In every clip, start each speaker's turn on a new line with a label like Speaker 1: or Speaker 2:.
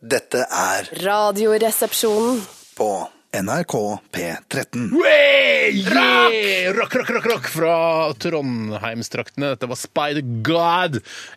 Speaker 1: Dette er
Speaker 2: Radioresepsjonen.
Speaker 1: på NRK P13.
Speaker 3: Yeah! Rock, rock, rock, rock fra Trondheimstraktene. Dette var Spider God,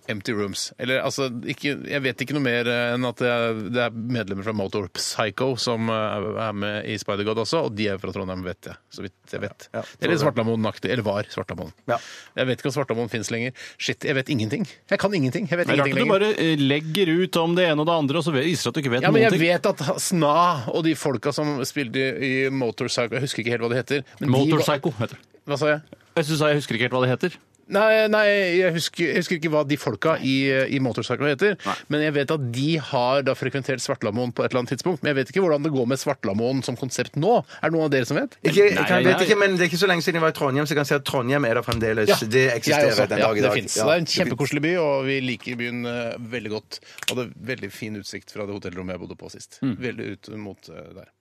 Speaker 3: Empty Rooms. Eller altså, ikke, jeg vet ikke noe mer eh, enn at det er, det er medlemmer fra Motor Psycho som eh, er med i Spider God også, og de er fra Trondheim, vet jeg. Så vidt jeg vet.
Speaker 4: Ja, ja.
Speaker 3: Eller Svartamoen-aktig. Eller var Svartamoen.
Speaker 4: Ja.
Speaker 3: Jeg vet ikke om Svartamoen fins lenger. Shit, jeg vet ingenting. Jeg kan ingenting. Jeg vet
Speaker 4: Det er rart
Speaker 3: ingenting
Speaker 4: at du
Speaker 3: lenger.
Speaker 4: bare eh, legger ut om det ene og det andre, og så vet- viser det at du ikke vet
Speaker 3: Ja, men
Speaker 4: noen
Speaker 3: jeg
Speaker 4: ting.
Speaker 3: vet at Sna og de folka som spilte i i Motor Psycho, jeg husker ikke helt hva det heter. men de var-
Speaker 4: Motorpsycho heter det.
Speaker 3: Hva sa jeg?
Speaker 4: Jeg synes jeg husker ikke helt hva det heter.
Speaker 3: Nei, nei jeg, husker, jeg husker ikke hva de folka i, i Motorcycle heter. Men jeg vet at de har da frekventert Svartlamoen på et eller annet tidspunkt. Men jeg vet ikke hvordan det går med Svartlamoen som konsept nå. Er det noen av dere som vet?
Speaker 5: Ikke, jeg
Speaker 4: Nei,
Speaker 5: kan, vet
Speaker 4: jeg-
Speaker 5: ikke, men Det er ikke så lenge siden jeg var i Trondheim, så jeg kan si at Trondheim er der fremdeles.
Speaker 3: Ja,
Speaker 5: det eksisterer
Speaker 3: jeg også.
Speaker 5: den
Speaker 3: ja,
Speaker 5: dag i
Speaker 3: det
Speaker 5: dag.
Speaker 3: finnes.
Speaker 5: Ja.
Speaker 3: Det er en kjempekoselig by, og vi liker byen eh, veldig godt. Hadde veldig fin utsikt fra det hotellrommet jeg bodde på sist.
Speaker 5: Mm.
Speaker 3: Veldig ut mot eh, der.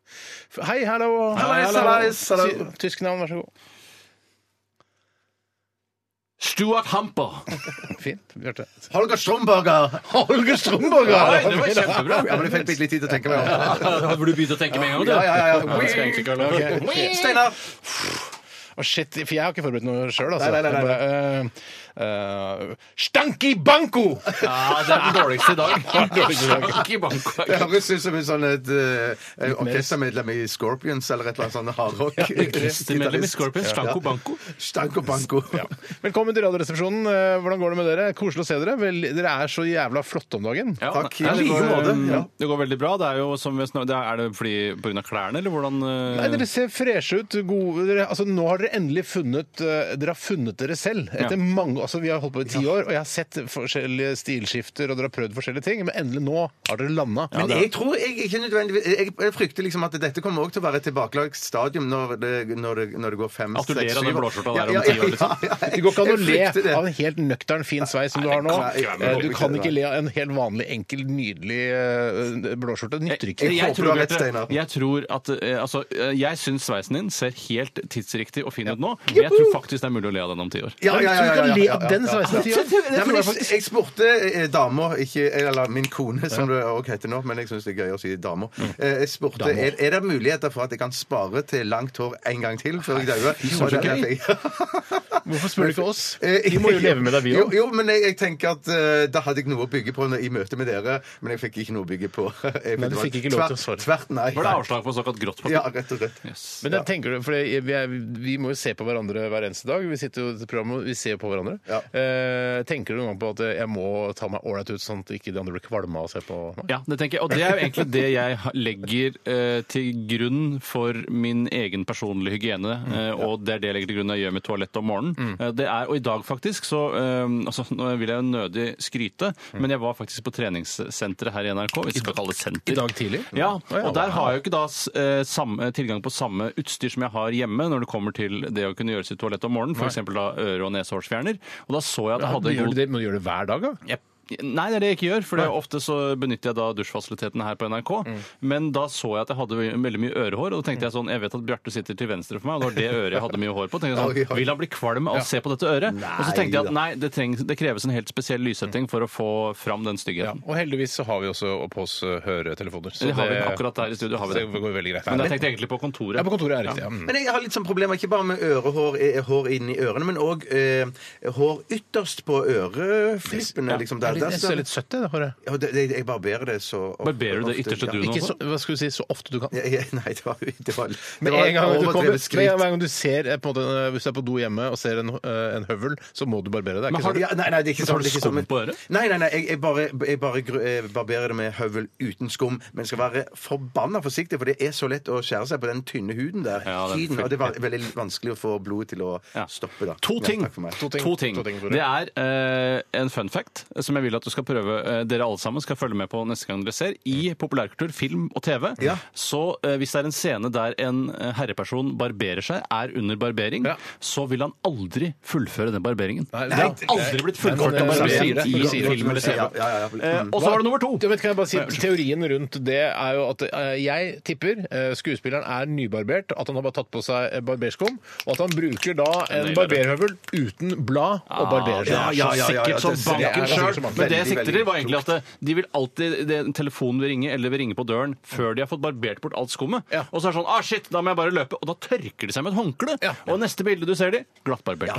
Speaker 3: F- Hei, hallo!
Speaker 5: Hallais, hallais, hallo.
Speaker 3: Ty- Tysk navn, vær så god.
Speaker 4: Stuart Hamper.
Speaker 3: Fint, Bjarte.
Speaker 5: Holger Stromberger!
Speaker 3: Holger Stromborg!
Speaker 4: det var kjempebra.
Speaker 5: Ja, men jeg fikk litt tid til å tenke meg om.
Speaker 4: Har du begynt å tenke med en gang?
Speaker 5: Ja, ja, ja, ja.
Speaker 4: det skal jeg egentlig ikke ha lov til.
Speaker 5: Steinar!
Speaker 3: Å, shit, for jeg har ikke forberedt noe sjøl, altså.
Speaker 5: Nei, nei, nei, nei.
Speaker 3: Jeg bare, eh, eh, Stanky banko!
Speaker 4: Ja, det er den dårligste i dag.
Speaker 3: Dårligste i dag.
Speaker 4: Ikke i Bangkok.
Speaker 5: Det høres ut som en sånn et, eh, orkestermedlem i Scorpions eller et eller annet sånn hardrock.
Speaker 4: Orkestermedlem i Scorpions, Stanko Banko.
Speaker 5: Stanko Banko.
Speaker 3: Ja. Velkommen til Radioresepsjonen. Eh, Hvordan går det med dere? Koselig å se dere. Vel, dere er så jævla flotte om dagen.
Speaker 4: Ja,
Speaker 5: Takk,
Speaker 4: nei,
Speaker 5: i
Speaker 4: det
Speaker 5: like
Speaker 4: går-
Speaker 5: måte, ja.
Speaker 4: Det går veldig bra. Det er jo som vi snak- det er, er det fordi på grunn av klærne, eller hvordan eh,
Speaker 3: Nei, dere ser freshe ut. Gode. Dere, altså, nå har dere endelig funnet eh, Dere har funnet dere selv. Etter
Speaker 4: Ja.
Speaker 3: mange, altså, vi har holdt på i ti år, og jeg har sett forskjellige stilskifter, og dere har prøvd forskjellige ting, men endelig nå har dere landa.
Speaker 5: Men jeg tror jeg ikke nødvendigvis Jeg, jeg frykter liksom at dette kommer også til å være et tilbakelagt stadium når det, når det, når det går fem,
Speaker 4: At du ler
Speaker 5: seks,
Speaker 4: av den
Speaker 5: syv år.
Speaker 4: blåskjorta der om
Speaker 5: Ja, ja,
Speaker 4: ti år, liksom.
Speaker 5: ja, ja,
Speaker 3: Det går ikke an
Speaker 5: jeg
Speaker 3: å
Speaker 5: frykter
Speaker 3: le
Speaker 5: det.
Speaker 3: av en helt nøktern, fin sveis som du har nå.
Speaker 4: Nei, det kan ikke være
Speaker 3: Eh,
Speaker 4: mulig.
Speaker 3: Du kan ikke le av en helt vanlig, enkel, nydelig eh, blåskjorte. Det nytter ikke.
Speaker 4: Jeg,
Speaker 5: håper
Speaker 4: jeg,
Speaker 5: du
Speaker 4: tror,
Speaker 5: har rett,
Speaker 4: Bjarte,
Speaker 5: Steinar.
Speaker 4: jeg tror at eh, altså, eh, jeg syns sveisen din ser helt tidsriktig og fin ut nå, men jeg tror faktisk det er mulig å le av den om ti år.
Speaker 5: Ja, ja,
Speaker 3: Så du
Speaker 5: ja, ja, ja,
Speaker 3: kan le
Speaker 5: ja,
Speaker 3: av
Speaker 5: ja,
Speaker 3: den
Speaker 5: ja.
Speaker 3: sveisen i ti år?
Speaker 5: Nei, men jeg, jeg spurte eh, damer, ikke, eller min kone, som det også heter nå, men jeg syns det er gøy å si damer.
Speaker 4: Mm.
Speaker 5: Eh, Jeg spurte er, er det muligheter for at jeg kan spare til langt hår en gang til før jeg dauer. Og
Speaker 4: så
Speaker 5: det er
Speaker 4: gøy.
Speaker 5: derfor jeg-
Speaker 3: Hvorfor spør du ikke oss?
Speaker 5: Eh,
Speaker 3: Vi må jo leve med deg, vi
Speaker 5: jo,
Speaker 3: òg.
Speaker 5: jo, men jeg, jeg tenker at eh, da hadde jeg noe å bygge på når- i møte med dere, men jeg fikk ikke noe å bygge på. Jeg
Speaker 3: Nei, du
Speaker 5: det var
Speaker 3: fikk ikke lov til å
Speaker 5: tvert-
Speaker 3: svare.
Speaker 5: Tvert nei.
Speaker 4: Var det avslag på såkalt grått papir?
Speaker 5: Ja, rett og slett.
Speaker 4: Yes.
Speaker 3: Men jeg tenker du, for jeg- vi, er, vi må jo se på hverandre hver eneste dag. Vi sitter jo i dette programmet, og vi ser jo på hverandre.
Speaker 5: Ja.
Speaker 3: Eh, tenker du noen gang på at jeg må ta meg ålreit ut, sånn at ikke de andre blir kvalme av å se på meg?
Speaker 4: Ja, det tenker jeg. Og det er jo egentlig det jeg ha- legger eh, til grunn for min egen personlige hygiene.
Speaker 3: Mm.
Speaker 4: eh, og det er det jeg legger til grunn når jeg gjør mitt toalett om morgenen. Eh, det er, og i dag faktisk, så eh, altså, Nå vil jeg jo nødig skryte, men jeg var faktisk på treningssenteret her i NRK. Hvis vi skal kalle det senter.
Speaker 3: Mm. I dag tidlig?
Speaker 4: Ja,
Speaker 3: Å, ja,
Speaker 4: og der
Speaker 3: wow.
Speaker 4: har jeg jo ikke da s- eh, samme, tilgang på samme utstyr som jeg har hjemme når det kommer til det å kunne gjøre sitt toalett om morgenen, f.eks. øre- og nesehårsfjerner. Og da så jeg at jeg
Speaker 3: Ja,
Speaker 4: hadde
Speaker 3: du
Speaker 4: en
Speaker 3: gjør
Speaker 4: god
Speaker 3: det, men du gjør det hver dag, da?
Speaker 4: jeg, nei, det er det jeg ikke gjør. For det er ofte så benytter jeg da dusjfasilitetene her på NRK. Men da så jeg at jeg hadde ve- veldig mye ørehår, og da tenkte jeg sånn Jeg vet at Bjarte sitter til venstre for meg, og det var det øret jeg hadde mye hår på. Tenkte jeg
Speaker 5: Oi, oi.
Speaker 4: sånn, Vil han bli kvalm av å se på dette øret? Og så tenkte jeg
Speaker 5: da.
Speaker 4: at nei, det, trengs, det kreves en helt spesiell lyssetting for å få fram den
Speaker 3: Ja,
Speaker 4: styggheten.
Speaker 3: og heldigvis så har vi også på oss eh, høretelefoner. Så
Speaker 4: Det har vi akkurat der i studio. Har vi det.
Speaker 3: så det går veldig greit.
Speaker 4: Men jeg tenkte egentlig på kontoret.
Speaker 3: Ja, på kontoret er det riktig. Ja. Mm.
Speaker 5: Men jeg har litt sånn problemer, ikke bare med ørehår eh, hår inni ørene, men òg eh, hår ytterst på øreflippene. Liksom, der.
Speaker 3: Det
Speaker 5: Der
Speaker 3: er
Speaker 5: står-
Speaker 3: så litt søtt, det håret.
Speaker 5: Ja, det, det, jeg barberer det så ofte.
Speaker 4: Barberer du det ytterste
Speaker 5: Ja.
Speaker 4: du nå?
Speaker 3: Ikke så, hva skal du si, så ofte du kan.
Speaker 5: Ja, ja, Nei, det var, det var, det
Speaker 3: Med
Speaker 5: var
Speaker 3: en gang du, kommer,
Speaker 5: overdrevet
Speaker 3: med en
Speaker 5: skryt.
Speaker 3: gang du ser eh, på en måte, eh, Hvis du er på do hjemme og ser en, eh, en høvel, så må du barbere deg.
Speaker 4: Men
Speaker 3: ikke
Speaker 4: har
Speaker 3: sant?
Speaker 4: du-
Speaker 5: Ja, nei, nei, det er ikke
Speaker 4: Men tar
Speaker 5: sånn.
Speaker 4: du
Speaker 5: det er ikke sånn,
Speaker 4: skum
Speaker 5: men-
Speaker 4: på øret?
Speaker 5: Nei, nei, nei, jeg, jeg bare, jeg bare gru- eh, barberer det med høvel uten skum. Men skal være forbanna forsiktig, for det er så lett å skjære seg på den tynne huden der.
Speaker 4: Ja, den
Speaker 5: Huden, og det var veldig vanskelig å få blodet til å
Speaker 4: Ja.
Speaker 5: stoppe, da.
Speaker 4: To ting.
Speaker 5: Ja, takk for meg.
Speaker 3: To ting.
Speaker 4: To ting.
Speaker 3: To ting, Tore.
Speaker 4: Det er eh, en fun fact som jeg vil at du skal prøve. eh, dere alle sammen skal følge med på neste gang dere ser. I populærkultur, film og TV.
Speaker 5: Ja.
Speaker 4: Så eh, hvis det er en scene der en eh, herreperson barberer seg, er under barbering,
Speaker 3: Ja.
Speaker 4: så vil han aldri fullføre den barberingen.
Speaker 3: Nei,
Speaker 4: det
Speaker 3: det-
Speaker 4: har aldri blitt fullført
Speaker 3: Nei,
Speaker 4: en
Speaker 3: men det-
Speaker 4: barbering
Speaker 3: det-
Speaker 4: i
Speaker 3: det- det-
Speaker 4: film eller TV.
Speaker 5: Ja, ja, Mm. ja.
Speaker 4: Eh, og så var det nummer to.
Speaker 3: Du vet, kan jeg bare si, teorien rundt det er jo at eh, jeg tipper eh, skuespilleren er nybarbert, at han har bare tatt på seg eh, barberskum, og at han bruker da en
Speaker 4: Nailer det.
Speaker 3: barberhøvel uten blad og barberer seg.
Speaker 4: Ja, ja, ja, ja, ja, det er så
Speaker 3: Det er
Speaker 4: banken
Speaker 3: sikkert
Speaker 4: selv.
Speaker 3: som
Speaker 4: Men det jeg
Speaker 5: Veldig,
Speaker 4: sikter
Speaker 5: veldig
Speaker 4: til, var egentlig at eh, de vil alltid det- telefonen vil ringe eller vil ringe på døren før de har fått barbert bort alt skummet.
Speaker 3: Ja.
Speaker 4: Og så er det sånn ah shit, da må jeg bare løpe. Og da tørker de seg med et håndkle.
Speaker 3: Ja.
Speaker 4: Og neste bilde du ser de, glattbarbert.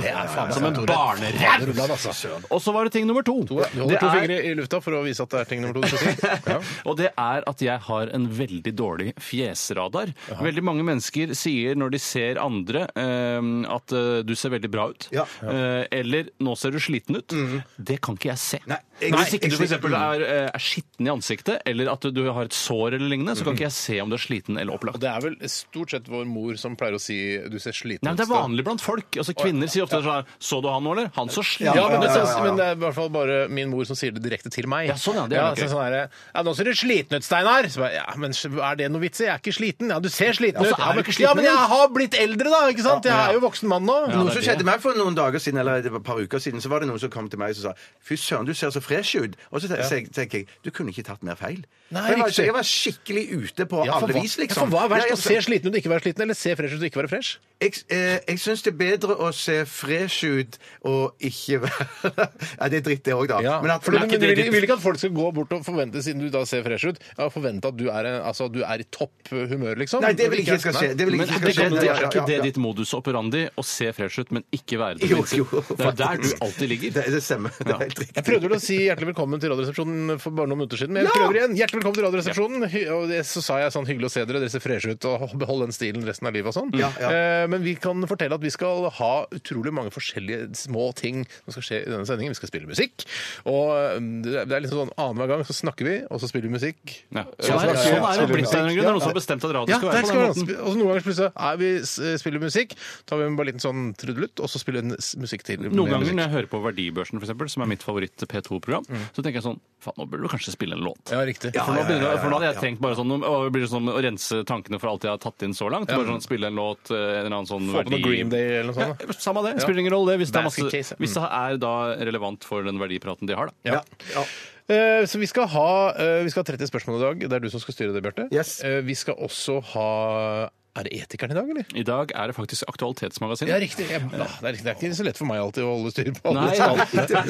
Speaker 4: Som en
Speaker 3: Ja,
Speaker 4: barneræv.
Speaker 3: det rullet, altså.
Speaker 4: Og så var det ting nummer to.
Speaker 3: Du holder
Speaker 4: Det
Speaker 3: to
Speaker 4: er-
Speaker 3: fingre i lufta for å vise at det er ting nummer to. du skal si. Ja.
Speaker 4: Og det er at jeg har en veldig dårlig fjesradar. Veldig mange mennesker sier når de ser andre ehm, at eh, du ser veldig bra ut.
Speaker 5: Ja.
Speaker 4: Eh, eller 'nå ser du sliten ut'. Det kan ikke jeg se.
Speaker 5: Nei, jeg-
Speaker 4: Hvis ikke du
Speaker 5: jeg-
Speaker 4: f.eks. Er, eh, er skitten i ansiktet, eller at du har et sår eller lignende, så kan ikke jeg se om du er sliten eller
Speaker 3: Og
Speaker 4: opplagt.
Speaker 3: det er vel stort sett vår mor som pleier å si 'du ser sliten
Speaker 4: Nei, men Det er
Speaker 3: Stå-
Speaker 4: vanlig blant folk. altså Kvinner sier ofte sånn 'Så du han nå, eller?' Han så sliten
Speaker 3: Ja, men det,
Speaker 5: ja, ja, ja.
Speaker 3: men det er i hvert fall bare min mor som sier det direkte til meg.
Speaker 4: Ja, sånn, ja, det er nok
Speaker 3: så sånn er det, ja, 'Nå ser du sliten ut, Steinar.' Så bare, ja, men er det noe vits i? Jeg er ikke sliten. Ja, du ser sliten
Speaker 4: Ja, så
Speaker 3: ut.
Speaker 4: er du ikke
Speaker 3: ja,
Speaker 4: sliten,
Speaker 3: men jeg
Speaker 4: ja.
Speaker 3: har blitt eldre, da. ikke sant? Jeg er jo voksen mann nå.
Speaker 4: Ja,
Speaker 5: Noe
Speaker 4: det er
Speaker 5: som skjedde meg for noen dager siden, eller det var et par uker siden, så var det noen som kom til meg og sa Fy søren, du ser så fresh ut. Og så te- tenker tenker jeg du kunne ikke tatt mer feil.
Speaker 3: Nei,
Speaker 5: For jeg, var,
Speaker 3: riktig.
Speaker 5: jeg var skikkelig ute på
Speaker 3: Ja, for
Speaker 5: alle
Speaker 3: hva-
Speaker 5: vis,
Speaker 3: Ja, for
Speaker 5: liksom.
Speaker 3: hva er verst?
Speaker 5: Ja,
Speaker 3: Å
Speaker 5: jeg-
Speaker 3: se sliten ut og ikke være sliten, eller se fresh ut og ikke være fresh?
Speaker 5: Jeg, eh, jeg syns det er bedre å se fresh ut og ikke være Ja, det er dritt, det òg, da.
Speaker 3: Ja,
Speaker 5: Men at-
Speaker 3: for du,
Speaker 5: men-
Speaker 3: du, vil, vil ikke at folk skal gå bort og forvente, siden du da ser fresh ut, ja, forvente at du er, en- altså, du er i topp humør, liksom?
Speaker 5: Nei, det vil ikke jeg skal skje.
Speaker 3: Nei.
Speaker 5: Det vil
Speaker 4: Men
Speaker 5: ikke
Speaker 4: er
Speaker 5: skal
Speaker 4: det,
Speaker 5: skje.
Speaker 4: det,
Speaker 5: Ja,
Speaker 4: er
Speaker 5: ja,
Speaker 4: ikke det
Speaker 5: ja.
Speaker 4: ditt modus operandi å se fresh ut, men ikke være det? du
Speaker 5: Jo, jo,
Speaker 4: viser? det er der du
Speaker 5: faktisk.
Speaker 4: alltid ligger.
Speaker 5: Det, det stemmer. Det er helt riktig.
Speaker 3: Jeg prøvde vel å si hjertelig velkommen til Radioresepsjonen for bare noen minutter siden, men jeg
Speaker 5: Ja!
Speaker 3: prøver igjen. Hjertelig velkommen til Radioresepsjonen. Hy- Og det, så sa jeg sånn hyggelig å se dere, dere ser freshe ut, og behold den stilen resten av livet og sånn.
Speaker 5: Ja, ja.
Speaker 3: Eh, men vi kan fortelle at vi skal ha utrolig mange forskjellige små ting som skal skje i denne sendingen. Vi skal spille musikk, og mm, det er det er liksom sånn annenhver gang så snakker vi, og så spiller vi musikk.
Speaker 4: Ja. Sånn
Speaker 3: så-
Speaker 4: er, sånn er det
Speaker 3: spiller
Speaker 4: blitt
Speaker 3: musikk.
Speaker 4: av en grunn. Det er noen som har bestemt at radio
Speaker 3: Ja,
Speaker 4: skal
Speaker 3: der
Speaker 4: være på
Speaker 3: skal
Speaker 4: den
Speaker 3: vi
Speaker 4: måten.
Speaker 3: sp- Og så noen ganger plutselig er vi s- eh, spiller musikk, tar vi en bare liten sånn trudelutt, og så spiller vi en s- musikk til. med
Speaker 4: Noen ganger
Speaker 3: musikk.
Speaker 4: når jeg hører på Verdibørsen, for eksempel, som er mitt favoritt P2-program, så tenker jeg sånn Faen, nå burde du kanskje spille en låt.
Speaker 3: Mm. Ja, riktig.
Speaker 4: For nå, begynner, jeg- for nå hadde jeg tenkt bare sånn å, blir det sånn å rense tankene for alt jeg har tatt inn så langt. Bare sånn Spille en låt, eh, en eller annen sånn
Speaker 3: Få på noe Green Day eller noe sånt. da.
Speaker 4: Ja, samme det. Spiller ingen rolle, det, hvis det, er
Speaker 3: Basket
Speaker 4: masse,
Speaker 3: case, ja.
Speaker 4: hvis det er da relevant for den verdipraten de har, da.
Speaker 3: Mm. Ja. Eh, Så vi skal, ha, eh, vi skal ha 30 spørsmål i dag. Det er du som skal styre det, Bjarte.
Speaker 5: Yes.
Speaker 3: Eh, Vi skal også ha Er det Etikeren i dag, eller?
Speaker 4: I dag er det faktisk Aktualitetsmagasinet.
Speaker 3: Ja, riktig. Jeg, ja, det, er, riktig. det er ikke så lett for meg alltid å holde styr på alle.
Speaker 4: Nei,
Speaker 3: tall.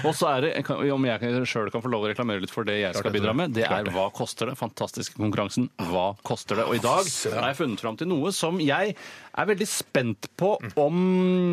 Speaker 4: Og så er det, jeg kan- om jeg sjøl kan få lov å reklamere litt for det jeg skal bidra med, det er Hva koster det? Fantastiske konkurransen Hva koster det? Og i dag har jeg funnet fram til noe som jeg er veldig spent på om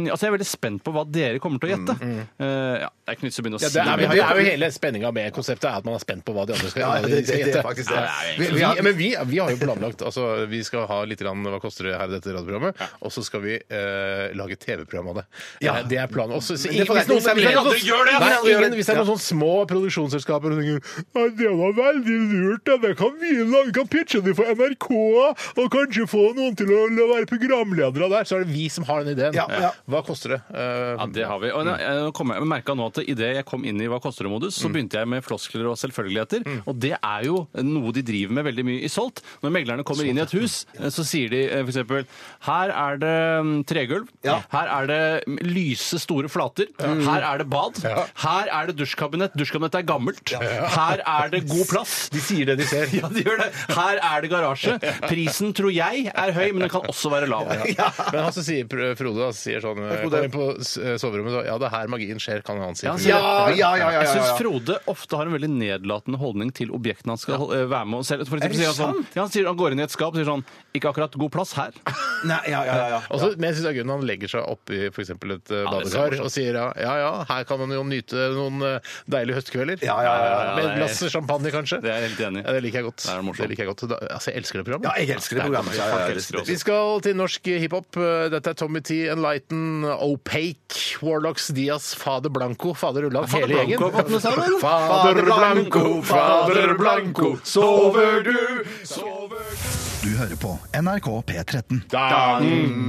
Speaker 4: Altså, jeg er veldig spent på hva dere kommer til å gjette. Eh, ja, det er ikke nytt å
Speaker 3: Mm,
Speaker 4: begynne å
Speaker 3: Ja,
Speaker 4: si
Speaker 3: det, er, vi har-
Speaker 4: det.
Speaker 3: det er jo hele spenninga med konseptet, er at man er spent på hva de andre skal
Speaker 5: Ja,
Speaker 3: hva
Speaker 5: det,
Speaker 3: de
Speaker 5: det,
Speaker 3: skal
Speaker 5: det er
Speaker 3: gjette.
Speaker 5: faktisk det.
Speaker 4: Nei,
Speaker 5: Vi,
Speaker 3: Vi,
Speaker 5: vi har,
Speaker 3: men vi, vi har jo planlagt altså, Vi skal ha litt grann, Hva koster det her i dette radioprogrammet? Og så skal vi eh, lage et TV-program av det. Eh, Det er planen. Også, så,
Speaker 5: det får
Speaker 3: hvis noen-
Speaker 5: jeg-
Speaker 3: hvis det er noen-
Speaker 5: Ingen andre gjør det!
Speaker 3: Nei,
Speaker 5: Ingen andre gjør
Speaker 3: ingen-
Speaker 5: det.
Speaker 3: Hvis det er noen sånne små produksjonsselskaper som tenker «Nei, Det var veldig lurt, da. det kan vi lage. Vi kan pitche det for NRK og kanskje få noen til å å være programledere der. Så er det vi som har den ideen.
Speaker 5: Ja, ja.
Speaker 3: Hva koster det? Eh,
Speaker 4: Ja, det har vi. Og jeg, jeg, kom, jeg merka nå at idet jeg kom inn i Hva koster det-modus,
Speaker 3: Mm.
Speaker 4: så begynte jeg med floskler og selvfølgeligheter. Og det er jo noe de driver med veldig mye i Salt. Når meglerne kommer inn i et hus, eh, så sier de f.eks.: Her er det mm, tregulv.
Speaker 5: Ja.
Speaker 4: Her er det mm, lyse, store flater.
Speaker 3: Mm.
Speaker 4: Her er det bad. Her er det dusjkabinett. Dusjkabinettet er gammelt. Her er det god plass.
Speaker 3: de sier det de ser.
Speaker 4: Ja, de gjør det. Her er det garasje. Prisen tror jeg er høy, men den kan også være lav.
Speaker 3: Men han som sier pr- Frode, da, sier sånn eh,
Speaker 5: Frode.
Speaker 3: Går inn på s- eh, soverommet så, Ja, det er her magien skjer, kan han si.
Speaker 4: Ja, han sier
Speaker 5: ja, ja, ja, ja,
Speaker 4: Jeg
Speaker 5: ja,
Speaker 4: syns
Speaker 5: ja.
Speaker 4: Frode ofte har en veldig nedlatende holdning til objektene han skal eh, være med og selge. For
Speaker 5: Er det
Speaker 4: eksempel, sier han, sånn, ja, han, sier, han går inn i et skap og sier sånn Ikke akkurat god plass her.
Speaker 5: Nei, ja, ja, ja, ja.
Speaker 3: Også, men jeg synes det er gøy når han legger seg oppi f.eks. et uh,
Speaker 4: Ja, det ser
Speaker 3: badekar
Speaker 4: morsomt.
Speaker 3: og sier ja, ja, ja, her kan man jo nyte noen eh, deilige høstkvelder.
Speaker 5: Ja, ja, ja, ja,
Speaker 4: ja,
Speaker 3: Med
Speaker 4: det
Speaker 3: et
Speaker 4: er-
Speaker 3: glass champagne, kanskje.
Speaker 4: Det er jeg helt enig i.
Speaker 3: Ja, det liker jeg godt.
Speaker 4: Det er morsomt.
Speaker 3: liker jeg godt. Da, altså, jeg elsker det programmet.
Speaker 5: Ja, jeg elsker det programmet. Ja, ja, ja, det- det-
Speaker 3: Vi skal til norsk hiphop. Eh, Dette er Tommy T, Enlighten, Opaque, Warlocks, Diaz, Fader Blanco, Fader Ulland,
Speaker 4: Fader
Speaker 3: hele
Speaker 4: Blanco har fått med seg
Speaker 3: gjengen.
Speaker 4: den.
Speaker 3: Fader
Speaker 5: Blanco, Fader Blanco, sover
Speaker 3: du?
Speaker 1: Du hører på NRK P13.
Speaker 3: Dang,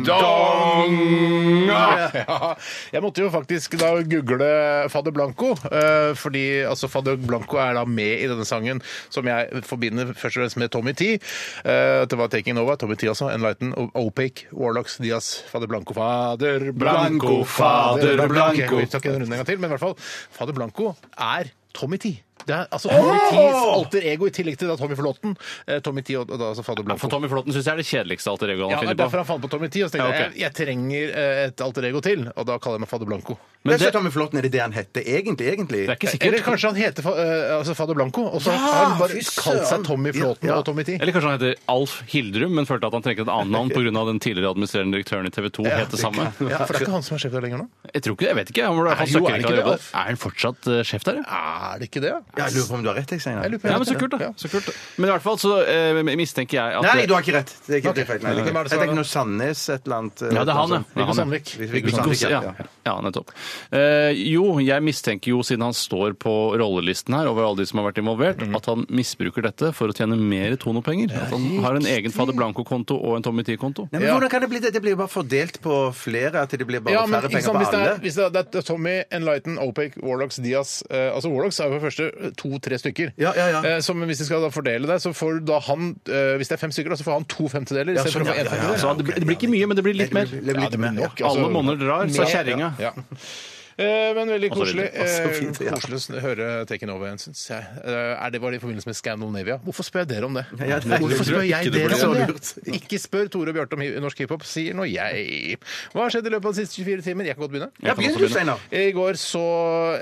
Speaker 3: dong! Ja, jeg måtte jo faktisk da google Fader Blanco, eh, fordi altså Fader Blanco er da med i denne sangen som jeg forbinder først og fremst med Tommy T. Eh, Det var Taking Over, Tommy T altså, Enlighten, Opaque, Warlocks, Diaz, Fader Blanco, Fader Blanco,
Speaker 5: Blanco, Fader Blanco.
Speaker 3: Ok, Vi tar ikke den runden en gang til, men i hvert fall, Fader Blanco er Tommy T. Det er altså Tommy Tees alter ego i tillegg til da Tommy Flåten. Eh, Tommy Tee og, og da altså Fader
Speaker 4: Ja,
Speaker 3: Blanco.
Speaker 4: for Tommy Flåten syns jeg er det kjedeligste alter egoet han
Speaker 3: Ja, det er
Speaker 4: finner på.
Speaker 3: derfor han fant på Tommy Tee. Og så tenkte
Speaker 4: Ja, ok.
Speaker 3: jeg jeg trenger eh, et alter ego til, og da kaller jeg meg Fader Blanco.
Speaker 5: Men
Speaker 4: Men
Speaker 5: det,
Speaker 4: det,
Speaker 5: Tommy Flåten, er det det han heter egentlig? egentlig?
Speaker 4: det er ikke
Speaker 3: Eller
Speaker 4: sikkert.
Speaker 3: kanskje han heter fa eh, altså Fader Blanco, og så har han bare
Speaker 5: fy
Speaker 3: kalt
Speaker 5: søren.
Speaker 3: seg Tommy Flåten
Speaker 5: Ja, ja.
Speaker 3: og Tommy Tee.
Speaker 4: Eller kanskje han heter Alf Hildrum, men følte at han trengte et annet navn pga. den tidligere administrerende direktøren i TV 2 het det samme.
Speaker 3: Ja, for det er ikke han som er sjef der lenger nå?
Speaker 4: Jeg tror ikke, jeg vet ikke. Han, var-
Speaker 3: Nei,
Speaker 4: han
Speaker 3: jo,
Speaker 4: snakker
Speaker 3: er det ikke det,
Speaker 4: ikke om det.
Speaker 3: Alf?
Speaker 4: Er han fortsatt eh, sjef der? ja?
Speaker 3: Er det ikke det?
Speaker 5: Ja, jeg lurer på om du har rett, jeg, Steinar.
Speaker 3: Jeg lurer på-
Speaker 4: Ja, men så kult, da.
Speaker 3: Ja.
Speaker 4: Så kult, da. Men i hvert fall så eh, mistenker jeg at
Speaker 5: Nei, du har ikke rett. Det er ikke, det er feil. Nei, det er
Speaker 3: Hvem er det
Speaker 5: ikke.
Speaker 3: som
Speaker 5: Jeg
Speaker 3: er
Speaker 5: tenker
Speaker 3: det?
Speaker 5: noe Sandnes et eller annet.
Speaker 4: Ja, det er han, ja. Det er
Speaker 3: Viggo
Speaker 4: han, ja.
Speaker 3: Sandvik.
Speaker 5: Viggo Sandvik,
Speaker 4: ja.
Speaker 5: ja.
Speaker 4: ja, nettopp. Eh, jo, jeg mistenker jo, siden han står på rollelisten her over alle de som har vært involvert, at han misbruker dette for å tjene mer tonopenger. At han har en egen Fader Blanco-konto og en Tommy Tee-konto.
Speaker 5: Nei, men
Speaker 3: Ja.
Speaker 5: Hvordan kan det bli det? Det blir jo bare fordelt på flere, at det blir bare
Speaker 3: Ja, men
Speaker 5: færre
Speaker 3: ikke
Speaker 5: penger
Speaker 3: sant,
Speaker 5: på
Speaker 3: hvis, det
Speaker 5: alle.
Speaker 3: er, hvis det er, det er Tommy, Enlighten, Opec, Warlocks, Diaz eh, Altså Warlocks er jo for det første to-tre stykker.
Speaker 5: Ja, ja, ja.
Speaker 3: Eh, som hvis de skal da fordele det, så får da han eh, Hvis det er fem stykker, da, så får han to femtedeler
Speaker 5: Ja,
Speaker 3: istedenfor
Speaker 5: sånn,
Speaker 3: én
Speaker 5: ja, ja, ja.
Speaker 3: femtedel.
Speaker 4: Så altså, det, blir, det blir ikke mye, men det blir litt mer.
Speaker 5: Det
Speaker 3: Ja,
Speaker 5: blir
Speaker 3: det
Speaker 5: litt
Speaker 3: blir
Speaker 5: mer.
Speaker 3: nok, altså.
Speaker 4: Alle monner drar, sa
Speaker 3: Mer,
Speaker 4: kjerringa.
Speaker 3: Ja. Eh, Men veldig
Speaker 4: Og så
Speaker 3: koselig.
Speaker 4: videre,
Speaker 5: og så
Speaker 3: eh,
Speaker 5: videre, ja.
Speaker 3: Koselig å høre Taken Over igjen, syns jeg. Eh, Er det bare i forbindelse med Scandinavia? Hvorfor spør jeg dere om det?
Speaker 5: Ja, det er lurt.
Speaker 3: Hvorfor spør jeg
Speaker 4: Ikke det
Speaker 3: dere
Speaker 5: burde
Speaker 3: om
Speaker 5: være
Speaker 3: det? Ikke spør Tore og Bjarte om hi- norsk hiphop, sier nå jeg. Hva har skjedd i løpet av de siste 24 timer? Jeg kan godt begynne.
Speaker 5: Ja, begynn du, Steinar.
Speaker 3: I går så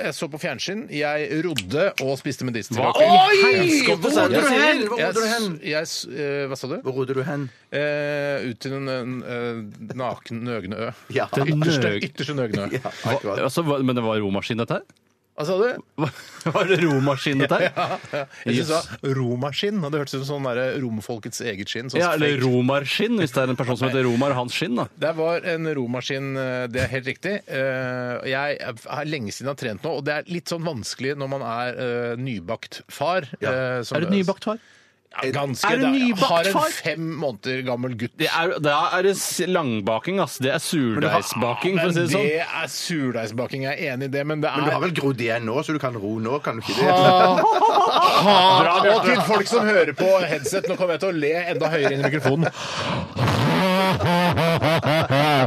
Speaker 3: jeg så på fjernsyn. Jeg rodde og spiste medisterkake.
Speaker 4: Hva i
Speaker 5: Hvor
Speaker 4: helskotte, sa jeg.
Speaker 5: rodde du hen? Hvor
Speaker 3: Jeg,
Speaker 5: rodde du hen?
Speaker 3: jeg, s- eh, hva sa du?
Speaker 5: Hvor rodde du hen?
Speaker 3: Eh, ut til den eh, naken, nøgne ø.
Speaker 5: Ja.
Speaker 3: Den ytterste,
Speaker 4: nøg-
Speaker 3: ytterste nøgne ø.
Speaker 5: Ja, akkurat.
Speaker 4: Altså, hva- men det var romaskin, dette her?
Speaker 3: Hva sa du?
Speaker 4: Hva- Var det romaskin, dette her?
Speaker 3: Jeg synes da romaskinn, og det hørtes ut som sånn der romfolkets eget skinn. sånn
Speaker 4: Ja, eller
Speaker 3: fake.
Speaker 4: romarskinn, hvis det er en person som heter Romar, hans skinn, da.
Speaker 3: Det var en romaskin, eh, det er helt riktig. Eh, Jeg har lenge siden jeg har trent nå, og det er litt sånn vanskelig når man er eh, nybakt far. eh, som-
Speaker 4: Er du nybakt far?
Speaker 3: Ja, ganske.
Speaker 4: Er du
Speaker 3: da. Jeg
Speaker 4: nybakt
Speaker 3: Har
Speaker 4: far?
Speaker 3: en fem måneder gammel gutt.
Speaker 4: Det er, da er det s- langbaking, ass. Det er surdeigsbaking, for å si
Speaker 3: Men
Speaker 4: det sånn.
Speaker 3: det er surdeigsbaking, jeg er enig i det, men det er
Speaker 5: Men du har vel grodd igjen nå, så du kan ro nå, kan du ikke det?
Speaker 3: Bra, Ah, og til folk som hører på headset, nå kommer jeg til å le enda høyere inn i mikrofonen.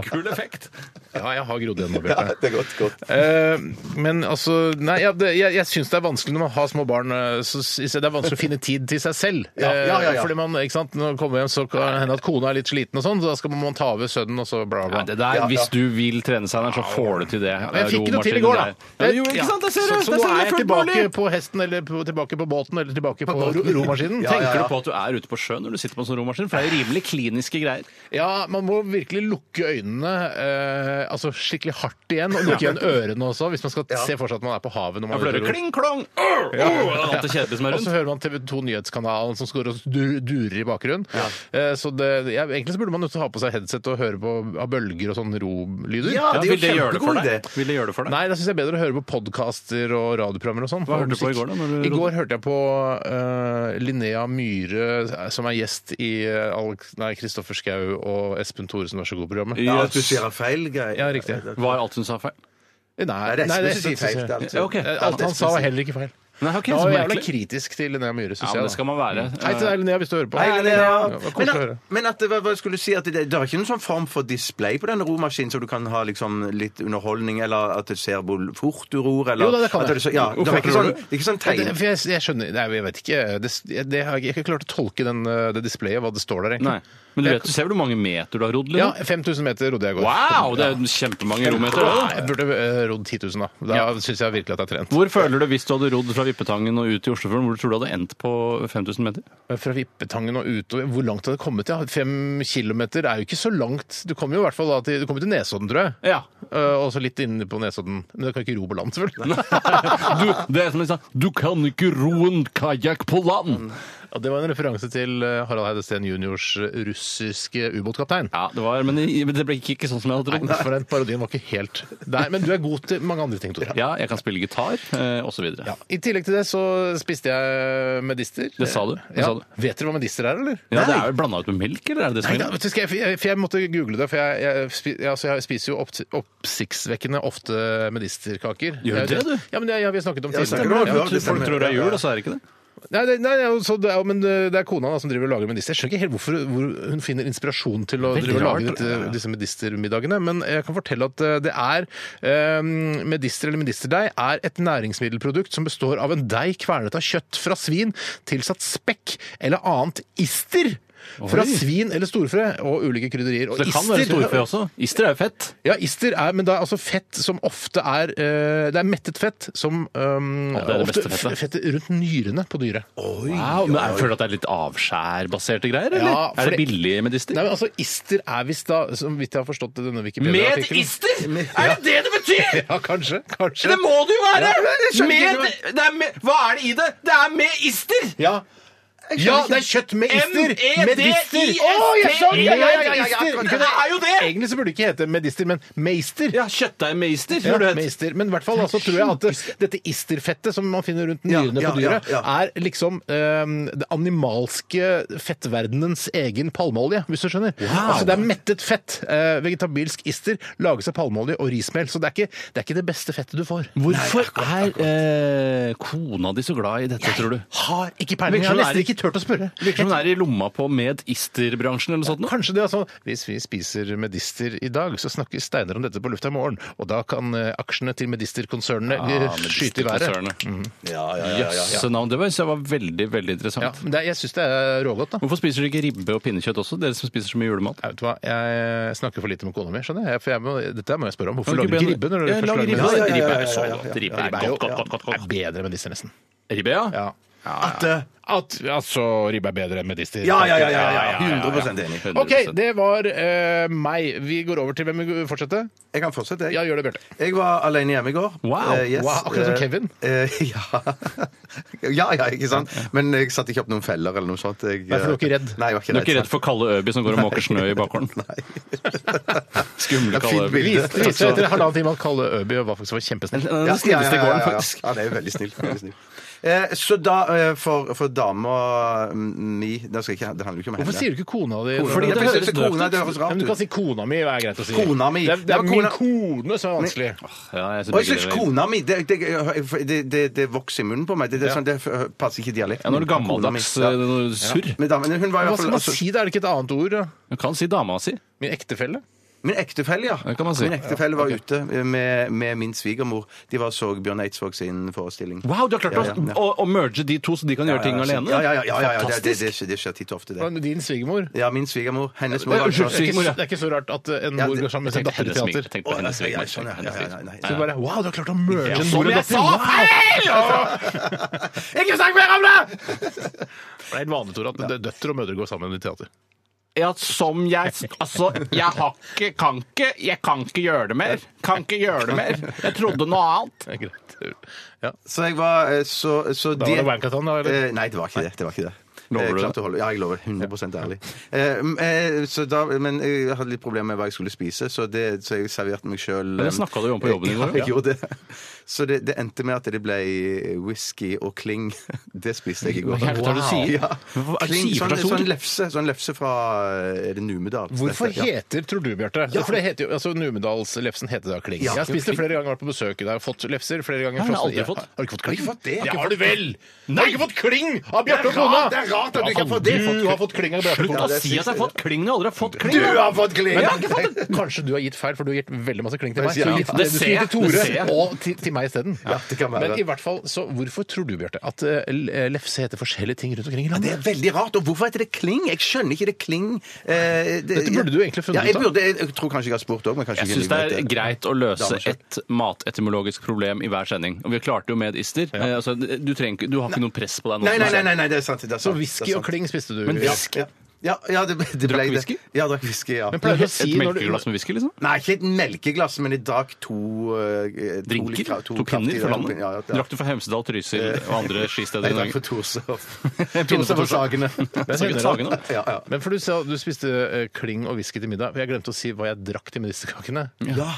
Speaker 4: Kul effekt.
Speaker 3: Ja, jeg har grodd igjen nå, Bjarte.
Speaker 5: Det er godt, godt.
Speaker 3: Eh, men altså Nei, ja, det, jeg, jeg syns det er vanskelig når man har små barn. eh, Så synes jeg det er vanskelig å finne tid til seg selv.
Speaker 5: Ja, ja, ja, ja.
Speaker 3: Eh, Fordi man, ikke sant, Når man kommer hjem, så kan det hende at kona er litt sliten, og sånn, så da skal man ta over sønnen, og så bla, bla.
Speaker 4: Ja, det der, Hvis du vil trene, Steinar, så får du til det.
Speaker 3: Men jeg fikk det til i går, da.
Speaker 4: Ja, du gjorde, ikke sant? Det ser du!
Speaker 3: så, så nå
Speaker 4: Det
Speaker 3: er
Speaker 4: ser du, det
Speaker 3: jeg
Speaker 4: fullt
Speaker 3: tilbake
Speaker 4: mulig.
Speaker 3: på hesten, eller på, tilbake på båten, eller tilbake på,
Speaker 5: båten.
Speaker 3: ro- romaskinen.
Speaker 5: Ja,
Speaker 3: Tenk-
Speaker 4: Tenker du på at du er ute på sjøen når du sitter på en sånn romaskin? For det er jo rimelig kliniske greier.
Speaker 3: Ja, man må virkelig lukke øynene eh, altså skikkelig hardt igjen, og lukke igjen ørene også, hvis man skal se for seg at man er på havet. når
Speaker 4: Ja,
Speaker 3: man
Speaker 4: for
Speaker 3: er
Speaker 4: det
Speaker 3: ute og ror.
Speaker 4: er jo kling, klong! Åh, åh, det er alt det kjedelige som er
Speaker 3: Og så
Speaker 4: rundt.
Speaker 3: hører man TV 2 Nyhetskanalen som står og du- durer i bakgrunnen. Eh, Så det, ja, egentlig så burde man jo ha på seg headset og høre på av bølger og sånne rolyder.
Speaker 5: Ja,
Speaker 4: Ja,
Speaker 5: det er
Speaker 4: vil det
Speaker 5: jo
Speaker 4: gjøre det for
Speaker 5: kjempegod
Speaker 4: deg? Vil det gjøre det for deg?
Speaker 3: Nei, da syns jeg det er bedre å høre på podkaster og radioprogrammer og sånn.
Speaker 4: Hva
Speaker 3: Og
Speaker 4: hørte du på i
Speaker 3: musikk.
Speaker 4: går da, når du
Speaker 3: I går hørte jeg på eh, Linnea Myhre, eh, som er gjest i eh, Alex, nei, Kristoffer Schou og Espen Thoresen, vær så god-programmet.
Speaker 5: Ja,
Speaker 4: Yes.
Speaker 5: at du sier en feil greie.
Speaker 3: Ja, riktig.
Speaker 4: Var alt hun sa feil?
Speaker 3: Nei,
Speaker 5: Nei, det
Speaker 3: nei,
Speaker 5: er Espen
Speaker 3: det
Speaker 5: som sier feil.
Speaker 3: synes jeg- Eh,
Speaker 5: det
Speaker 4: Ja,
Speaker 5: er altså-
Speaker 4: ok.
Speaker 3: Alt han sa, var heller ikke feil.
Speaker 4: Nei, ok,
Speaker 3: Jeg var
Speaker 4: så
Speaker 3: jævla altså.
Speaker 4: merkelig.
Speaker 3: kritisk til Linnea Myhre, syns
Speaker 4: Ja,
Speaker 3: jeg.
Speaker 4: men
Speaker 3: da.
Speaker 4: det skal man være.
Speaker 3: Hei til deg, Linnea, hvis du hører på.
Speaker 5: Nei, men det er-
Speaker 3: Ja, det var
Speaker 5: Men,
Speaker 3: koselig å høre.
Speaker 5: at, men at, hva, hva skulle jeg si, at det, det er ikke noen sånn form for display på denne romaskinen, så du kan ha liksom litt underholdning, eller at du ser hvor fort du ror, eller
Speaker 3: Jo da, det kan
Speaker 5: at
Speaker 3: jeg.
Speaker 5: du så- Ja, det, er ikke sånn, det er ikke sånn
Speaker 3: Det,
Speaker 5: tegn...
Speaker 3: for jeg, jeg skjønner Nei, jeg vet ikke. Det, det har jeg, ikke- jeg har ikke klart å tolke den, eh, det displayet, hva det står der,
Speaker 4: Eh, Nei.
Speaker 3: egentlig.
Speaker 4: Men du vet, du ser hvor mange meter du har rodd?
Speaker 3: Ja,
Speaker 4: Liksom?
Speaker 3: 5000 meter rodde jeg i går.
Speaker 4: Wow! Det er jo kjempemange rometer.
Speaker 3: Ja,
Speaker 4: det, da.
Speaker 3: jeg burde eh, rodd 10 000, da. Da syns jeg virkelig at jeg har trent.
Speaker 4: Hvor føler du hvis du hadde rodd fra Vippetangen og ut til Oslofjorden? Hvor tror du hadde endt på 5000 meter?
Speaker 3: Fra Vippetangen og utover Hvor langt har det kommet? Ja? Fem kilometer er jo ikke så langt. Du kommer jo i hvert fall da til, du kommer til Nesodden, tror jeg.
Speaker 4: Ja.
Speaker 3: Eh, og så litt inne på Nesodden. Men du kan ikke ro på land, selvfølgelig.
Speaker 4: Du, det er som de sa, du kan ikke ro en kajakk på land!
Speaker 3: Og det var en referanse til eh, Harald Heide Steen juniors eh, russiske ubåtkaptein.
Speaker 4: Ja, det var, men det- men det ble ikke ikke sånn som jeg hadde
Speaker 3: Nei,
Speaker 4: trodd.
Speaker 3: For den parodien var ikke helt der. Men du er god til mange andre ting, Tore.
Speaker 4: Ja, jeg kan spille gitar, eh, og så videre.
Speaker 3: Ja. I tillegg til det så spiste jeg medister.
Speaker 4: Det sa du. Det
Speaker 3: Ja.
Speaker 4: sa du.
Speaker 3: Vet dere hva medister er, eller?
Speaker 4: Ja, det er vel blanda ut med melk, eller er det det som
Speaker 3: Nei,
Speaker 4: er
Speaker 3: da, vet du, skal jeg, for jeg, for jeg måtte google det, for jeg, jeg, spi- ja, altså, jeg spiser jo opp, oppsiktsvekkende ofte medisterkaker. Jeg-
Speaker 4: Gjør du det, du?
Speaker 3: Ja, men det, ja, vi har snakket om
Speaker 5: Ja,
Speaker 3: tidligere.
Speaker 5: snakker du om det?
Speaker 3: Ja,
Speaker 5: Ja, det
Speaker 4: Folk
Speaker 5: stemmer.
Speaker 4: tror det er jul, og så er det ikke det.
Speaker 3: Nei, det- nei, ja, så det, er- men eh, det er kona da, som driver og lager medister. Jeg skjønner ikke helt hvorfor hvor hun finner inspirasjon til å
Speaker 4: Veldig
Speaker 3: drive og lage
Speaker 4: rart.
Speaker 3: dette, disse medistermiddagene, men jeg kan fortelle at eh, det er eh, Medister eller medisterdeig er et næringsmiddelprodukt som består av en deig kvernet av kjøtt fra svin, tilsatt spekk eller annet ister. Fra
Speaker 4: Oi.
Speaker 3: svin eller storfe og ulike krydderier. Og
Speaker 4: Det kan være storfe også. Ister er jo fett.
Speaker 3: Ja, ister er, men det er altså fett som ofte er eh, Det er mettet fett som um,
Speaker 4: Ja, det er det
Speaker 3: ofte
Speaker 4: beste fettet.
Speaker 3: f- fettet rundt nyrene på dyret.
Speaker 4: Wow, men jeg føler at det er litt avskjærbaserte greier, eller?
Speaker 3: Ja, for
Speaker 4: er det
Speaker 3: det-
Speaker 4: billige
Speaker 3: Nei,
Speaker 4: medister?
Speaker 3: men altså, Ister er visst da, som vidt jeg har forstått det, denne
Speaker 4: Med et
Speaker 3: Wikipedia-artikkelen
Speaker 4: ister! Er det det det betyr?!
Speaker 3: Ja, kanskje.
Speaker 4: Det
Speaker 3: kanskje.
Speaker 4: må det jo være!
Speaker 5: jeg skjønner ikke
Speaker 4: Med, det er med, hva er det i det? Det er med ister!
Speaker 3: Ja. ja, det er kjøtt med ister! Medister!
Speaker 4: M-E-D-I-S-T-E-R.
Speaker 3: Å, jeg sa det! Ja, ja, ja, ja,
Speaker 4: Ja,
Speaker 3: ister!
Speaker 4: ja,
Speaker 3: Kunne-
Speaker 4: det er jo det!
Speaker 3: Egentlig så burde det ikke hete medister, men meister.
Speaker 4: Ja, kjøttdeig med ister,
Speaker 3: Ja,
Speaker 4: tror du det het.
Speaker 3: meister. Men i hvert fall da, så tror jeg at det- dette isterfettet som man finner rundt nyrene
Speaker 5: ja,
Speaker 3: på dyret,
Speaker 5: ja, ja.
Speaker 3: er liksom eh, det animalske fettverdenens egen palmeolje, hvis du skjønner. Altså det er mettet fett. eh, vegetabilsk ister lages av palmeolje og rismel, så det er ikke det, er ikke det beste fettet du får.
Speaker 4: Hvorfor er eh, kona di så glad i dette, tror du?
Speaker 3: Har ikke peiling. Jeg har
Speaker 4: Virker som det er
Speaker 3: nesten
Speaker 4: i-
Speaker 3: ikke turt å spørre.
Speaker 4: Virker som hun er i lomma på med ister-bransjen eller noe sånt. nå.
Speaker 3: Kanskje det er sånn Hvis vi spiser medister i dag, så snakker Steinar om dette på lufta i morgen. Og da kan eh, aksjene til medisterkonsernene
Speaker 4: Ah,
Speaker 3: eh, skyte i været. Mhm.
Speaker 4: Medisterkonsernet.
Speaker 5: Ja, ja, ja, ja, ja.
Speaker 4: Jøsse navn. Det var- synes jeg var veldig, veldig
Speaker 3: Ja,
Speaker 4: interessant.
Speaker 3: men det, er- jeg syns det er rågodt, da.
Speaker 4: Hvorfor spiser dere ikke ribbe og pinnekjøtt også, dere som spiser så mye julemat?
Speaker 3: Jeg, vet du hva, jeg snakker for lite med kona mi, skjønner jeg. For jeg må, dette må jeg spørre om. Hvorfor
Speaker 4: Kan
Speaker 3: lager du ikke
Speaker 4: be
Speaker 3: ribbe?
Speaker 4: henne-
Speaker 3: når du
Speaker 4: Ja,
Speaker 3: først
Speaker 4: lag
Speaker 3: lager
Speaker 4: ribbe.
Speaker 3: medister?
Speaker 4: Ja,
Speaker 5: ja,
Speaker 4: Ribbe
Speaker 5: ja,
Speaker 4: er så
Speaker 5: ja, ja.
Speaker 4: godt. Ribbe
Speaker 3: Ribbe
Speaker 4: er
Speaker 3: er jo
Speaker 4: godt, godt, godt,
Speaker 3: er
Speaker 4: godt.
Speaker 3: bedre enn medister, nesten.
Speaker 4: Ribbe, ja.
Speaker 3: Ja. At,
Speaker 5: eh,
Speaker 3: at altså ribbe er bedre enn medister.
Speaker 5: Ja, ja, ja, ja, ja,
Speaker 3: Ja, ja, ja, ja.
Speaker 5: 100 enig.
Speaker 4: 100%.
Speaker 3: OK, det var eh, meg. Vi går over til hvem vi fortsetter.
Speaker 5: Jeg kan fortsette, jeg.
Speaker 3: Ja, gjør det, Bjarte.
Speaker 5: Jeg var alene hjemme i går.
Speaker 4: Wow.
Speaker 5: Eh, yes.
Speaker 3: Wow, akkurat som
Speaker 5: Eh,
Speaker 3: Kevin.
Speaker 5: eh, ja. ja, ja, ikke sant? Men jeg satte ikke opp noen feller eller noe sånt. Jeg, eh,
Speaker 3: Nei, for du var ikke redd?
Speaker 5: Nei, jeg var ikke
Speaker 4: Du er
Speaker 5: redd.
Speaker 4: ikke redd for Kalle Øby som går og måker snø i bakgården? Skumle
Speaker 5: Det er fint
Speaker 4: Kalle Øby.
Speaker 5: bilde.
Speaker 3: Det viste seg etter halvannen time at Kalle Øby var faktisk var kjempesnill.
Speaker 4: Den den snilleste i gården, faktisk.
Speaker 5: Ja, det er jo veldig snilt. Veldig snilt. Eh, så da, eh, for, for dama mi da skal jeg ikke, Det handler jo ikke om henne.
Speaker 3: Hvorfor sier du ikke kona di?
Speaker 5: Fordi det
Speaker 4: høres
Speaker 5: høres
Speaker 4: døvt
Speaker 5: kona,
Speaker 4: ut.
Speaker 5: det høres
Speaker 3: Ja, men
Speaker 5: rart
Speaker 3: du kan
Speaker 5: ut.
Speaker 3: si kona mi, er greit å si.
Speaker 5: Kona mi.
Speaker 3: Det er, det
Speaker 5: Ja,
Speaker 3: er
Speaker 5: men
Speaker 3: min
Speaker 5: kona-
Speaker 3: kone som er vanskelig.
Speaker 4: Ja, jeg synes
Speaker 5: Hva
Speaker 4: begge
Speaker 5: slags
Speaker 4: deler.
Speaker 5: kona mi? Det, det, det, det, det vokser i munnen på meg. Det, det, er sånn, det f- passer ikke i dialekten.
Speaker 4: Ja, når det er gammeldags
Speaker 5: Kona
Speaker 4: eh,
Speaker 5: mi. Ja.
Speaker 4: noe surr.
Speaker 5: Men damen, hun var i
Speaker 3: Hva skal
Speaker 5: hvert fall
Speaker 3: man si? Det er det ikke et annet ord. da?
Speaker 4: Du kan si dama si.
Speaker 3: Min ektefelle?
Speaker 5: Min ektefelle, ja.
Speaker 4: Det kan man si.
Speaker 5: Min ektefelle var ute med, med min svigermor. De var og så Bjørn Eidsvåg sin forestilling.
Speaker 4: Wow, du har klart
Speaker 5: Ja, ja, ja.
Speaker 4: Å, å merge de to, så de kan gjøre ting
Speaker 5: ja, så-
Speaker 4: alene?
Speaker 5: Ja, ja, ja, ja, ja, ja. Det, det,
Speaker 4: Fantastisk.
Speaker 5: det, det skjer titt og ofte, det.
Speaker 3: Men Din svigermor?
Speaker 5: Ja, min svigermor. Hennes mor
Speaker 4: Ja,
Speaker 5: var
Speaker 4: unnskyld,
Speaker 3: Det er, ikke,
Speaker 4: Svigermor, ja.
Speaker 3: det er ikke så rart at eh, en
Speaker 5: Ja,
Speaker 3: mor
Speaker 5: det-
Speaker 3: går sammen med sin
Speaker 4: Tenkte
Speaker 3: datter i
Speaker 4: hennes smig-
Speaker 3: teater.
Speaker 4: tenkte på hennes
Speaker 5: Å, ja,
Speaker 4: smig-
Speaker 5: sånn, ja.
Speaker 4: hennes
Speaker 5: Ja, ja,
Speaker 4: smig-
Speaker 5: nei, nei.
Speaker 3: Så bare, Wow, du har klart å merge
Speaker 4: Ja,
Speaker 3: en
Speaker 4: som
Speaker 3: mor og
Speaker 4: jeg
Speaker 3: datter!
Speaker 4: sa,
Speaker 3: Wow!
Speaker 4: Ikke snakk mer om det!
Speaker 3: Det er helt vanlig, Tor, at dø- døtre og mødre går sammen i teater.
Speaker 4: Ja, som jeg Altså, jeg har ikke Kan ikke Jeg kan ikke gjøre det mer. Kan ikke gjøre det mer. Jeg trodde noe annet.
Speaker 3: Det er greit. Ja.
Speaker 5: Så jeg var eh, så, så
Speaker 3: Da var det Wankathon, da? eller?
Speaker 5: Eh, Nei, det var ikke det. det, var ikke det.
Speaker 4: Lover
Speaker 5: Eh,
Speaker 4: du
Speaker 5: klart
Speaker 4: det?
Speaker 5: å holde- Ja, jeg lover. 100 ærlig. Eh, mm, eh, så da, men jeg hadde litt problemer med hva jeg skulle spise, så, det, så jeg serverte meg sjøl
Speaker 4: det snakket du jo om på jobben i går,
Speaker 5: Ja, jeg gjorde det. Så det, det endte med at det ble whisky og kling. Det spiste jeg i går.
Speaker 4: Hva er det du sier?
Speaker 5: Ja.
Speaker 4: Hva er det du
Speaker 5: Kling,
Speaker 4: sier for
Speaker 5: sånn,
Speaker 4: slags ord?
Speaker 5: sånn, lefse, sånn lefse fra eh, Er det Numedal?
Speaker 3: Hvorfor
Speaker 5: Ja.
Speaker 3: heter, tror du, Bjarte ja. For det heter jo, altså Numedalslefsen heter da kling.
Speaker 5: Ja.
Speaker 3: Jeg har spist det flere ganger, vært på besøk i deg, fått lefser flere ganger.
Speaker 4: Nei, det har
Speaker 3: frosne-
Speaker 4: jeg aldri fått.
Speaker 3: Har du ikke fått kling?
Speaker 5: Har du fått det?
Speaker 3: Det har du vel! Har du ikke fått kling av Bjarte og kona?
Speaker 5: det er rart at du ikke har fått det.
Speaker 3: Du har fått kling av Bjarte og
Speaker 4: Slutt
Speaker 3: kona.
Speaker 4: å si at jeg har fått kling når jeg aldri har fått kling.
Speaker 5: Du har fått kling!
Speaker 3: Kanskje du har gitt feil, for du har gitt veldig masse kling til meg.
Speaker 5: Ja,
Speaker 3: Så gitt
Speaker 4: det
Speaker 3: det du
Speaker 4: ser
Speaker 3: skulle
Speaker 4: jeg,
Speaker 3: gitt til
Speaker 4: det
Speaker 3: Tore,
Speaker 4: ser jeg.
Speaker 3: og til, til meg isteden.
Speaker 5: Ja, det kan være.
Speaker 3: Men i hvert fall, så hvorfor tror du, Bjarte, at eh, l- lefse heter forskjellige ting rundt omkring i
Speaker 5: Det
Speaker 3: landet?
Speaker 5: er veldig rart. Og hvorfor heter det kling? Jeg skjønner ikke det kling. Eh, det,
Speaker 3: Dette burde du egentlig funnet
Speaker 5: ja, jeg
Speaker 3: ut av.
Speaker 5: burde, jeg tror kanskje jeg har spurt òg, men kanskje
Speaker 4: Jeg
Speaker 5: ikke
Speaker 4: syns det er
Speaker 5: vet
Speaker 4: greit å løse
Speaker 5: Damer selv.
Speaker 4: et matetemologisk problem i hver sending. Og vi klarte jo med et ister. Eh, Altså, du, trenger, ikke- du har ikke noe press på deg nå.
Speaker 5: Nei, nei, nei, nei, nei, det er sant. Det er sant
Speaker 3: Så whisky
Speaker 5: det er
Speaker 3: og
Speaker 5: sant.
Speaker 3: kling spiste du.
Speaker 4: Men
Speaker 3: ja.
Speaker 4: whisky-
Speaker 5: Ja, ja, ja det, det ble
Speaker 4: Drakk
Speaker 5: det.
Speaker 4: whisky?
Speaker 5: Ja, drakk whisky, ja.
Speaker 3: Men pleier du å
Speaker 4: Et
Speaker 3: si når du
Speaker 4: melkeglass med whisky, liksom?
Speaker 5: Nei, ikke et melkeglass, men jeg drakk to eh, to
Speaker 4: Drinker?
Speaker 5: litt krav-
Speaker 4: To
Speaker 5: kraftige-
Speaker 4: pinner for landet?
Speaker 5: Ja, ja, ja.
Speaker 4: Drakk du for Hemsedal, Trysil og andre skisteder i
Speaker 5: Jeg drakk
Speaker 4: Norge?
Speaker 5: for Torshov.
Speaker 4: Pinne for
Speaker 5: Torshov og Sagene.
Speaker 4: Så gutt Sagen, da.
Speaker 5: Ja, ja.
Speaker 3: Men for du sa du spiste eh, kling og whisky til middag. for Jeg glemte å si hva jeg drakk til medisterkakene.
Speaker 5: Ja.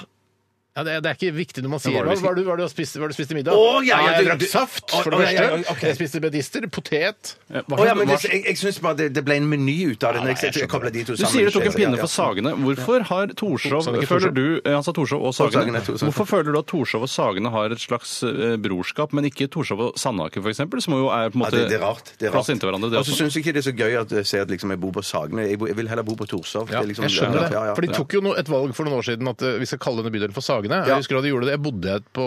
Speaker 3: Ja, det, er, det er ikke viktig når man
Speaker 4: hva
Speaker 3: sier
Speaker 4: er
Speaker 3: hva.
Speaker 4: det vi
Speaker 3: Hva er det du, hva er det du har spist, hva er det du spiste i middag?
Speaker 5: Å, ja, ja,
Speaker 3: Nei, jeg
Speaker 5: du-
Speaker 3: drakk
Speaker 5: du-
Speaker 3: saft,
Speaker 5: Å,
Speaker 3: for det
Speaker 5: å, ja, ja,
Speaker 3: første.
Speaker 5: ja, ok.
Speaker 3: Jeg spiste medister, potet.
Speaker 4: Ja, hva
Speaker 5: Å ja,
Speaker 4: slags-
Speaker 5: men
Speaker 4: hva
Speaker 5: det, jeg, jeg syns bare det, det ble en meny ut av det. når jeg, jeg, koblet de to
Speaker 4: Du
Speaker 5: sammen.
Speaker 4: sier du tok en
Speaker 5: Ja,
Speaker 4: pinne
Speaker 5: ja.
Speaker 4: for Sagene. Hvorfor har Torshov
Speaker 3: Sagene, ikke
Speaker 4: føler
Speaker 3: Torshov.
Speaker 4: du, eh, Han sa Torshov og
Speaker 5: Sagene
Speaker 4: Sagene.
Speaker 5: er to- så-
Speaker 4: Hvorfor føler du at Torshov og Sagene har et slags eh, brorskap, men ikke Torshov og Sandhaken f.eks., som jo er på en måte
Speaker 5: Ja, det, det er rart. Altså, Det er
Speaker 4: plass inntil hverandre?
Speaker 5: rart.
Speaker 4: Det sånn. også.
Speaker 5: Og så syns jeg ikke det er så gøy at jeg ser at liksom, jeg bor på Sagene. Jeg, bor, jeg vil heller bo på Torshov.
Speaker 3: Ja,
Speaker 5: Det er
Speaker 3: jeg
Speaker 5: liksom-
Speaker 3: skjønner det.
Speaker 5: Ja, ja,
Speaker 3: For de
Speaker 5: ja.
Speaker 3: tok jo no, et valg for noen år siden at eh, vi skal kalle denne bydelen for Sagene.
Speaker 5: Ja.
Speaker 3: Jeg husker da de gjorde det. Jeg bodde på,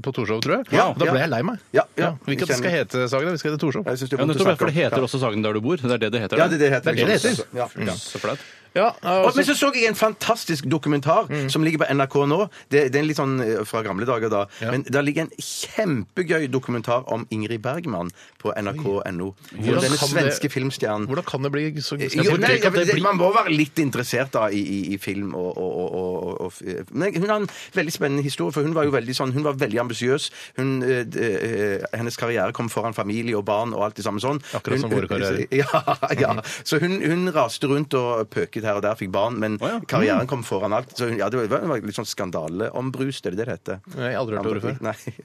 Speaker 3: på Torshov, tror jeg.
Speaker 5: Ja,
Speaker 3: Og da
Speaker 5: ja.
Speaker 3: ble jeg lei meg.
Speaker 5: Ja, ja.
Speaker 3: Vi vil ikke at det skal hete Sagene, vi skal hete Torshov.
Speaker 5: Jeg synes det er
Speaker 4: Ja,
Speaker 5: vondt å
Speaker 4: nettopp, ja,
Speaker 5: snakke
Speaker 4: for det
Speaker 5: om.
Speaker 4: heter også Sagen der du bor. Det er det det heter.
Speaker 5: Ja, det er det det heter.
Speaker 3: Det er det det
Speaker 5: liksom.
Speaker 3: heter.
Speaker 5: Ja, ja.
Speaker 4: Så flaut.
Speaker 3: Ja,
Speaker 5: Og,
Speaker 3: altså-
Speaker 5: men så så jeg en fantastisk dokumentar
Speaker 3: Mm.
Speaker 5: som ligger på NRK nå. Det, det er en litt sånn eh, fra gamle dager, da. Men der ligger en kjempegøy dokumentar om Ingrid Bergman på nrk.no.
Speaker 3: Hvordan
Speaker 5: Denne
Speaker 3: kan
Speaker 5: svenske
Speaker 3: det-
Speaker 5: filmstjernen.
Speaker 3: Hvordan kan det bli så
Speaker 5: Eh, Jo,
Speaker 3: Jeg får
Speaker 5: nei,
Speaker 3: tenke at det
Speaker 5: det-
Speaker 3: blir-
Speaker 5: man må være litt interessert da i, i, i film og, og, og, og, og f- nei, Hun har en veldig spennende historie, for hun var jo veldig sånn, hun var veldig ambisiøs. Hun, eh, d- eh, hennes karriere kom foran familie og barn og alt det samme sånn.
Speaker 3: Akkurat som
Speaker 5: Hun-
Speaker 3: våre karrierer.
Speaker 5: Ja, ja. Så hun, hun raste rundt og pøket her og der, fikk barn, men
Speaker 4: Å, ja.
Speaker 3: Mm.
Speaker 5: karrieren kom foran alt. Så hun, ja, det var, det var litt sånn skandale om brus, det er det det heter.
Speaker 3: Nei, jeg har aldri hørt ordet før.
Speaker 5: Nei.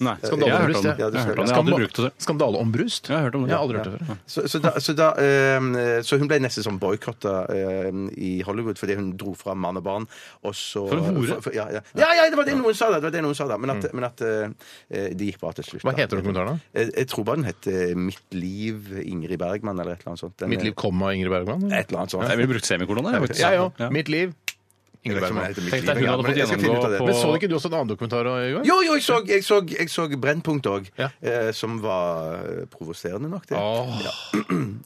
Speaker 4: Nei, jeg har
Speaker 3: Skandaleombrust,
Speaker 4: hørt om det.
Speaker 5: ja,
Speaker 4: Jeg
Speaker 5: du
Speaker 4: har hørt om det. Jeg har
Speaker 3: Skandal-
Speaker 4: aldri brukt det.
Speaker 3: Skandaleombrust?
Speaker 4: Jeg har hørt om det.
Speaker 3: Jeg har aldri hørt det før.
Speaker 5: Så, så, da, så, da, eh, så hun ble nesten som boikotta i Hollywood fordi hun dro fra mann og barn. Og så,
Speaker 4: For en hore?
Speaker 5: ja, ja. ja, ja, det var det noen sa, da. Det var det noen sa, da. Men at, men at eh, det gikk bra til slutt.
Speaker 3: Hva
Speaker 5: da.
Speaker 3: heter dokumentaren, da?
Speaker 5: Jeg, jeg tror bare den het eh, Mitt liv Ingrid Bergman eller et eller annet sånt. Den,
Speaker 3: Mitt liv, komma Ingrid Bergman?
Speaker 5: Et eller annet sånt.
Speaker 4: Jeg ville brukt semikoloner. jeg, faktisk.
Speaker 3: Jeg òg.
Speaker 4: Ja.
Speaker 3: Mitt liv.
Speaker 5: Jeg vet ikke om den heter Mitt
Speaker 4: Tenk deg
Speaker 5: liv,
Speaker 4: hun
Speaker 5: ja,
Speaker 4: hadde
Speaker 5: men
Speaker 4: fått
Speaker 5: jeg skal finne ut av
Speaker 4: gjennomgå
Speaker 5: det.
Speaker 4: på
Speaker 3: Men så ikke du også en annen dokumentar i går?
Speaker 5: Jo, jo, jeg så, jeg så, jeg så Brennpunkt òg,
Speaker 3: Ja.
Speaker 5: eh, som var eh, provoserende nok, det.
Speaker 3: Åh.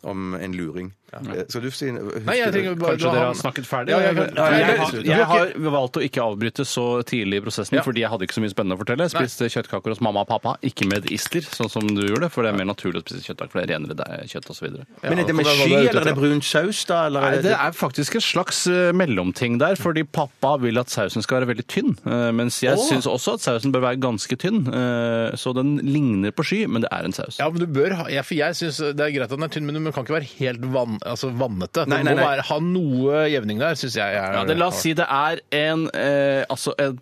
Speaker 5: Om en luring. Eh, skal du si
Speaker 3: Nei, jeg trenger bare
Speaker 4: Kanskje dere har snakket ferdig?
Speaker 3: Ja, jeg, kan-
Speaker 4: jeg,
Speaker 5: Nei,
Speaker 3: jeg,
Speaker 5: men-
Speaker 4: har, jeg har valgt å ikke avbryte så tidlig i prosessen,
Speaker 3: Ja.
Speaker 4: fordi jeg hadde ikke så mye spennende å fortelle. Jeg spiste kjøttkaker hos mamma og pappa, ikke med ister, sånn som du gjorde, for det er mer naturlig å spise kjøttkaker, for det er renere det- kjøtt osv.
Speaker 5: Men er det med
Speaker 3: Ja, hva er det du er
Speaker 5: sky,
Speaker 3: ute
Speaker 5: eller er det brun saus, da? Eller
Speaker 4: Nei, det er faktisk en slags eh, mellomting der, fordi pappa vil at sausen skal være veldig tynn. eh, Mens jeg syns også at sausen bør være ganske tynn, eh, så den ligner på sky, men det er en saus.
Speaker 3: ja, men du bør ha, ja, for jeg synes Det er greit at den er tynn, men du kan ikke være helt vann, altså vannete.
Speaker 5: Nei,
Speaker 3: Du
Speaker 5: nei,
Speaker 3: må
Speaker 5: nei.
Speaker 3: være, ha noe jevning der, syns jeg. er-
Speaker 4: Ja, det, la oss si det er en, eh, altså et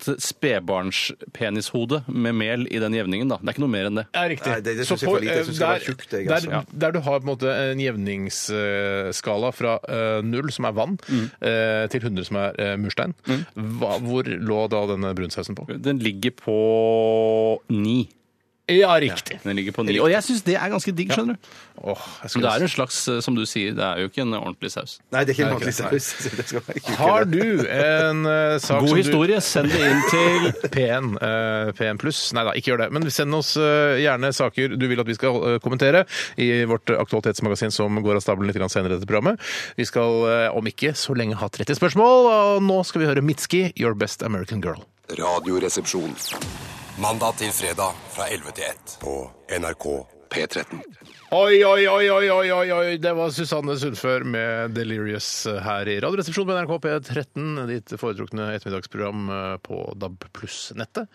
Speaker 4: spedbarnspenishode med mel i den jevningen. da. Det er ikke noe mer enn det.
Speaker 3: Ja, riktig.
Speaker 5: Nei, det- det
Speaker 3: Så
Speaker 5: synes jeg
Speaker 3: på,
Speaker 5: er for lite. Jeg synes det skal
Speaker 3: eh,
Speaker 5: være tjukt, jeg,
Speaker 3: der,
Speaker 5: altså.
Speaker 3: der, der du har på en måte eh, en jevningsskala fra eh, null, som er vann,
Speaker 4: Mm.
Speaker 3: eh, til 100, som er eh, murstein, hva, hvor lå da denne brunsausen på?
Speaker 4: Den ligger på ni.
Speaker 3: Ja, riktig.
Speaker 4: Den ligger på ni. Og jeg syns det er ganske digg, skjønner du.
Speaker 3: Åh, jeg
Speaker 4: Men
Speaker 3: skulle
Speaker 4: det er en slags, eh, som du sier, det er jo ikke en ordentlig saus.
Speaker 5: Nei, det er ikke en
Speaker 3: Nei,
Speaker 5: ordentlig
Speaker 3: ok,
Speaker 5: saus. Det skal være ikke-
Speaker 3: Har du en eh, sak
Speaker 4: God
Speaker 3: som
Speaker 4: historie, send det inn til
Speaker 3: du P1, eh, P1 pluss. Nei da, ikke gjør det. Men send oss eh, gjerne saker du vil at vi skal eh, kommentere i vårt eh, aktualitetsmagasin som går av stabelen litt grann senere i dette programmet. Vi skal, eh, om ikke så lenge, ha 30 spørsmål, og nå skal vi høre Mitski, Your Best American Girl.
Speaker 6: Radioresepsjon. Mandag til fredag fra 11 til 1 på NRK P13.
Speaker 3: Oi, oi, oi, oi, oi, oi, oi. det var Susanne Sundfør med Delirious eh, her i Radioresepsjonen på NRK P13, ditt foretrukne ettermiddagsprogram eh, på DAB pluss-nettet.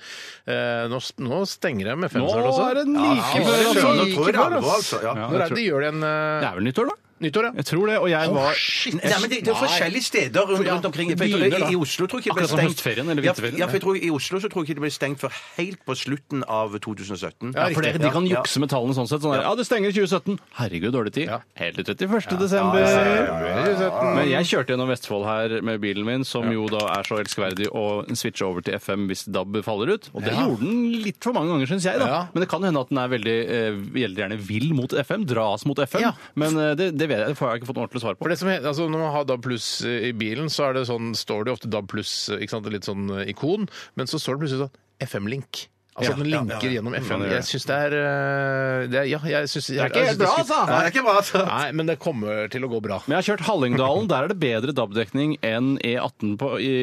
Speaker 3: Eh, Nå, nå stenger jeg med fem
Speaker 4: Nå
Speaker 3: snart også.
Speaker 4: er det like
Speaker 3: Ja,
Speaker 4: før,
Speaker 3: nå er det
Speaker 4: altså.
Speaker 5: Nå
Speaker 3: like
Speaker 5: tror jeg det er
Speaker 3: før,
Speaker 5: alvor,
Speaker 3: ass.
Speaker 5: altså. Ja.
Speaker 3: Når er det de gjør det igjen? eh,
Speaker 4: Det er vel nyttår, da?
Speaker 3: Nyttår, ja?
Speaker 4: Jeg tror det. Og jeg var
Speaker 5: Nei, men det, det er forskjellige steder rundt, rundt omkring. For jeg tror,
Speaker 4: Begynner, da.
Speaker 5: i, I Oslo tror jeg ikke det ble
Speaker 4: Akkurat som
Speaker 5: stengt.
Speaker 4: høstferien eller
Speaker 5: Ja,
Speaker 4: vinterferien.
Speaker 5: Ja, for jeg tror I Oslo så tror jeg ikke det ble stengt før helt på slutten av 2017.
Speaker 4: ja, for dere, De kan
Speaker 5: Ja.
Speaker 4: jukse med tallene sånn sett. Sånn der, ja, det stenger i 2017. Herregud, dårlig tid.
Speaker 3: Ja.
Speaker 4: Helt til 31. desember.
Speaker 3: Ah.
Speaker 4: Men jeg kjørte gjennom Vestfold her med bilen min, som jo da er så elskverdig å switche over til FM hvis DAB faller ut. Og det
Speaker 3: Ja.
Speaker 4: gjorde den litt for mange ganger, syns jeg. da.
Speaker 3: Ja.
Speaker 4: Men det kan hende at den er veldig eh, veldig gjerne vill mot FM, dras mot FM.
Speaker 3: Ja.
Speaker 4: Men eh, det, det vet jeg, det har jeg ikke fått noe ordentlig svar
Speaker 3: For
Speaker 4: på.
Speaker 3: det som heter, altså Når man har DAB pluss i bilen, så er det sånn, står det jo ofte DAB pluss, ikke sant, litt sånn ikon, men så står det plutselig sånn FM-link. Altså
Speaker 4: Ja,
Speaker 3: at den
Speaker 4: ja,
Speaker 3: linker
Speaker 4: ja, ja.
Speaker 3: gjennom
Speaker 4: Ja,
Speaker 3: FM.
Speaker 4: det gjør
Speaker 3: Jeg syns det er eh, det er, Ja, jeg syns Det
Speaker 4: ikke helt bra, altså.
Speaker 5: Nei, det er ikke bra, altså.
Speaker 3: Nei, men det kommer til å gå bra.
Speaker 4: Men jeg har kjørt Hallingdalen. Der er det bedre DAB-dekning enn E18 på, i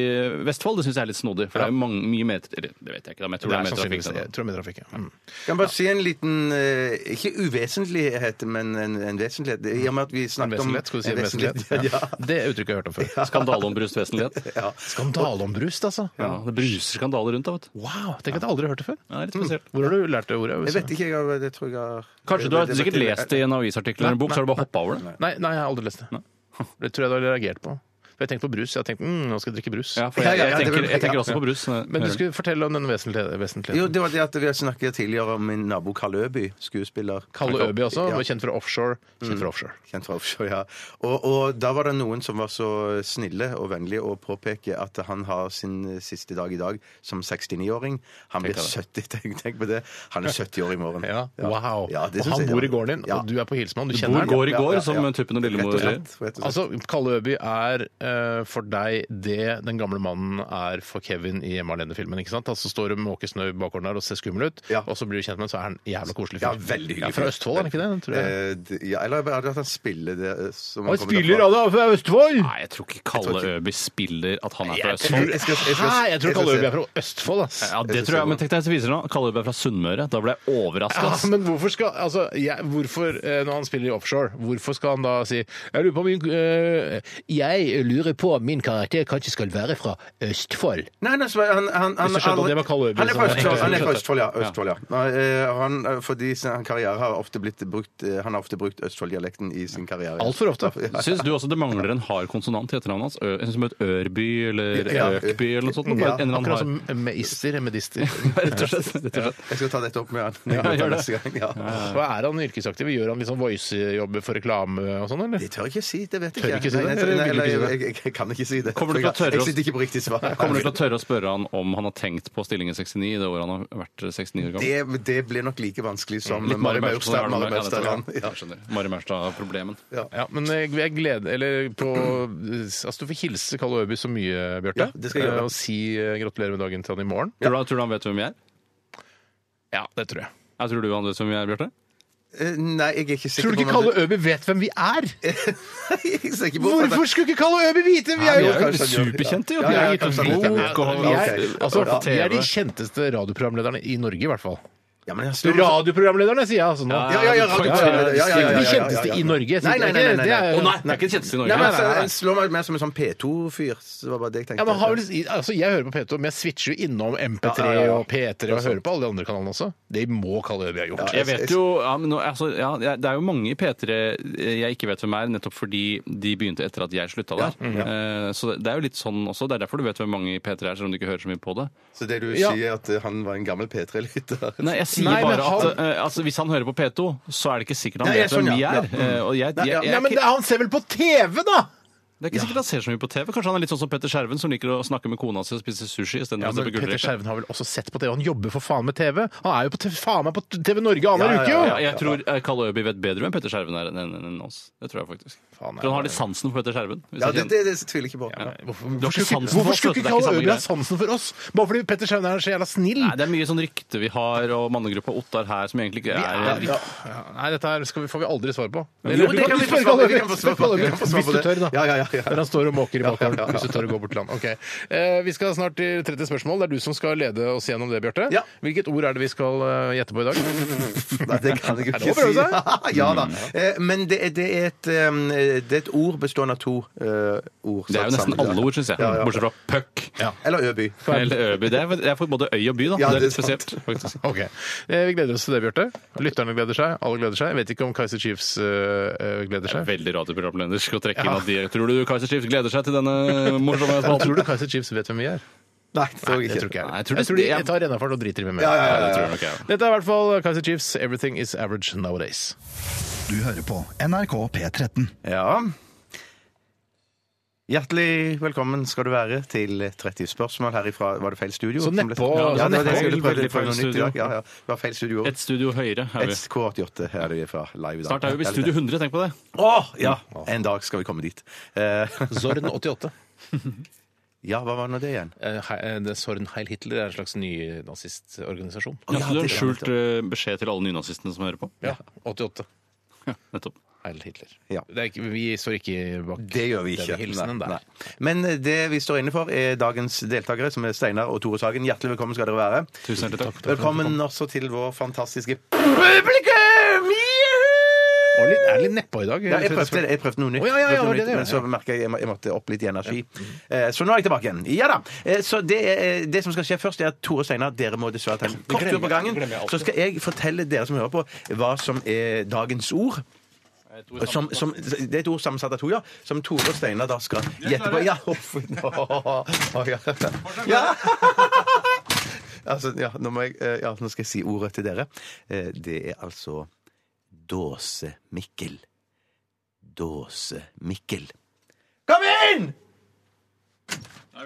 Speaker 4: Vestfold. Det syns jeg er litt snodig, for det er jo mange, mye meter eller, Det vet jeg ikke, da, men jeg tror det er, mer trafikk.
Speaker 3: sannsynligvis
Speaker 4: der, da.
Speaker 3: jeg tror det er mer trafikk. ja. Mm.
Speaker 5: Kan bare si en liten eh, Ikke uvesentlighet, men en, en vesentlighet. I og med at vi
Speaker 3: En
Speaker 5: snakket om
Speaker 3: vesentlighet, skal du si. En vesentlighet.
Speaker 5: en vesentlighet, Ja.
Speaker 3: Ja. Det uttrykket har jeg hørt om før.
Speaker 4: Skandale om brustvesenlighet.
Speaker 5: Ja.
Speaker 3: Skandaleombrust, altså.
Speaker 4: Ja, det bruser skandaler rundt da, vet du.
Speaker 3: Wow! Tenk at jeg aldri har hørt det før.
Speaker 4: Ja, det er litt spesielt.
Speaker 3: Hvor har du lært det ordet?
Speaker 5: Jeg vet ikke, jeg har det tror jeg har
Speaker 4: Kanskje du har
Speaker 5: det- det-
Speaker 4: sikkert lest det i en avisartikkel eller en bok, så har du bare hoppa over det.
Speaker 3: Nei, nei, jeg har aldri lest det. Det tror jeg du har reagert på. For jeg tenkte på brus. Jeg har tenkt mm, nå skal jeg drikke brus.
Speaker 4: Ja, for jeg,
Speaker 5: Ja, ja,
Speaker 4: jeg,
Speaker 5: ja, det
Speaker 4: tenker,
Speaker 5: blir-
Speaker 4: jeg tenker
Speaker 5: ja.
Speaker 4: også på brus. når jeg
Speaker 3: Men du
Speaker 4: hører
Speaker 3: skulle fortelle om den vesentlige- vesentligheten.
Speaker 5: Jo, det var det at vi snakket tidligere om min nabo Karl Øby, skuespiller.
Speaker 3: Kalle Øby også,
Speaker 5: Ja. Mm.
Speaker 3: var kjent fra offshore. Kjent fra offshore.
Speaker 5: Kjent fra offshore, ja. Og, og da var det noen som var så snille og vennlige å påpeke at han har sin siste dag i dag som 69-åring. Han blir 70, tenk, tenk på det. Han er 70 år i morgen.
Speaker 3: Ja.
Speaker 5: Ja.
Speaker 3: Wow.
Speaker 5: Ja, det
Speaker 3: og
Speaker 5: synes
Speaker 3: han
Speaker 5: jeg-
Speaker 3: bor i gården din,
Speaker 5: Ja.
Speaker 3: og du er på Hilsmann. Du
Speaker 4: det.
Speaker 3: kjenner
Speaker 4: Bor
Speaker 3: ham.
Speaker 4: går i
Speaker 5: Ja, ja,
Speaker 4: går,
Speaker 5: ja.
Speaker 4: som Tuppen og
Speaker 5: Rett
Speaker 4: Lillemor
Speaker 5: og slett. Rett og slett.
Speaker 3: Altså, Kalle Øby er eh, for deg det den gamle mannen er for Kevin i Hjemme alene-filmen. ikke sant? Altså står det måke snø i bakgården der og ser skummel ut,
Speaker 5: Ja.
Speaker 3: og så blir du kjent med ham, så er han en jævla koselig fyr.
Speaker 5: Ja, veldig hyggelig
Speaker 3: fra
Speaker 5: fyr.
Speaker 3: Østfold, er han ikke det? Tror jeg.
Speaker 5: Eh, d- ja, eller er det at han spiller det eh, som kommer derfra?
Speaker 3: han er fra Østfold!
Speaker 4: Nei, jeg tror ikke Kalle Øby spiller at han er fra
Speaker 3: Jeg
Speaker 4: Østfold.
Speaker 3: tror,
Speaker 5: Jeg skal- jeg skal-
Speaker 3: Hæ, jeg
Speaker 5: jeg skal
Speaker 3: tror Kalle
Speaker 5: se.
Speaker 3: Øby er fra Østfold, ass.
Speaker 4: Ja, det tror jeg, men tenk deg hvis det viser nå. Kalle Øby er fra Sunnmøre. Da ble jeg overraska.
Speaker 3: Ja, men hvorfor skal altså, jeg, hvorfor, eh, Når han spiller i offshore, hvorfor skal han da si Jeg lurer på om min, eh, jeg lurer på om min karakter kanskje skal være fra Østfold.
Speaker 5: Nei, nei, så han, han, han,
Speaker 3: Hvis du skjønte at det var Karl Øby,
Speaker 5: han er
Speaker 3: så
Speaker 5: fra
Speaker 3: var det
Speaker 5: Østfold,
Speaker 3: egentlig-
Speaker 5: han er fra Østfold, ja. Østfold, ja. Nei, eh, Han, eh, fordi sin karriere har ofte blitt brukt eh, Han har ofte brukt Østfold-dialekten i sin karriere.
Speaker 3: Altfor ofte.
Speaker 4: Syns du også det mangler en hard konsonant i etternavnet hans? Ø- En som het Ørby eller
Speaker 5: Ja.
Speaker 4: Økby eller noe sånt? Bare
Speaker 5: Ja,
Speaker 4: en eller
Speaker 3: Akkurat
Speaker 4: annen hard.
Speaker 3: som meister, medister.
Speaker 4: Rett og slett. Rett og slett.
Speaker 5: Jeg skal ta dette opp med han.
Speaker 4: gjør det.
Speaker 5: Neste gang, ja.
Speaker 3: Hva er han yrkesaktiv? Gjør han liksom voicejobber for reklame og sånn, eller?
Speaker 5: Det tør jeg ikke si. Det vet jeg
Speaker 3: Tør du ikke si det?
Speaker 5: Nei, nei,
Speaker 3: Eller
Speaker 5: nei,
Speaker 3: vil du ikke
Speaker 5: jeg,
Speaker 3: si
Speaker 5: jeg, jeg kan ikke si det.
Speaker 4: Kommer du til
Speaker 5: For
Speaker 4: å
Speaker 5: jeg-
Speaker 4: tørre å-
Speaker 5: Jeg sitter ikke på riktig svar.
Speaker 4: Kommer du til å tørre å spørre han om han har tenkt på stillingen 69 i det året han har vært 69 år gammel?
Speaker 5: det, det blir nok like vanskelig som
Speaker 4: Litt
Speaker 5: Mari
Speaker 4: Mari Maurstad. har
Speaker 5: Maurstad. Mari
Speaker 4: det med. Ja,
Speaker 5: Maurstad ja,
Speaker 4: det tror jeg. Jeg skjønner. Mari Maurstad-problemen.
Speaker 3: Ja, men jeg, jeg gleder Eller på Altså, du får hilse Kalle Øby så mye, Bjarte.
Speaker 5: Ja, det skal jeg gjøre.
Speaker 3: Eh, Og si eh, gratulerer med dagen til han i morgen.
Speaker 4: Tror, du, tror du han vet hvem vi er?
Speaker 3: Ja, det tror jeg.
Speaker 4: Jeg tror du han vet hvem vi er, Bjarte?
Speaker 5: Eh, Nei, jeg er ikke sikker
Speaker 3: Tror du
Speaker 5: på
Speaker 3: ikke
Speaker 5: om han-
Speaker 3: Kalle Øby vet hvem vi er?
Speaker 5: Jeg er ikke sikker på om han-
Speaker 3: Hvorfor skulle ikke Kalle Øby vite? Vi er jo
Speaker 5: Ja, kanskje han gjør det.
Speaker 4: superkjente, jo.
Speaker 5: Ja, ja,
Speaker 4: Vi har gitt
Speaker 5: ja,
Speaker 4: ut
Speaker 5: kanskje han gjør det.
Speaker 4: bok, og han-
Speaker 3: Vi er,
Speaker 5: Ok.
Speaker 3: altså,
Speaker 5: Ja.
Speaker 3: vi er de kjenteste radioprogramlederne i Norge, i hvert fall.
Speaker 5: Ja, men jeg står-
Speaker 3: Radioprogramlederne, sier jeg altså nå.
Speaker 5: Ja, ja,
Speaker 4: Ja, ja, ja,
Speaker 5: ja, radio- ja, ja, ja, ja,
Speaker 3: De
Speaker 5: ja.
Speaker 3: kjenteste i Norge.
Speaker 5: Nei, nei, nei, nei, nei.
Speaker 3: Det er-
Speaker 4: Å nei, det er ikke den kjenteste i Norge.
Speaker 5: Nei, men
Speaker 4: Nei,
Speaker 5: altså,
Speaker 4: nei,
Speaker 5: Jeg slår meg mer som en sånn P2-fyr. Så det var bare det jeg tenkte.
Speaker 3: Ja, men har vel, altså, jeg hører på P2, men jeg switcher jo innom MP3
Speaker 5: Ja, ja, ja.
Speaker 3: og P3 og hører på alle de andre kanalene også. Det må Kalle Øby ha gjort.
Speaker 4: Jeg vet jo, ja, men nå, altså, ja, jeg- Det er jo mange P3 jeg ikke vet hvem er, nettopp fordi de begynte etter at jeg slutta der.
Speaker 5: mm,
Speaker 4: Eh, Så det- det er jo litt sånn også. Det er derfor du vet hvor mange P3 er, selv om du ikke hører så mye på det.
Speaker 5: Så det du
Speaker 3: Ja.
Speaker 5: sier, at eh, han var en gammel P3-lytter?
Speaker 4: Nei, jeg sier
Speaker 3: Nei, men
Speaker 4: bare at
Speaker 3: han-
Speaker 4: eh, altså, Hvis han hører på P2, så er det ikke sikkert han
Speaker 5: Nei,
Speaker 4: vet
Speaker 5: jeg
Speaker 4: hvem
Speaker 5: skjønner,
Speaker 4: vi
Speaker 5: ja, Mm.
Speaker 4: er.
Speaker 5: ja.
Speaker 4: Eh, Og jeg, jeg,
Speaker 3: Ja,
Speaker 4: jeg,
Speaker 3: men det- han ser vel på TV, da!
Speaker 4: det er ikke sikkert han ser så mye på TV. Kanskje han er litt sånn som Petter Skjerven, som liker å snakke med kona si og spise sushi
Speaker 3: Ja,
Speaker 4: istedenfor å se
Speaker 3: men
Speaker 4: på
Speaker 3: Petter
Speaker 4: gullrekka.
Speaker 3: Skjerven har vel også sett på TV. Han jobber for faen med TV. Han er jo på TV, faen meg på TV Norge annenhver
Speaker 5: Ja, ja,
Speaker 3: uke, jo!
Speaker 5: ja,
Speaker 4: Ja, jeg tror eh, Kalle Øby vet bedre hvem Petter Skjerven er enn enn- enn oss. Det tror jeg faktisk.
Speaker 3: Faen, jeg
Speaker 4: tror han har
Speaker 3: bare-
Speaker 4: litt sansen for Petter Skjerven. hvis
Speaker 5: Ja,
Speaker 4: jeg
Speaker 5: det,
Speaker 4: kjenner-
Speaker 5: det, det tviler jeg ikke på.
Speaker 3: Hvorfor,
Speaker 4: Du har ikke
Speaker 3: hvorfor, skulle-
Speaker 4: sansen for
Speaker 3: hvorfor skulle ikke
Speaker 4: oss, vet du, det er ikke
Speaker 3: Kalle Øby
Speaker 4: samme
Speaker 3: ha
Speaker 4: greie.
Speaker 3: sansen for oss? Bare fordi Petter Skjerven er så jævla snill?
Speaker 4: Nei, det er mye sånn rykte vi har, og mannegruppe Ottar her, som egentlig ikke er
Speaker 3: Ja, ja. Nei, dette her skal vi, får vi aldri svar på.
Speaker 5: Jo, det kan vi få svar på, vi kan få svar på, vi kan få svar
Speaker 3: Hvis
Speaker 5: på
Speaker 3: du
Speaker 5: det.
Speaker 3: tør, da.
Speaker 5: Ja, ja, ja, ja.
Speaker 3: Når han står og måker i bakgården.
Speaker 5: Ja, ja, ja.
Speaker 3: Hvis du tør å gå bort til han. Ok. Eh, vi skal snart til 30 spørsmål. Det er du som skal lede oss gjennom det, Bjarte.
Speaker 5: Ja.
Speaker 3: Hvilket ord er det vi skal eh, gjette på i dag?
Speaker 5: Nei, det kan jeg jo
Speaker 3: Er det
Speaker 5: ikke
Speaker 3: lov å prøve
Speaker 5: si. ja da.
Speaker 4: Mm.
Speaker 5: Eh, Men det, er- det, er et, um, det er et ord bestående av to eh, ord.
Speaker 4: Det er jo
Speaker 5: satt
Speaker 4: nesten
Speaker 5: sammen.
Speaker 4: alle ord, syns jeg.
Speaker 5: Ja, ja.
Speaker 4: Bortsett fra puck
Speaker 5: Eller Øby.
Speaker 4: eller øby. Det er, det er for både øy og by, da.
Speaker 5: Ja,
Speaker 4: det er
Speaker 5: det
Speaker 4: litt
Speaker 5: er sant.
Speaker 4: spesielt, faktisk.
Speaker 3: Ok. Eh, vi gleder oss til det, Bjarte. Lytterne gleder seg. Alle gleder seg. Jeg vet ikke om Kaiser Chiefs eh, eh, gleder seg.
Speaker 4: Veldig radioprogramleder skal trekke inn at de Tror du Kaiser Chiefs gleder seg til denne morsomme
Speaker 3: Men tror
Speaker 4: spalten?
Speaker 3: du Kaiser Chiefs vet hvem vi er?
Speaker 5: Nei, det tror jeg
Speaker 3: Det tror
Speaker 5: ikke.
Speaker 3: ikke jeg.
Speaker 4: Nei, jeg
Speaker 3: jeg,
Speaker 4: tror
Speaker 3: tror
Speaker 4: det-
Speaker 3: de jeg tar rennafart og driter i hvem vi
Speaker 5: Ja,
Speaker 3: er.
Speaker 5: ja,
Speaker 4: Ja, det
Speaker 5: ja,
Speaker 4: tror
Speaker 5: ja.
Speaker 4: jeg nok jeg.
Speaker 3: Dette er i hvert fall Kaiser Chiefs. Everything is average nowadays.
Speaker 1: Du hører på NRK P13.
Speaker 5: Ja. Hjertelig velkommen skal du være til 30 spørsmål herifra. Var det feil studio?
Speaker 3: Så
Speaker 5: Som ble-
Speaker 3: nedpå-
Speaker 5: Ja, det var det jeg
Speaker 4: nedpå-
Speaker 5: skulle prøve,
Speaker 4: veldig
Speaker 5: prøve noe
Speaker 4: feil
Speaker 5: nytt i dag. Ja, ja. Det var feil studio.
Speaker 4: Et studio høyere er vi.
Speaker 5: SK88 her er vi fra live i dag.
Speaker 4: Snart er vi i Studio 100, tenk på det.
Speaker 5: Åh, ja! En dag skal vi komme dit. Eh,
Speaker 3: Zorn 88.
Speaker 5: ja, hva var nå det igjen?
Speaker 3: Eh, hei- eh, det Sorn Heil Hitler er en slags ny nazistorganisasjon.
Speaker 5: Å,
Speaker 4: Så
Speaker 5: ja,
Speaker 4: du har
Speaker 5: det-
Speaker 4: en skjult eh, beskjed til alle nynazistene som hører på?
Speaker 3: Ja, 88.
Speaker 4: Nettopp.
Speaker 3: Heil Hitler.
Speaker 5: Ja.
Speaker 3: Det er ikke, vi står ikke bak
Speaker 5: Det gjør vi ikke.
Speaker 3: den hilsenen der.
Speaker 5: Men eh, det vi står inne for, er dagens deltakere, som er Steinar og Tore Sagen. Hjertelig velkommen skal dere være.
Speaker 4: Tusen hjertelig takk.
Speaker 5: Velkommen også til vår fantastiske
Speaker 3: Og litt, er det litt nedpå i dag.
Speaker 5: ja, jeg, prøvde, jeg prøvde noe nytt,
Speaker 3: Å, ja, ja, ja,
Speaker 5: prøvde
Speaker 3: det
Speaker 5: noe
Speaker 3: er det,
Speaker 5: nytt, men
Speaker 3: ja.
Speaker 5: så merka jeg jeg må- jeg måtte opp litt i energi. Eh, Så nå er jeg tilbake igjen. Ja da! Eh, Så det, er- det som skal skje først, er at Tore og Steinar, dere må dessverre ta en kort tur på gangen. Så skal jeg fortelle dere som hører på, hva som er dagens ord. Som, som, det er et ord sammensatt av to, ja. Som Tore og Steinar da skal gjette på. Ja! Huff, nå, å, ja. ja. Altså, ja, nå må jeg, eh, ja, nå skal jeg si ordet til dere. Eh, Det er altså Dåse-Mikkel. Dåse-Mikkel. Kom inn! Ja,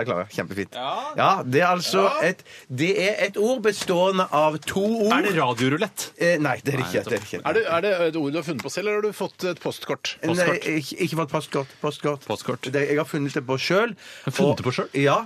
Speaker 5: jeg klarer. Kjempefint. Ja, det er altså et Det er et ord bestående av to ord.
Speaker 4: Er det radiorulett?
Speaker 5: Eh, Nei, det er det ikke. Det er det ikke.
Speaker 3: Er det, er det et ord du har funnet på selv, eller har du fått et postkort?
Speaker 5: Nei, ikke, ikke fått postkort. Postkort.
Speaker 4: Postkort.
Speaker 5: Det, jeg har funnet det på sjøl.
Speaker 4: funnet det på selv?
Speaker 5: Ja.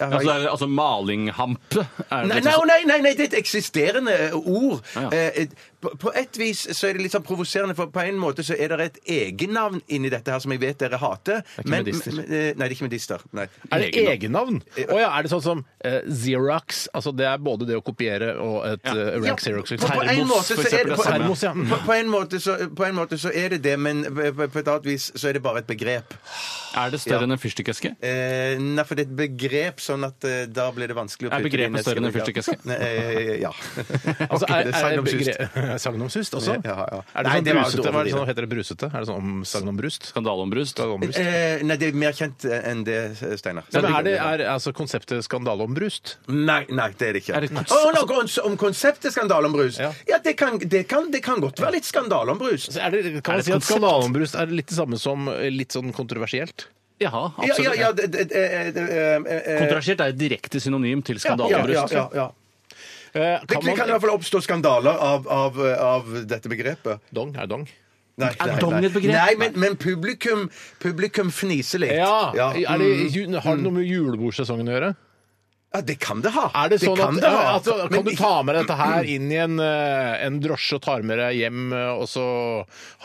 Speaker 5: Jeg har-
Speaker 4: Altså, det er, altså malinghampe? Er
Speaker 5: Nei,
Speaker 4: det
Speaker 5: nei,
Speaker 4: liksom-
Speaker 5: nei, nei, nei, det er et eksisterende eh, ord.
Speaker 4: Ja, ja.
Speaker 5: Eh, eh, På, på et vis så er det litt sånn provoserende, for på en måte så er det et egennavn inni dette her som jeg vet dere hater.
Speaker 4: er ikke
Speaker 5: men-
Speaker 4: medister.
Speaker 5: men- eh, Nei, det er ikke medister. Nei.
Speaker 3: Er det egennavn?
Speaker 5: E-
Speaker 3: Å ja, er det sånn som eh, Xerox? Altså det er både det å kopiere og et
Speaker 4: Ja.
Speaker 3: eh,
Speaker 5: Ja,
Speaker 3: rank Xerox.
Speaker 5: på, på, en måte så er det, på,
Speaker 3: Termos, ja.
Speaker 5: på, på, en måte så, på en måte så er det det, men på- på på et annet vis så er det bare et begrep.
Speaker 4: sånn- Er det større enn en fyrstikkeske?
Speaker 5: Eh, nei, for det er et begrep, sånn at eh, da blir det vanskelig å
Speaker 4: Er
Speaker 5: putte det i
Speaker 4: begrepet
Speaker 5: neste
Speaker 4: større enn en
Speaker 5: begrep.
Speaker 4: fyrstikkeske?
Speaker 5: Nei, eh, Ja.
Speaker 3: Altså,
Speaker 5: Ok,
Speaker 3: er,
Speaker 5: det
Speaker 3: er,
Speaker 5: er sagn om sust.
Speaker 3: begre- sagn om sust også?
Speaker 5: Ja, ja.
Speaker 3: Er det
Speaker 5: Nei,
Speaker 3: sånn
Speaker 5: det var
Speaker 3: brusete?
Speaker 5: dårlig.
Speaker 3: Hva er det sånn, heter det brusete? Er det sånn om sagn om brust?
Speaker 4: Skandale om brust?
Speaker 3: Sagn om brust?
Speaker 5: Eh, nei, det er mer kjent eh, enn det, Steinar.
Speaker 3: Nei, men er det er, altså, konseptet skandale om brust?
Speaker 5: Nei, nei, det er det ikke.
Speaker 4: Er det kons-
Speaker 5: Å, nå går det om konseptet skandale om brus.
Speaker 3: Ja. Altså,
Speaker 5: Ja, det, kan, det, kan, det kan godt være litt skandale om brus.
Speaker 3: Er det, kan man
Speaker 4: Er det
Speaker 3: si at
Speaker 4: konsept?
Speaker 3: skandale om brust er litt det samme som eh, litt sånn kontroversielt?
Speaker 4: Ja,
Speaker 5: Ja,
Speaker 4: absolutt.
Speaker 5: ja, ja, det, det, det, det, eh, eh,
Speaker 4: Kontroversielt er et direkte synonym til skandale
Speaker 5: ja,
Speaker 4: om
Speaker 5: ja,
Speaker 4: brust.
Speaker 5: ja, ja.
Speaker 3: Eh,
Speaker 5: Det,
Speaker 3: Kan
Speaker 5: det kan i hvert
Speaker 3: man
Speaker 5: fall oppstå skandaler av, av, av dette begrepet.
Speaker 3: Dong er dong.
Speaker 5: Nei,
Speaker 4: Er
Speaker 5: nei,
Speaker 4: dong
Speaker 5: nei.
Speaker 4: et begrep?
Speaker 5: Nei, men, men publikum, publikum fniser litt.
Speaker 3: Ja! Mm.
Speaker 5: Ja.
Speaker 3: Er det, ju- har det noe med julebordsesongen å gjøre?
Speaker 5: Ja, det kan det ha.
Speaker 3: Er det sånn
Speaker 5: kan
Speaker 3: at,
Speaker 5: det ha.
Speaker 3: altså, Kan
Speaker 5: Men
Speaker 3: du ta med deg dette her inn i en, eh, en drosje og tar med deg hjem, eh, og så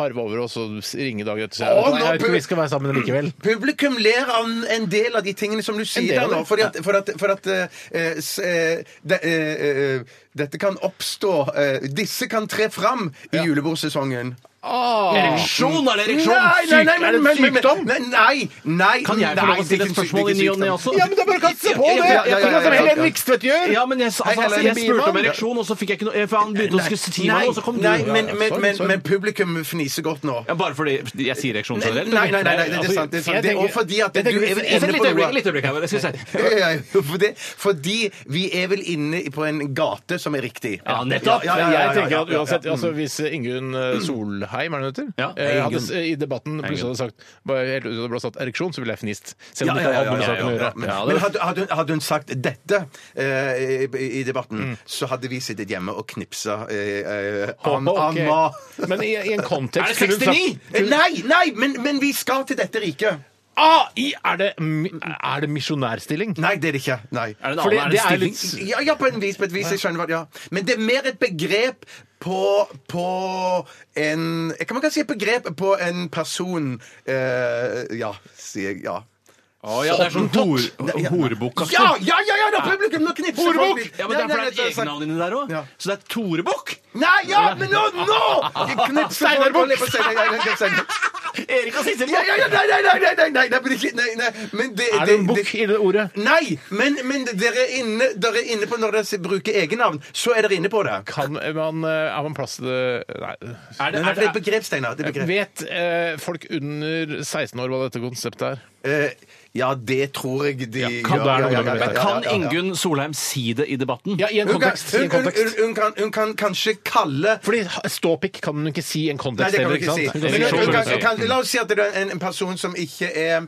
Speaker 3: harve over, og så ringe dagen etter? Så,
Speaker 5: Å,
Speaker 3: Nei,
Speaker 5: nå
Speaker 3: jeg vet
Speaker 5: bu-
Speaker 3: ikke, vi skal være sammen likevel.
Speaker 5: Publikum ler av en del av de tingene som du
Speaker 3: del
Speaker 5: sier
Speaker 3: av
Speaker 5: der nå.
Speaker 3: det?
Speaker 5: For at, for at, for at eh, s- eh, de, eh, eh, dette kan oppstå eh, Disse kan tre fram i julebordsesongen.
Speaker 3: Ah.
Speaker 4: Ereksjon er det ereksjon!
Speaker 3: Syk- er det en sykdom?
Speaker 5: Nei, nei, nei
Speaker 4: Kan jeg få
Speaker 5: nei,
Speaker 4: lov å
Speaker 5: det er
Speaker 4: stille
Speaker 5: ikke
Speaker 4: et
Speaker 5: en
Speaker 4: spørsmål i
Speaker 5: syk- det
Speaker 4: ny
Speaker 5: er
Speaker 4: og
Speaker 5: ikke
Speaker 4: ne
Speaker 5: en
Speaker 4: også?
Speaker 5: sykdom.
Speaker 3: Ja, men da bare kaste på
Speaker 5: Ja,
Speaker 3: det!
Speaker 5: ja, ja, ja,
Speaker 3: Jeg tror
Speaker 5: ja,
Speaker 3: at
Speaker 5: ja,
Speaker 3: Helen
Speaker 5: ja.
Speaker 3: Vikstvedt gjør!
Speaker 4: Ja, men jeg, altså,
Speaker 3: Hei,
Speaker 4: altså,
Speaker 3: Helen
Speaker 4: jeg spurte om
Speaker 3: Biemann.
Speaker 4: ereksjon, og så fikk jeg ikke noe eh, For han begynte å skulle si meg, og så kom du.
Speaker 5: nei,
Speaker 4: Ja,
Speaker 5: men,
Speaker 4: ja.
Speaker 5: men,
Speaker 3: sorry,
Speaker 5: men,
Speaker 3: sorry.
Speaker 5: men publikum fniser godt nå.
Speaker 4: Ja, altså, bare fordi jeg sier ereksjon
Speaker 5: Nei, nei,
Speaker 4: generelt?
Speaker 5: nei,
Speaker 4: eller?
Speaker 5: nei, nei, det er sant. Det er sant. Det er også fordi at
Speaker 3: Jeg
Speaker 5: du
Speaker 3: tenker-
Speaker 5: er vel
Speaker 4: Et
Speaker 5: inne
Speaker 4: lite
Speaker 5: på
Speaker 4: øyeblikk,
Speaker 5: noe
Speaker 4: et lite øyeblikk her, jeg skal si.
Speaker 5: Ja, ja, ja, for det- Fordi vi er vel inne på en gate som er riktig.
Speaker 4: Ja, nettopp.
Speaker 5: Ja, ja, ja, ja,
Speaker 3: Jeg tenker
Speaker 5: ja,
Speaker 3: at
Speaker 5: ja, Mm. ja.
Speaker 3: uansett, altså Hvis Ingunn eh, Solheim er det hun heter,
Speaker 4: Ja,
Speaker 3: eh, hadde
Speaker 4: Ingunn.
Speaker 3: s- i debatten plutselig hadde sagt bare helt ut av det blå sagt ereksjon, så ville jeg fnist. Selv
Speaker 5: Ja,
Speaker 3: om
Speaker 5: ja,
Speaker 3: det ikke
Speaker 5: ja,
Speaker 3: hadde
Speaker 5: ja,
Speaker 3: noe
Speaker 5: ja,
Speaker 3: med saken å
Speaker 5: ja, ja.
Speaker 3: gjøre.
Speaker 5: Men men hadde, hadde, hun- hadde hun sagt dette eh, i, i debatten,
Speaker 3: Mm.
Speaker 5: så hadde vi sittet hjemme og knipsa eh, eh, an,
Speaker 3: Ok.
Speaker 5: anma.
Speaker 3: Men i, i en kontekst
Speaker 4: Er det
Speaker 3: kunne hun sagt-
Speaker 4: 69?
Speaker 5: Eh, Nei, nei, men, men vi skal til dette riket!
Speaker 3: Ah, i, er det, mi- er det misjonærstilling?
Speaker 5: Nei, det er det ikke. Nei.
Speaker 4: Er det en
Speaker 3: Fordi
Speaker 4: annen?
Speaker 3: det
Speaker 4: Er det
Speaker 3: er
Speaker 4: stilling?
Speaker 3: litt-
Speaker 5: Ja, ja, på en vis, på et vis. Jeg skjønner hva ja. Men det er mer et begrep på, på en Jeg kan man kan si et begrep på en person eh, Ja, sier jeg. Ja.
Speaker 4: Å, ja, det er sånn hor, horebukk-aktig.
Speaker 5: Ja, ja, ja! ja, da, publikum, nå knipser folk! litt.
Speaker 4: Ja, men
Speaker 5: Nei,
Speaker 4: Derfor
Speaker 5: nei,
Speaker 4: er det
Speaker 5: nei, nei,
Speaker 4: egennavn inni der òg.
Speaker 5: Ja.
Speaker 4: Så det er Torebukk!
Speaker 5: Nei, ja, men nå! nå! Knipser
Speaker 3: Steinar
Speaker 5: folk
Speaker 3: Buch!
Speaker 5: holder på å si- nei, nei, nei, nei, nei.
Speaker 4: Erik og Sissel
Speaker 5: Ja, ja, ja, nei, nei, nei, nei, nei, nei, nei, men ikke- nei, nei, men det,
Speaker 3: Er det en bukk i det ordet?
Speaker 5: Nei, men, men dere, er inne, dere er inne på når dere bruker egennavn, så er dere inne på det.
Speaker 3: Kan man, eh, har man plass til det Nei.
Speaker 4: Er det,
Speaker 5: Nei,
Speaker 4: er
Speaker 5: for det er et
Speaker 4: det,
Speaker 5: begrep, Steinar. Det er et begrep.
Speaker 3: Vet eh, folk under 16 år hva dette konseptet er?
Speaker 5: Eh, ja, det tror jeg de
Speaker 3: kan-
Speaker 5: gjør.
Speaker 3: da er det
Speaker 5: Ja, ja,
Speaker 3: noe
Speaker 5: ja,
Speaker 3: med
Speaker 5: ja,
Speaker 3: det.
Speaker 5: ja, ja,
Speaker 4: kan
Speaker 5: ja.
Speaker 4: Ingunn Solheim si det i debatten?
Speaker 3: Ja, i en
Speaker 5: Hun kan,
Speaker 3: kontekst.
Speaker 5: hun,
Speaker 3: I en
Speaker 5: hun, hun,
Speaker 3: kontekst.
Speaker 5: hun, kan, hun kan kanskje kalle
Speaker 3: Fordi ståpikk kan hun ikke si i en
Speaker 5: Nei,
Speaker 3: kontekst
Speaker 5: det kan
Speaker 3: heller,
Speaker 5: hun ikke si.
Speaker 3: sant?
Speaker 5: Men
Speaker 4: er
Speaker 5: hun-
Speaker 4: ikke
Speaker 5: hun
Speaker 4: sånn
Speaker 5: kan,
Speaker 4: hun
Speaker 5: hun
Speaker 4: sier.
Speaker 5: kan, la oss si at det er en, en person som ikke er,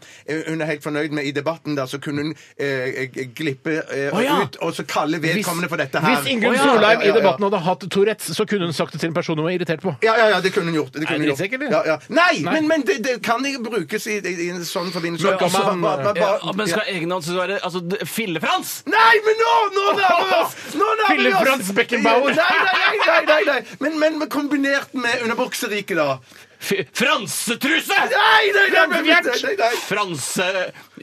Speaker 5: hun er helt fornøyd med i debatten, der, så kunne hun eh, glippe eh,
Speaker 3: Å, ja.
Speaker 5: ut og så kalle vedkommende for dette her.
Speaker 3: Hvis Ingunn
Speaker 5: Å, ja,
Speaker 3: Solheim
Speaker 5: ja, ja,
Speaker 3: i
Speaker 5: ja.
Speaker 3: debatten hadde hatt Tourettes, så kunne hun sagt det til en person hun var irritert på.
Speaker 5: Ja, ja, ja, det kunne hun gjort. Det
Speaker 3: Er
Speaker 5: kunne
Speaker 3: dere
Speaker 5: hun gjort.
Speaker 3: sikre, eller?
Speaker 5: Ja, ja. Nei,
Speaker 3: Nei.
Speaker 5: men, men det, det kan ikke brukes i, i, i en sånn forbindelse.
Speaker 3: Men
Speaker 5: Og også
Speaker 3: kan man-
Speaker 5: ba- ba- ba-
Speaker 4: Ja, men skal egennavn så være altså, d- Fille-Frans?
Speaker 5: Nei, men nå! Nå nærmer vi oss! Nå nærmer vi
Speaker 3: Philip
Speaker 5: oss!
Speaker 3: Franz Beckenbauer.
Speaker 5: Nei, nei, nei, nei, nei, nei. Men, men men kombinert med underbukseriket, da.
Speaker 4: Fi- Fransetruse!
Speaker 5: Nei, nei, nei, nei, nei,
Speaker 3: Franz
Speaker 5: nei, nei.
Speaker 4: Franse...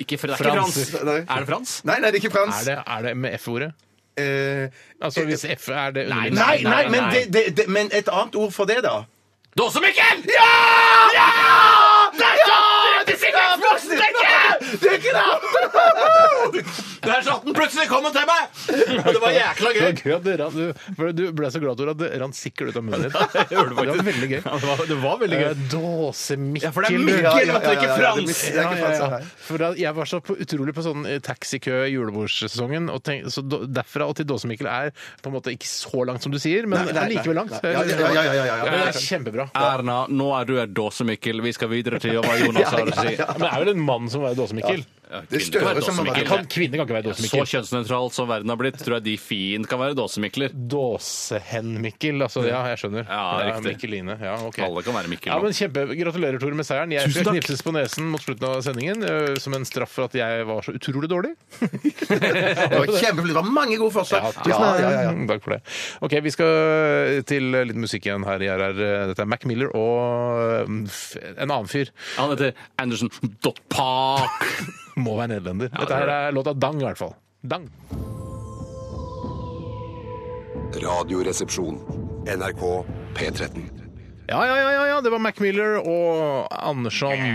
Speaker 4: Ikke, Fr- det er ikke
Speaker 3: Frans.
Speaker 4: Frans.
Speaker 5: Nei.
Speaker 4: Er det Frans?
Speaker 5: Nei, nei, det er ikke Frans.
Speaker 3: Er det, er det med F-ordet?
Speaker 5: Eh,
Speaker 3: Altså hvis F er det
Speaker 4: Nei,
Speaker 3: underliggende?
Speaker 5: nei, nei, men,
Speaker 4: nei.
Speaker 5: det, det, det, men et annet ord for det, da?
Speaker 4: Dåse-Mikkel!
Speaker 5: Ja! Ja! Det er Sigurd Frostenberg! Det er ikke det!
Speaker 4: sånn Der satt den! Plutselig kom han til meg!
Speaker 5: Og det var jækla
Speaker 3: Det
Speaker 5: gøy!
Speaker 3: var gøy at det ran, du, for du ble så glad, Tor, at det rant sikkert ut av munnen din. Det, var veldig gøy.
Speaker 4: Ja, det, var, det var veldig gøy.
Speaker 3: Eh, Dåse-Mikkel.
Speaker 5: Ja, for det er Mikkel,
Speaker 3: Ja, ja,
Speaker 5: vet du,
Speaker 3: ja, ja,
Speaker 5: ikke
Speaker 3: ja,
Speaker 5: Frans.
Speaker 3: det er Mikkel, ja, ja, ja. For da, jeg var så på, utrolig på sånn eh, taxikø i julebordssesongen, og tenk, så da- derfra og til Dåse-Mikkel er på en måte ikke så langt som du sier, men
Speaker 5: Nei, nei, nei.
Speaker 3: likevel langt.
Speaker 5: Nei. Ja, ja, ja, ja, ja, ja.
Speaker 3: Men det er kjempebra.
Speaker 4: Erna, nå er du et dåse-Mikkel. Vi skal videre til hva Jonas har å si.
Speaker 3: Men det er vel en mann som må være Dåse-Mikkel?
Speaker 5: Det er Støre som har
Speaker 3: Jeg
Speaker 5: vært
Speaker 3: Kan, kvinner kan ikke være
Speaker 4: Så
Speaker 3: Dåse-Mikkel.
Speaker 4: kjønnsnøytralt som verden har blitt, tror jeg de fint kan være dåse-Mikler.
Speaker 3: Dåsehen-Mikkel, altså. Ja, jeg skjønner.
Speaker 4: Ja, riktig.
Speaker 3: Mikkeline. Ja, ok.
Speaker 4: Alle kan være Mikkel.
Speaker 3: Ja, men kjempe, Gratulerer, Tore, med seieren. Jeg
Speaker 4: Tusen
Speaker 3: skal
Speaker 4: takk.
Speaker 3: knipses på nesen mot slutten av sendingen ø, som en straff for at jeg var så utrolig dårlig.
Speaker 5: Det var kjempeflott. Det var mange gode forslag.
Speaker 3: Tusen takk. Mm, Takk for det. Ok, Vi skal til litt musikk igjen her i RR. Dette er Mac Miller og mm, f- en annen fyr.
Speaker 4: Han heter Andersen Dot Park.
Speaker 3: Må være nederlender.
Speaker 4: Ja, det
Speaker 3: Dette her
Speaker 4: er
Speaker 3: er låta Dang, i hvert fall. Dang.
Speaker 6: Radioresepsjon. NRK P13.
Speaker 3: Ja, ja, ja, ja, ja, det var Mac Miller og Andersson Jeg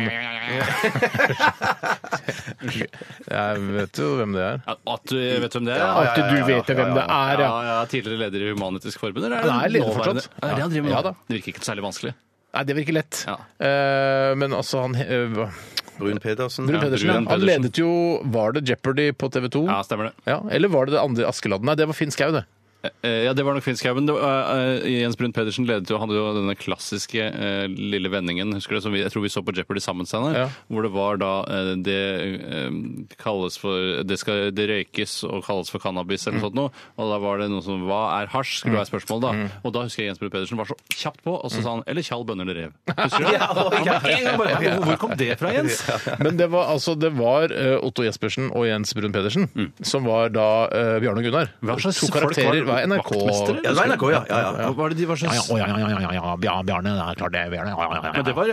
Speaker 3: vet jo hvem det er.
Speaker 4: At du vet hvem det er?
Speaker 5: Ja, ja,
Speaker 3: At du vet hvem det er, ja.
Speaker 4: Ja, ja, Tidligere leder i Human-Etisk Forbund? Eller
Speaker 3: Han er leder
Speaker 4: nåværende-
Speaker 3: fortsatt.
Speaker 4: Ja, det er det han driver med
Speaker 3: Ja,
Speaker 4: nå? Mm.
Speaker 3: da.
Speaker 4: Det virker ikke særlig vanskelig.
Speaker 3: Nei, det virker lett.
Speaker 4: Ja.
Speaker 3: Eh, men altså, han uh,
Speaker 5: Brun Pedersen.
Speaker 3: Brun
Speaker 4: Ja,
Speaker 3: Pedersen,
Speaker 4: Brun
Speaker 3: ja. Han
Speaker 4: Pedersen.
Speaker 3: ledet jo Var det Jeopardy på TV 2?
Speaker 4: Ja, stemmer det.
Speaker 3: Eller var det det andre Askeladden? Nei, det var Finn Skau, det.
Speaker 4: Eh, Ja, det var nok Finnskaugen. Det var, eh, Jens Brun Pedersen ledet jo, hadde jo denne klassiske eh, lille vendingen, husker du, som vi, jeg tror vi så på Jeopardy sammen, Steinar,
Speaker 3: Ja.
Speaker 4: hvor det var da eh, det eh, kalles for det, skal, det røykes og kalles for cannabis eller noe sånt noe, og da var det noe som Hva er hasj? skulle være spørsmål da. Og da husker jeg Jens Brun Pedersen var så kjapt på, og så sa han Eller tjall, bønner eller rev. Husker du det? Han var en gang bare, "Hvor- Hvor kom det fra, Jens?
Speaker 3: Men det var, altså, det var eh, Otto Jespersen og Jens Brun Pedersen som var da eh, Bjarne og Gunnar.
Speaker 4: Hva slags
Speaker 3: to
Speaker 4: folk var det?
Speaker 3: karakterer var NRK
Speaker 4: Vaktmestere, eller?
Speaker 5: Ja, det var NRK, ja. ja, ja.
Speaker 4: Hva var det de var så
Speaker 3: ja, ja, ja, ja, ja, Bjar- Bjarne, det er klart det. er Bjarne, ja, ja, ja, ja.
Speaker 4: Men det var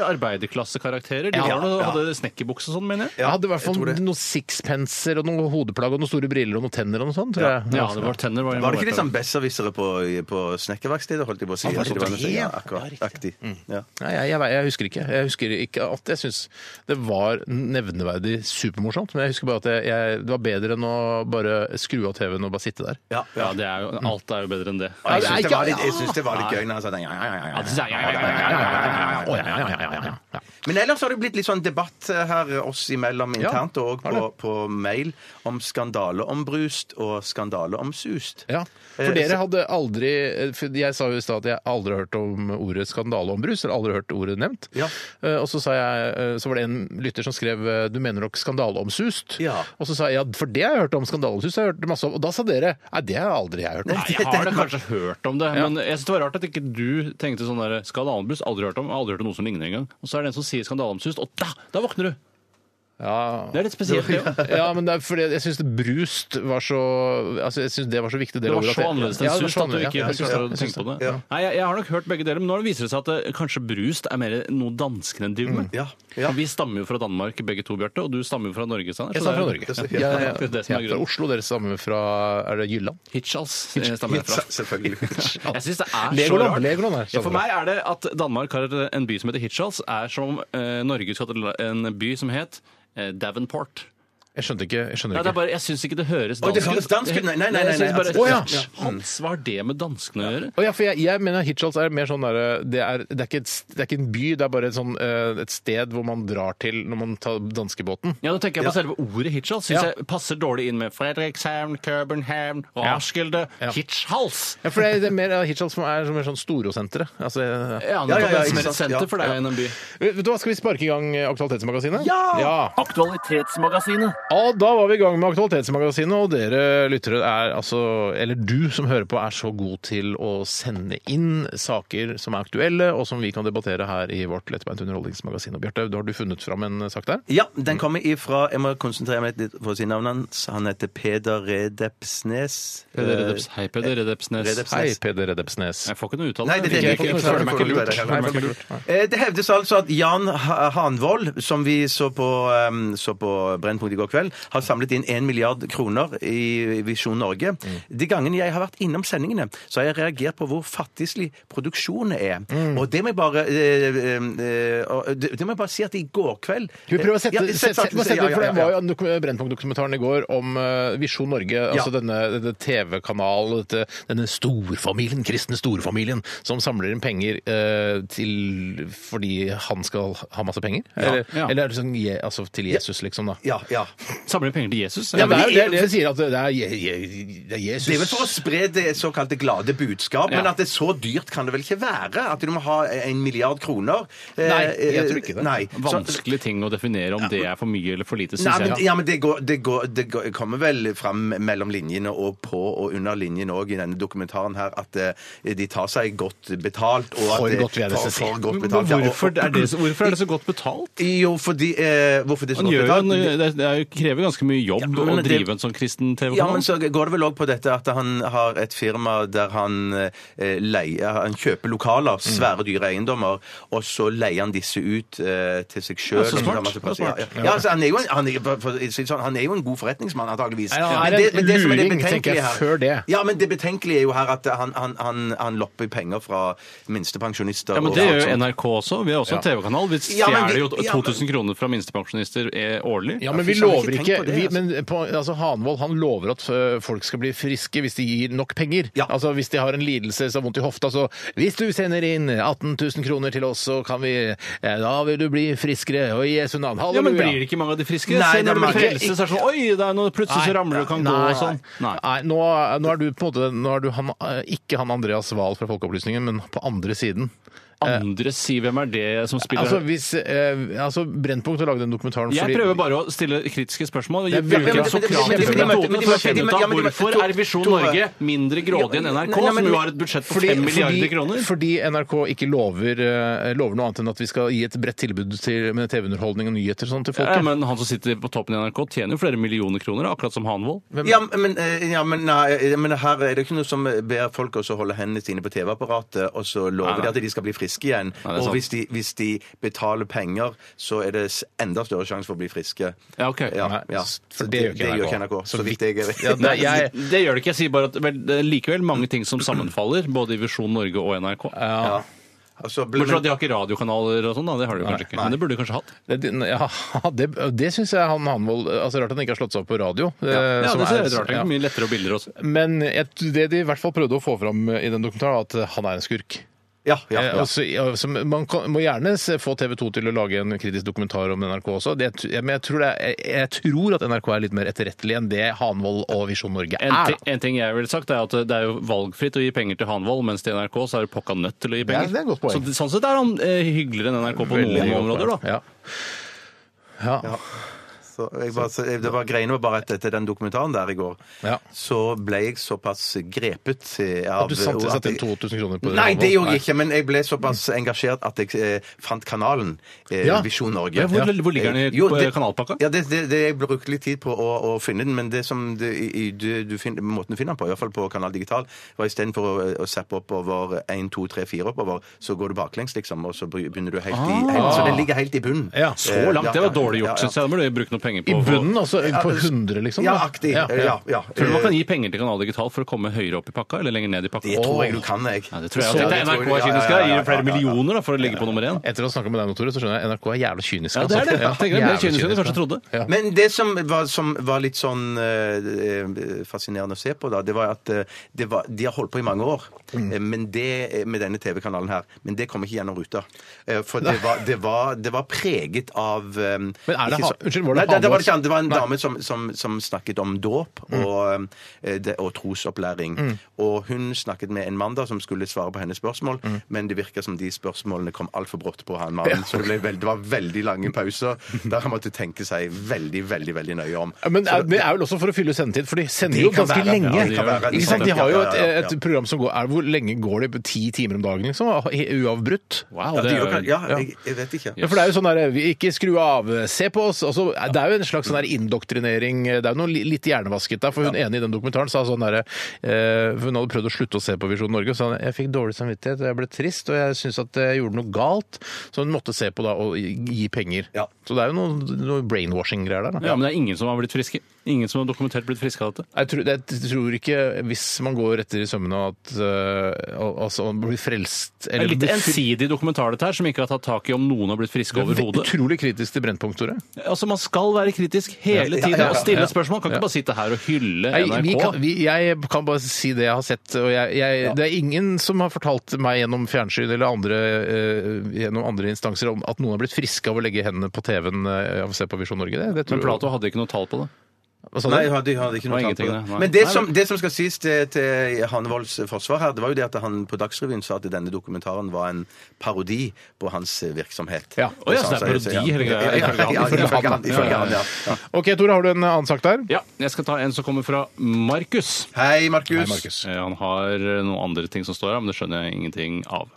Speaker 4: arbeiderklassekarakterer. De var noe, hadde snekkerbukse og sånn, mener jeg.
Speaker 3: Jeg hadde i hvert fall noen sixpenser og noen hodeplagg og noen store briller og noen tenner og noe sånt, tror jeg.
Speaker 4: Ja, det var tenner. Var
Speaker 5: Var det ikke litt sånn besserwissere på, på snekkerverkstedet, holdt jeg på å si?
Speaker 3: var
Speaker 5: Det var
Speaker 3: sånn,
Speaker 5: noe-
Speaker 3: ja.
Speaker 5: ja, akkurat, aktig. Ja.
Speaker 3: Nei, jeg, jeg, jeg husker ikke. Jeg husker ikke at jeg syns det var nevneverdig supermorsomt, men jeg husker bare at jeg, jeg, det var bedre enn å bare skru av TV-en og bare sitte der.
Speaker 5: Ja, ja.
Speaker 4: Ja, det er jo, alt er jo bedre enn det.
Speaker 5: Jeg syns det var litt, jeg synes det var litt gøy når han sa den. Ja, ja, ja, ja.
Speaker 3: Å, ja, ja, ja, ja, ja, ja.
Speaker 5: Men ellers har det blitt litt sånn debatt her oss imellom internt og på, på mail om skandaleombrust og skandaleomsust.
Speaker 3: Ja, for dere hadde aldri for Jeg sa jo i stad at jeg aldri har hørt om ordet skandaleombrus, eller aldri hørt ordet nevnt.
Speaker 5: Ja.
Speaker 3: Eh, Og så, sa jeg, eh, så var det en lytter som skrev eh, 'du mener nok skandaleomsust'.
Speaker 5: Ja.
Speaker 3: Og så sa jeg ja, for det har jeg hørt om. Skandaleomsust har jeg hørt masse om. Og da sa dere nei, det har aldri jeg hørt om.
Speaker 4: Jeg har da kanskje hørt om det, men jeg synes det var rart at ikke du tenkte sånn der Skandaleombrus, aldri hørt om, aldri hørt om noe som ligner engang. Og så er det en som sier skandaleomsust, og da, da våkner du!
Speaker 3: Ja.
Speaker 4: Det er litt spesielt, det òg.
Speaker 3: Ja, men det er fordi jeg syns brust var så altså jeg synes det var så viktig.
Speaker 4: Det
Speaker 3: av
Speaker 4: var
Speaker 3: ordet
Speaker 4: så
Speaker 3: at jeg-
Speaker 4: annerledes
Speaker 3: Ja,
Speaker 4: enn
Speaker 3: det var
Speaker 4: sust
Speaker 3: så
Speaker 4: at du
Speaker 3: annerledes.
Speaker 4: ikke
Speaker 3: Ja, jeg synes
Speaker 4: klarer å
Speaker 3: det.
Speaker 4: tenke på det.
Speaker 5: Ja.
Speaker 4: Nei, jeg, jeg har nok hørt begge deler, men nå viser det seg at eh, kanskje brust er mer noe danskene driver med.
Speaker 5: Ja, ja.
Speaker 4: Vi stammer jo fra Danmark begge to, Bjarte, og du stammer jo fra Norge, Steinar.
Speaker 3: Jeg
Speaker 4: så
Speaker 3: stammer fra
Speaker 4: det
Speaker 3: Norge.
Speaker 4: er-
Speaker 3: Ja,
Speaker 5: Norge.
Speaker 4: Ja,
Speaker 3: ja,
Speaker 4: Det er det som
Speaker 3: ja.
Speaker 4: er
Speaker 3: Fra
Speaker 4: grunnen.
Speaker 3: Oslo, dere stammer fra Er det Jylland?
Speaker 4: Hirtshals eh, stammer jeg fra.
Speaker 5: Selvfølgelig.
Speaker 4: Jeg synes det er så
Speaker 3: Legoland,
Speaker 4: rart.
Speaker 3: Legoland er
Speaker 4: ja, for
Speaker 3: samme.
Speaker 4: meg er det at Danmark har en by som heter Hirtshals, er som om eh, Norge skulle hatt en by som het eh, Davenport.
Speaker 3: Jeg skjønte ikke. Jeg skjønner
Speaker 4: Nei, det
Speaker 3: ikke.
Speaker 4: er bare, jeg syns ikke det høres
Speaker 5: Å,
Speaker 4: dansk
Speaker 5: det høres dansk ut. Nei, nei, nei,
Speaker 4: Jeg synes
Speaker 5: nei,
Speaker 4: bare,
Speaker 5: nei.
Speaker 3: Å, ja.
Speaker 4: Hans, hva har det med danskene å gjøre?
Speaker 3: Å ja, for jeg, jeg mener Hitchhals er mer sånn der, det, er, det, er ikke et, det er ikke en by, det er bare et, sånn, eh, et sted hvor man drar til når man tar danskebåten.
Speaker 4: Ja, Nå tenker jeg på selve ordet Hirtshals. Syns
Speaker 3: Ja.
Speaker 4: jeg passer dårlig inn med Fredrikshavn, København, Raskilde,
Speaker 3: Ja.
Speaker 4: Hirtshals.
Speaker 3: Ja, for det er, det er mer Hitchhals som er som er sånn Storosenteret. Altså, eh,
Speaker 4: Ja,
Speaker 5: Ja,
Speaker 4: det
Speaker 5: ja, ja,
Speaker 4: er
Speaker 5: ikke
Speaker 4: mer et
Speaker 5: sant.
Speaker 4: senter
Speaker 5: Ja,
Speaker 4: for deg enn en by.
Speaker 3: Vet du hva, skal vi sparke i gang eh, Aktualitetsmagasinet?
Speaker 5: Ja!
Speaker 4: Aktualitetsmagasinet.
Speaker 3: Ja, da var vi i gang med Aktualitetsmagasinet, og dere lyttere er altså Eller du som hører på, er så god til å sende inn saker som er aktuelle, og som vi kan debattere her i vårt lettbeint underholdningsmagasin. Og Bjarte, har du funnet fram en sak der?
Speaker 5: Ja, den kommer ifra Jeg må konsentrere meg litt for å si navnet hans. Han heter Peder Redepsnes.
Speaker 4: Peder Redeps, hei, Peder Redepsnes.
Speaker 5: Redepsnes.
Speaker 3: Hei, Peder Redepsnes.
Speaker 4: Jeg får ikke noe uttale.
Speaker 5: eh, Nei, det, det,
Speaker 4: Jeg
Speaker 5: det,
Speaker 4: fikk-
Speaker 5: det,
Speaker 4: jeg føler meg ikke lurt.
Speaker 5: det-
Speaker 4: Føler meg ikke lurt.
Speaker 5: Eh, Det hevdes altså at Jan Ha- Hanvold, som vi så på, eh, så på Brennpunkt i går kveld, har samlet inn 1 milliard kroner i Visjon Norge.
Speaker 4: Mm.
Speaker 5: De gangene jeg har vært innom sendingene, så har jeg reagert på hvor fattigslig produksjonen er.
Speaker 4: Mm.
Speaker 5: Og det må jeg bare eh, eh, og det, det må jeg bare si at i går kveld eh,
Speaker 3: Skal vi prøve å sette,
Speaker 5: Ja,
Speaker 3: sette, sette, sette,
Speaker 5: ja, ja,
Speaker 3: for det
Speaker 5: ja,
Speaker 3: var
Speaker 5: ja.
Speaker 3: jo dokum- Brennpunkt-dokumentaren i går om eh, Visjon Norge, altså denne, denne TV-kanalen, dette- denne storfamilien, kristne storfamilien, som samler inn penger eh, til fordi han skal ha masse penger? Eller,
Speaker 4: ja.
Speaker 3: eller er det sånn, je, altså til Jesus, liksom, da?
Speaker 5: Ja, ja.
Speaker 4: Samler penger til Jesus?
Speaker 3: Ja, men det er jo det,
Speaker 5: men
Speaker 3: det sier at det er, je, je, det er Jesus.
Speaker 5: Det er vel for å spre det såkalte glade budskap, men
Speaker 4: Ja.
Speaker 5: at det er så dyrt kan det vel ikke være? At du må ha en milliard kroner? Eh,
Speaker 3: Nei, jeg tror ikke det.
Speaker 5: Nei. Så-
Speaker 4: Vanskelig ting å definere om det er for mye eller for lite,
Speaker 5: Nei,
Speaker 4: syns
Speaker 5: men,
Speaker 4: jeg.
Speaker 5: ja, men det, går, det, går, det går, kommer vel fram mellom linjene og på og under linjene òg i denne dokumentaren her at eh, de tar seg godt betalt. Og at
Speaker 3: For
Speaker 5: det-
Speaker 3: godt, vil jeg nesten
Speaker 5: for,
Speaker 3: si.
Speaker 5: for godt
Speaker 4: Men
Speaker 5: betalt. ja, og-
Speaker 4: Hvorfor er det så, hvorfor er det så godt betalt?
Speaker 5: Jo, fordi eh, Hvorfor det er så
Speaker 4: Han gjør
Speaker 5: godt
Speaker 4: jo en,
Speaker 5: betalt?
Speaker 4: det det er jo- krever ganske mye jobb
Speaker 5: Ja, men
Speaker 4: å
Speaker 5: det-
Speaker 4: drive en sånn kristen
Speaker 5: Ja, men
Speaker 4: TV-kanal.
Speaker 5: så går det vel òg på dette at han har et firma der han eh, leier Han kjøper lokaler, svære dyre eiendommer, og så leier han disse ut eh, til seg sjøl.
Speaker 4: Ja, så smart, så
Speaker 5: Ja,
Speaker 4: smart.
Speaker 5: ja. ja, altså, han er jo en, han er, for, for, å si det sånn, han er jo en god forretningsmann, antageligvis.
Speaker 3: Nei, han er en
Speaker 5: som
Speaker 3: luring, tenker jeg,
Speaker 5: betenkelige her-
Speaker 3: før det.
Speaker 5: Ja, men det betenkelige er jo her at han, han, han, han lopper penger fra minstepensjonister.
Speaker 4: Ja, men
Speaker 5: og
Speaker 4: Det
Speaker 5: alt
Speaker 4: gjør jo
Speaker 5: sånt.
Speaker 4: NRK også. Vi er også en TV-kanal. Vi
Speaker 5: Ja, men vi-
Speaker 4: stjeler jo
Speaker 5: ja, men-
Speaker 4: 2000 kroner fra minstepensjonister eh, årlig.
Speaker 3: Ja, men
Speaker 5: fy
Speaker 3: vi
Speaker 5: søren,
Speaker 3: lover
Speaker 5: ikke tenk
Speaker 3: ikke
Speaker 5: på det,
Speaker 3: vi,
Speaker 5: altså.
Speaker 3: men på, altså Hanvold han lover at ø, folk skal bli friske hvis de gir nok penger.
Speaker 5: Ja.
Speaker 3: Altså Hvis de har en lidelse som vondt i hofta, så Hvis du sender inn 18 000 kroner til oss, så kan vi eh, Da vil du bli friskere. Og i Jesu navn.
Speaker 4: Ja,
Speaker 3: Halleluja.
Speaker 4: men Blir det ikke mange av de friske?
Speaker 5: Nei,
Speaker 4: Se
Speaker 5: det er
Speaker 4: når du blir
Speaker 5: mange-
Speaker 4: frelst, så er det sånn Oi, det er noe, plutselig så ramler du og kan
Speaker 3: nei,
Speaker 4: gå og sånn.
Speaker 3: Nei.
Speaker 4: Nei.
Speaker 3: nei nå, nå er du på en måte Nå er du han, eh, ikke han Andreas Wahl fra Folkeopplysningen, men på andre siden.
Speaker 4: Andre si hvem er det som spiller
Speaker 3: Altså, hvis, eh, altså Brennpunkt har laget den dokumentaren
Speaker 4: Jeg
Speaker 3: fordi-
Speaker 4: prøver bare å stille kritiske spørsmål.
Speaker 3: Det
Speaker 4: Jeg
Speaker 3: er- men-
Speaker 4: bruker
Speaker 3: men-
Speaker 4: den
Speaker 3: men-
Speaker 4: sokratiske
Speaker 3: men- men-
Speaker 5: men-
Speaker 4: metoden for å finne
Speaker 5: men-
Speaker 4: ut
Speaker 5: ja,
Speaker 4: av
Speaker 5: men-
Speaker 4: hvorfor
Speaker 5: Tore-
Speaker 4: er Visjon
Speaker 5: Tore-
Speaker 4: Norge mindre grådig enn NRK,
Speaker 5: Nei, nei, men-
Speaker 4: som jo har et budsjett på 5 milliarder kroner?
Speaker 3: Fordi NRK ikke lover, eh, lover noe annet enn at vi skal gi et bredt tilbud til, med TV-underholdning og nyheter og sånn til folket.
Speaker 4: Ja, men han som sitter på toppen i NRK, tjener jo flere millioner kroner, akkurat som Hanvold.
Speaker 5: Ja, men, eh, ja, men, nei, eh, men her er det ikke noe som eh, ber folk også holde hendene sine på TV-apparatet, og så
Speaker 4: Nei,
Speaker 5: lover
Speaker 4: nei.
Speaker 5: de at de skal bli friske igjen.
Speaker 4: Nei, det er
Speaker 5: og
Speaker 4: sant.
Speaker 5: hvis de, hvis de betaler penger, så er det s- enda større sjanse for å bli friske.
Speaker 4: Ja, ok.
Speaker 5: Ja,
Speaker 3: Nei,
Speaker 5: ja.
Speaker 3: s- for det
Speaker 5: Så det,
Speaker 3: gjør ikke
Speaker 5: det gjør ikke
Speaker 3: NRK.
Speaker 5: NRK, så vidt jeg vet.
Speaker 3: Ja,
Speaker 4: Nei,
Speaker 3: nei,
Speaker 4: jeg,
Speaker 3: jeg-
Speaker 4: det gjør det ikke. Jeg sier bare at vel, det er likevel mange ting som sammenfaller, både i Visjon Norge og NRK.
Speaker 5: Ja. Altså, bl-
Speaker 4: Bortsett fra at de har ikke radiokanaler og sånn, da. Det har de kanskje ikke. Men det burde de kanskje hatt.
Speaker 3: Det, ja, det, det syns jeg han Hanvold altså Rart han ikke har slått seg opp på radio. eh,
Speaker 4: Ja,
Speaker 3: som
Speaker 4: det ser
Speaker 3: er-
Speaker 4: jeg rart ut.
Speaker 3: ja.
Speaker 4: Mye lettere og billigere også.
Speaker 3: Men jeg, det de i hvert fall prøvde å få fram i den dokumentaren, var at eh, han er en skurk.
Speaker 5: ja, ja,
Speaker 3: Eh,
Speaker 5: ja.
Speaker 3: altså, ja, som- man kan, må gjerne se- få TV 2 til å lage en kritisk dokumentar om NRK også. Det, t- ja, men jeg tror, det er, jeg, jeg tror at NRK er litt mer etterrettelig enn det Hanvold og Visjon Norge er.
Speaker 4: En,
Speaker 3: da.
Speaker 4: ting, en ting jeg ville sagt er at det er jo valgfritt å gi penger til Hanvold, mens til NRK så er det pokka nødt til å gi
Speaker 3: Ja, det er et
Speaker 4: penger.
Speaker 3: godt poeng.
Speaker 4: så, sånn sett er han eh, hyggeligere enn NRK på
Speaker 3: Veldig
Speaker 4: noen
Speaker 3: godt
Speaker 4: områder, da.
Speaker 3: poeng. Ja. Ja.
Speaker 5: Så jeg bare, så jeg, det var greiene var bare at etter den dokumentaren der i går,
Speaker 3: Ja.
Speaker 5: så ble jeg såpass grepet eh, av
Speaker 3: At du samtidig
Speaker 5: at
Speaker 3: satte inn
Speaker 5: jeg-
Speaker 3: 2000 kroner på
Speaker 5: Nei, det gjorde
Speaker 3: Nei.
Speaker 5: jeg ikke, men jeg ble såpass engasjert at jeg eh, fant kanalen eh,
Speaker 3: Ja.
Speaker 5: Visjon Norge.
Speaker 4: Ja, hvor, hvor ligger den i
Speaker 5: Jo, det-
Speaker 4: kanalpakka?
Speaker 5: Ja, det, det, det Jeg brukte litt tid på å, å finne den, men det som det, i, i, du, du finner, måten du finner den på, i hvert fall på Kanal Digital, var istedenfor å, å zappe oppover 1, 2, 3, 4 oppover, så går du baklengs, liksom, og så begynner du helt i helt, Så den ligger helt i bunnen. Eh,
Speaker 3: Ja.
Speaker 4: Ah. Så langt! Det var dårlig gjort, syns jeg. Da må du bruke noen penger
Speaker 3: I
Speaker 4: på
Speaker 3: bunnen, altså? På
Speaker 5: det-
Speaker 3: 100, liksom?
Speaker 5: Ja,
Speaker 3: da?
Speaker 5: aktig. Ja, ja. ja.
Speaker 4: Tror du man kan gi penger til Kanal Digital for å komme høyere opp i pakka, eller lenger ned i pakka?
Speaker 5: Eh, Det tror jeg
Speaker 4: Åh.
Speaker 5: du kan, jeg.
Speaker 4: Ja, det tror jeg.
Speaker 5: Så-
Speaker 4: Tenk deg,
Speaker 5: det
Speaker 4: NRK er
Speaker 5: tror jeg- ja, ja,
Speaker 4: kyniske.
Speaker 5: ja,
Speaker 4: Gir
Speaker 5: ja,
Speaker 4: dem flere
Speaker 5: ja, ja.
Speaker 4: millioner da, for å ligge på nummer én.
Speaker 3: Etter å ha snakka med deg, nå, Tore, så skjønner jeg NRK er jævla kynisk.
Speaker 4: Ja, det er det.
Speaker 3: altså.
Speaker 4: Jeg tenker det er mer
Speaker 3: jævla
Speaker 4: kynisk enn du
Speaker 3: kynisk,
Speaker 4: kanskje trodde.
Speaker 3: ja.
Speaker 5: Men det som var, som var litt sånn eh, eh, fascinerende å se på, da, det var at eh, det var, de har holdt på i mange år
Speaker 3: Mm.
Speaker 5: eh, men det, eh, med denne TV-kanalen her. Men det kom ikke gjennom ruta. Eh, for det var, det, var, det var preget av Men
Speaker 3: Men er det ha- Unnskyld, var det
Speaker 5: Nei, det, det var
Speaker 3: Hanvold?
Speaker 5: ikke han. Det var en
Speaker 3: Nei.
Speaker 5: dame som, som, som snakket om dåp
Speaker 3: Mm.
Speaker 5: og, eh, det- og trosopplæring. Og hun snakket med en mann da som skulle svare på hennes spørsmål,
Speaker 3: Mm.
Speaker 5: men det virka som de spørsmålene kom altfor brått på han mannen. Så det, ble veld, det var veldig lange pauser der han måtte tenke seg veldig, veldig veldig nøye om.
Speaker 3: Ja, Men
Speaker 5: Så
Speaker 3: er, det er vel også for å fylle sendetid, for de sender
Speaker 5: Det
Speaker 3: jo
Speaker 5: kan
Speaker 3: ganske
Speaker 5: være,
Speaker 3: lenge.
Speaker 5: ja, det kan være.
Speaker 3: ikke sant? De har jo et,
Speaker 5: Ja, ja, ja, ja.
Speaker 3: et program som går er, Hvor lenge går det? Ti timer om dagen, liksom? Uavbrutt?
Speaker 4: Wow,
Speaker 5: ja,
Speaker 4: det
Speaker 5: det gjør,
Speaker 4: er
Speaker 5: ja, jeg, jeg vet ikke.
Speaker 3: eh, Ja, for det er jo sånn der, vi Ikke skru av, eh, se på oss. Altså, det er er jo en slags sånn der indoktrinering eh, Det er jo noe li- litt hjernevasket der, for hun ene i den dokumentaren sa sånn derre eh, for Hun hadde prøvd å slutte å se på Visjon Norge, og sa hun, jeg fikk dårlig samvittighet, og jeg ble trist, og jeg syntes at jeg gjorde noe galt. Så hun måtte se på da og gi penger.
Speaker 5: Ja.
Speaker 3: Så det er jo noe, noe brainwashing-greier der. da.
Speaker 4: Ja, men det er ingen som har blitt friske. Ingen som har dokumentert blitt friske av dette.
Speaker 3: Jeg tror, jeg tror ikke, hvis man går etter i sømmene, at eh, al- altså, man blir frelst
Speaker 4: Det er litt
Speaker 3: blir fri-
Speaker 4: ensidig dokumentar dette her, som ikke har tatt tak i om noen har blitt friske overhodet.
Speaker 3: Utrolig kritisk til Brennpunkt, Tore.
Speaker 4: Altså, man skal være kritisk hele
Speaker 5: ja,
Speaker 4: tiden
Speaker 5: ja,
Speaker 4: og stille
Speaker 3: ja.
Speaker 4: spørsmål. Kan ikke bare sitte her og hylle
Speaker 3: Nei, vi kan,
Speaker 4: NRK.
Speaker 3: vi, jeg kan bare si det jeg har sett. Og jeg, jeg, Det er ingen som har fortalt meg gjennom fjernsyn eller andre, eh, gjennom andre instanser om at noen har blitt friske av å legge hendene på TV-en eh, av å se på Visjon Norge. Det, det tror
Speaker 4: Men Plato hadde ikke noe tall på det.
Speaker 3: Hva sa du?
Speaker 5: Nei, jeg hadde, jeg hadde ikke
Speaker 4: Det var
Speaker 5: noe tall på
Speaker 4: ingenting,
Speaker 5: det.
Speaker 4: det. Nei.
Speaker 5: Men det
Speaker 4: Nei,
Speaker 5: som, det som skal sies til, til Hanevolds forsvar her, det var jo det at han på Dagsrevyen sa at denne dokumentaren var en parodi på hans virksomhet.
Speaker 3: Ja.
Speaker 4: Å ja, så det er
Speaker 5: sa-
Speaker 4: parodi, hele greia,
Speaker 5: Ja, ja,
Speaker 4: ifølge han.
Speaker 5: ja,
Speaker 4: Ifølge
Speaker 5: ifølge
Speaker 4: han.
Speaker 5: han, ifølge han, ja. Ja.
Speaker 3: OK, Tore, har du en annen sak der?
Speaker 4: Ja, jeg skal ta en som kommer fra Markus.
Speaker 5: Hei, Markus.
Speaker 3: Nei, Markus.
Speaker 4: Eh, Han har eh, noen andre ting som står her, men det skjønner jeg ingenting av.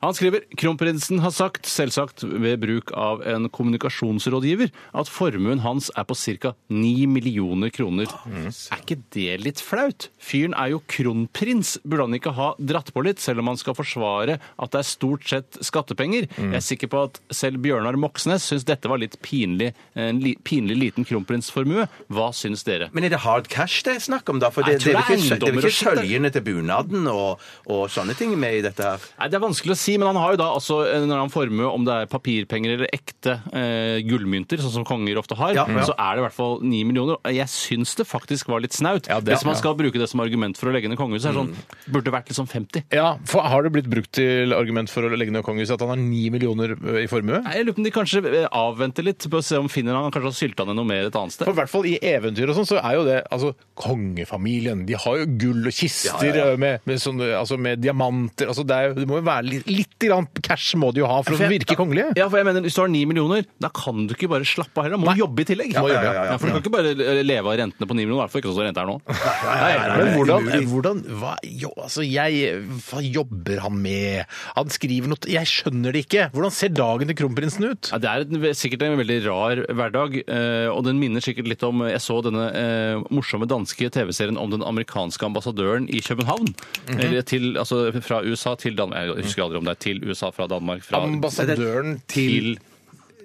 Speaker 4: Han skriver kronprinsen har sagt, selvsagt ved bruk av en kommunikasjonsrådgiver, at formuen hans er på ca. 9 millioner kroner. Er ikke det litt flaut? Fyren er jo kronprins. Burde han ikke ha dratt på litt, selv om han skal forsvare at det er stort sett skattepenger? Jeg er sikker på at selv Bjørnar Moxnes syns dette var litt pinlig. En li pinlig liten kronprinsformue. Hva syns dere?
Speaker 5: Men er det hard cash det er snakk om, da? For
Speaker 4: Nei,
Speaker 5: det,
Speaker 4: jeg
Speaker 5: det er
Speaker 4: tror det er
Speaker 5: jo ikke, sø- det er jo
Speaker 4: eiendommer
Speaker 5: ikke
Speaker 4: og shit, det.
Speaker 5: søljene til bunaden og, og sånne ting med i dette her.
Speaker 4: Nei, Det er vanskelig å si, men han har jo da altså en eller annen formue, om det er papirpenger eller ekte eh, gullmynter, sånn som konger ofte har,
Speaker 5: Ja, ja.
Speaker 4: så er det i hvert fall ni millioner. Og Jeg syns det faktisk var litt snaut.
Speaker 3: Ja, det-
Speaker 4: Hvis man
Speaker 3: ja. Mm.
Speaker 4: skal bruke det som argument for å legge ned kongehuset, er det sånn Burde det vært liksom 50?
Speaker 3: Ja, for Har det blitt brukt til argument for å legge ned kongehuset at han har ni millioner eh, i formue?
Speaker 4: Nei, Jeg lurer på om de kanskje eh, avventer litt, på å se om finner han kanskje har sylta ned noe mer et annet
Speaker 3: For
Speaker 4: sted.
Speaker 3: i hvert fall i eventyr og sånn, så er jo det altså Kongefamilien, de har jo gull og kister eh, Med, med, sånne, altså, med diamanter altså, det, er, jo- det må jo være litt, litt grann cash må de jo ha for å virke kongelige.
Speaker 4: Ja, for jeg mener, Hvis du har ni millioner, da kan du ikke bare slappe av heller. Du må jobbe i tillegg.
Speaker 3: Må jobbe, ja.
Speaker 4: Ja, for Du kan ikke bare leve av rentene på ni millioner, i hvert fall ikke sånn som renta er nå.
Speaker 3: Men hvordan, hvordan hva, jo, altså jeg, hva jobber han med? Han skriver noe Jeg skjønner det ikke! Hvordan ser dagen til kronprinsen ut?
Speaker 4: Ja, det er et, sikkert en veldig rar hverdag, eh, og den minner sikkert litt om Jeg så denne eh, morsomme danske TV-serien om den amerikanske ambassadøren i København. Eller til, altså, fra USA til Danmark Jeg husker aldri om det er til USA fra Danmark fra
Speaker 3: Ambassadøren
Speaker 4: til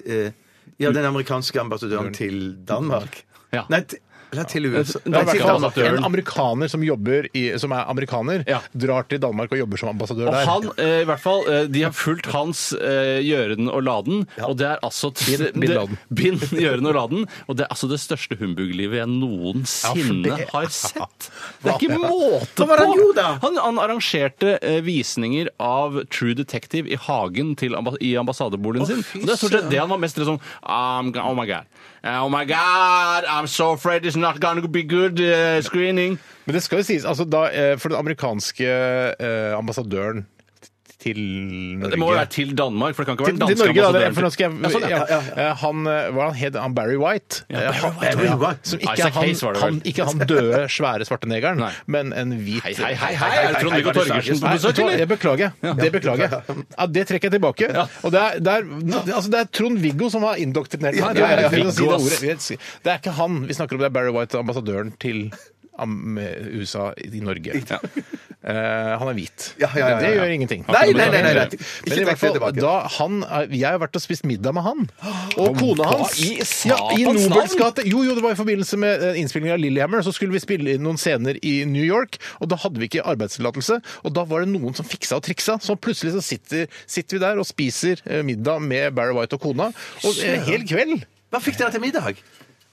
Speaker 5: Eh, ja, den amerikanske ambassadøren til Danmark.
Speaker 4: Ja.
Speaker 5: Nei, til, nei, til
Speaker 4: Ja,
Speaker 5: USA.
Speaker 4: i hvert
Speaker 5: Nei, til
Speaker 4: fall
Speaker 5: Danmark.
Speaker 4: ambassadøren.
Speaker 3: En amerikaner som, jobber i, som er amerikaner,
Speaker 4: Ja.
Speaker 3: drar til Danmark og jobber som ambassadør
Speaker 4: og
Speaker 3: der.
Speaker 4: han, eh, i hvert fall, eh, De har fulgt hans eh, gjøren og laden, og det er altså
Speaker 3: Bin- Bin Laden.
Speaker 4: det- Bin gjøren og laden, og det er altså det største humbug-livet jeg noensinne
Speaker 3: Ja, for det-
Speaker 4: har sett. Det er ikke
Speaker 3: Ja.
Speaker 4: måte
Speaker 5: Hva var det han gjorde da?
Speaker 4: Han, han arrangerte eh, visninger av True Detective i hagen til, amba- i ambassadeboligen sin. Og det er stort sett det han var mest liksom I'm, go- Oh my God. Eh, Oh my God, I'm so afraid it's not gonna be good eh, screening.
Speaker 3: Men det skal jo sies, altså da, eh, for den amerikanske eh, ambassadøren til Norge
Speaker 4: Det må jo være til Danmark, for det kan ikke være
Speaker 3: til,
Speaker 4: den
Speaker 3: til
Speaker 4: danske
Speaker 3: Norge, da. det-
Speaker 4: ambassadøren
Speaker 3: For nå skal
Speaker 4: Ja,
Speaker 3: jeg,
Speaker 4: sånn,
Speaker 3: ja,
Speaker 4: ja.
Speaker 3: eh, han eh, hva han het han? Barry White?
Speaker 4: Ja,
Speaker 3: Eh,
Speaker 4: Barry
Speaker 3: han-
Speaker 4: White,
Speaker 5: ja.
Speaker 3: ja, Som ikke
Speaker 4: Isaac
Speaker 3: er han,
Speaker 4: Hayes var det vel.
Speaker 3: han, ikke han døde, svære svarte negeren,
Speaker 4: Nei.
Speaker 3: men en hvit
Speaker 4: Hei, hei, hei, hei, er det Trond-Viggo
Speaker 5: Hei, hei, hei,
Speaker 4: Torgersen på
Speaker 3: Nei,
Speaker 4: besøk,
Speaker 3: vet du hva?
Speaker 4: eller?
Speaker 3: jeg beklager. Det beklager jeg. Ja, det trekker jeg tilbake. Og det er, det er, altså, det er Trond-Viggo som har indoktrinert meg.
Speaker 4: Ja, ja, ja.
Speaker 3: Det er- å si det
Speaker 4: Viggo,
Speaker 3: ordet.
Speaker 4: ass.
Speaker 3: Vi vet- Det er ikke han vi snakker om, det er Barry White, ambassadøren til am- eh, USA i Norge. Eh, han er hvit.
Speaker 5: Ja, ja, ja, ja, ja.
Speaker 3: Det gjør ingenting.
Speaker 5: Nei,
Speaker 4: nei, nei, nei,
Speaker 5: nei.
Speaker 3: Men i
Speaker 5: Ikke
Speaker 3: hvert
Speaker 5: trekk det
Speaker 3: fall,
Speaker 5: tilbake.
Speaker 3: da han, er- jeg har vært og spist middag med han. Og kona
Speaker 4: hva
Speaker 3: hans.
Speaker 4: i
Speaker 3: Ja, I Nobels
Speaker 4: satans navn?
Speaker 3: gate. Jo, jo, det var i forbindelse med eh, innspillingen av Lillehammer. Så skulle vi spille inn noen scener i New York, og da hadde vi ikke arbeidstillatelse. Og da var det noen som fiksa og triksa, så plutselig så sitter, sitter vi der og spiser eh, middag med Barry White og kona. Og eh, hel kveld.
Speaker 5: Hva fikk dere til middag?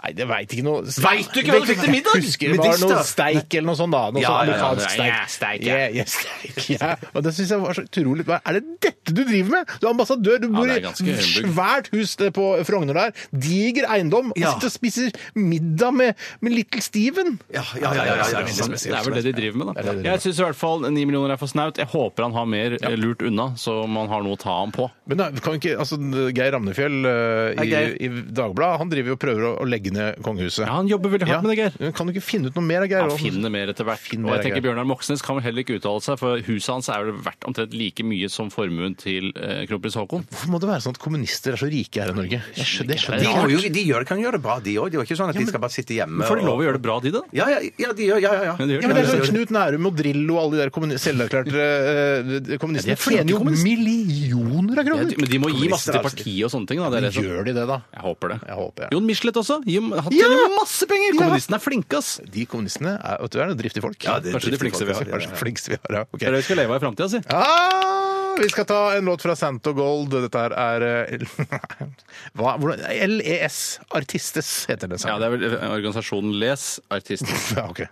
Speaker 3: Nei, det veit ikke noe
Speaker 4: Vet du ikke hva du fikk til middag?
Speaker 3: Husker det var
Speaker 5: Medister.
Speaker 3: noe steik eller noe sånt, da. Noe
Speaker 4: Ja,
Speaker 3: sånn
Speaker 4: ja, ja,
Speaker 3: amerikansk
Speaker 4: ja, ja, steik, ja.
Speaker 3: Yeah, yeah, steik, ja. Og det syns jeg var så utrolig Hva er det dette du driver med?! Du er ambassadør, du bor
Speaker 4: det er
Speaker 3: i
Speaker 4: ganske
Speaker 3: et
Speaker 4: humbug.
Speaker 3: svært hus det på Frogner der. Diger eiendom. Og
Speaker 5: Ja.
Speaker 3: sitter og spiser middag med, med Little Steven.
Speaker 5: Ja, ja, ja. ja, ja, ja,
Speaker 4: Det
Speaker 5: ja.
Speaker 4: er vel det de driver med,
Speaker 3: Det er det
Speaker 4: da.
Speaker 3: de driver
Speaker 4: Jeg syns i hvert fall 9 millioner er for snaut. Jeg håper han har mer eh, lurt unna, så man har noe å ta ham på.
Speaker 3: Men da, kan ikke, altså, Geir Ramnefjell eh,
Speaker 5: Hei,
Speaker 3: i,
Speaker 5: Geir.
Speaker 3: i Dagbladet han driver jo og prøver å, å legge ned kongehuset.
Speaker 4: Ja, han jobber veldig hardt med det, Geir.
Speaker 3: Men Kan du ikke finne ut noe mer av Geir?
Speaker 4: Han finner mer etter hvert.
Speaker 3: Finn
Speaker 4: og
Speaker 3: mer,
Speaker 4: jeg tenker
Speaker 3: Geir.
Speaker 4: Bjørnar Moxnes kan vel heller ikke uttale seg, for huset hans er vel verdt omtrent like mye som formuen til eh, kronprins Haakon.
Speaker 3: Hvorfor må det være sånn at kommunister er så rike her i Norge? Jeg skjønner, jeg skjønner
Speaker 5: De,
Speaker 3: ikke.
Speaker 5: må jo, de gjør, kan gjøre det bra, de òg. Det er jo ikke sånn at de skal bare sitte hjemme.
Speaker 4: Men får de lov
Speaker 5: og-
Speaker 4: å gjøre det bra, de, da?
Speaker 5: Ja, ja, ja, de gjør ja, ja, ja.
Speaker 4: Men de gjør
Speaker 3: Ja, men det er sånn
Speaker 5: Ja,
Speaker 3: Knut Nærum og Drillo og alle de der kommuni- selverklærte eh, kommunistene
Speaker 4: Ja, de er flinke
Speaker 3: tjener jo
Speaker 4: kommunister.
Speaker 3: millioner av
Speaker 4: Ja,
Speaker 3: kroner!
Speaker 4: de- men de må gi masse
Speaker 5: Kommunister,
Speaker 4: til partiet liksom. og sånne ting. Da. Det er det som-
Speaker 3: Gjør de det, da?
Speaker 4: Jeg håper det.
Speaker 3: Jeg håper, ja.
Speaker 4: Jon Michelet også. Gi- Han
Speaker 3: Ja!
Speaker 4: tjener jo masse penger!
Speaker 3: Ja.
Speaker 4: Kommunistene er flinke, ass!
Speaker 3: De kommunistene er, vet du, er noen driftige folk.
Speaker 5: Ja, det er
Speaker 4: Kanskje de
Speaker 5: driftige
Speaker 4: flinkeste vi
Speaker 5: folk,
Speaker 4: har.
Speaker 5: altså.
Speaker 3: Kanskje de flinkeste vi har, ja.
Speaker 4: Det er
Speaker 3: ok.
Speaker 4: det vi skal leve av i framtida, si.
Speaker 3: Ah, vi skal ta en låt fra Santo Gold. Dette her er eh, Hva? Hvordan? LES Artistes heter det.
Speaker 4: Ja, det er vel eh, organisasjonen Les Artister.
Speaker 3: Ja, ok.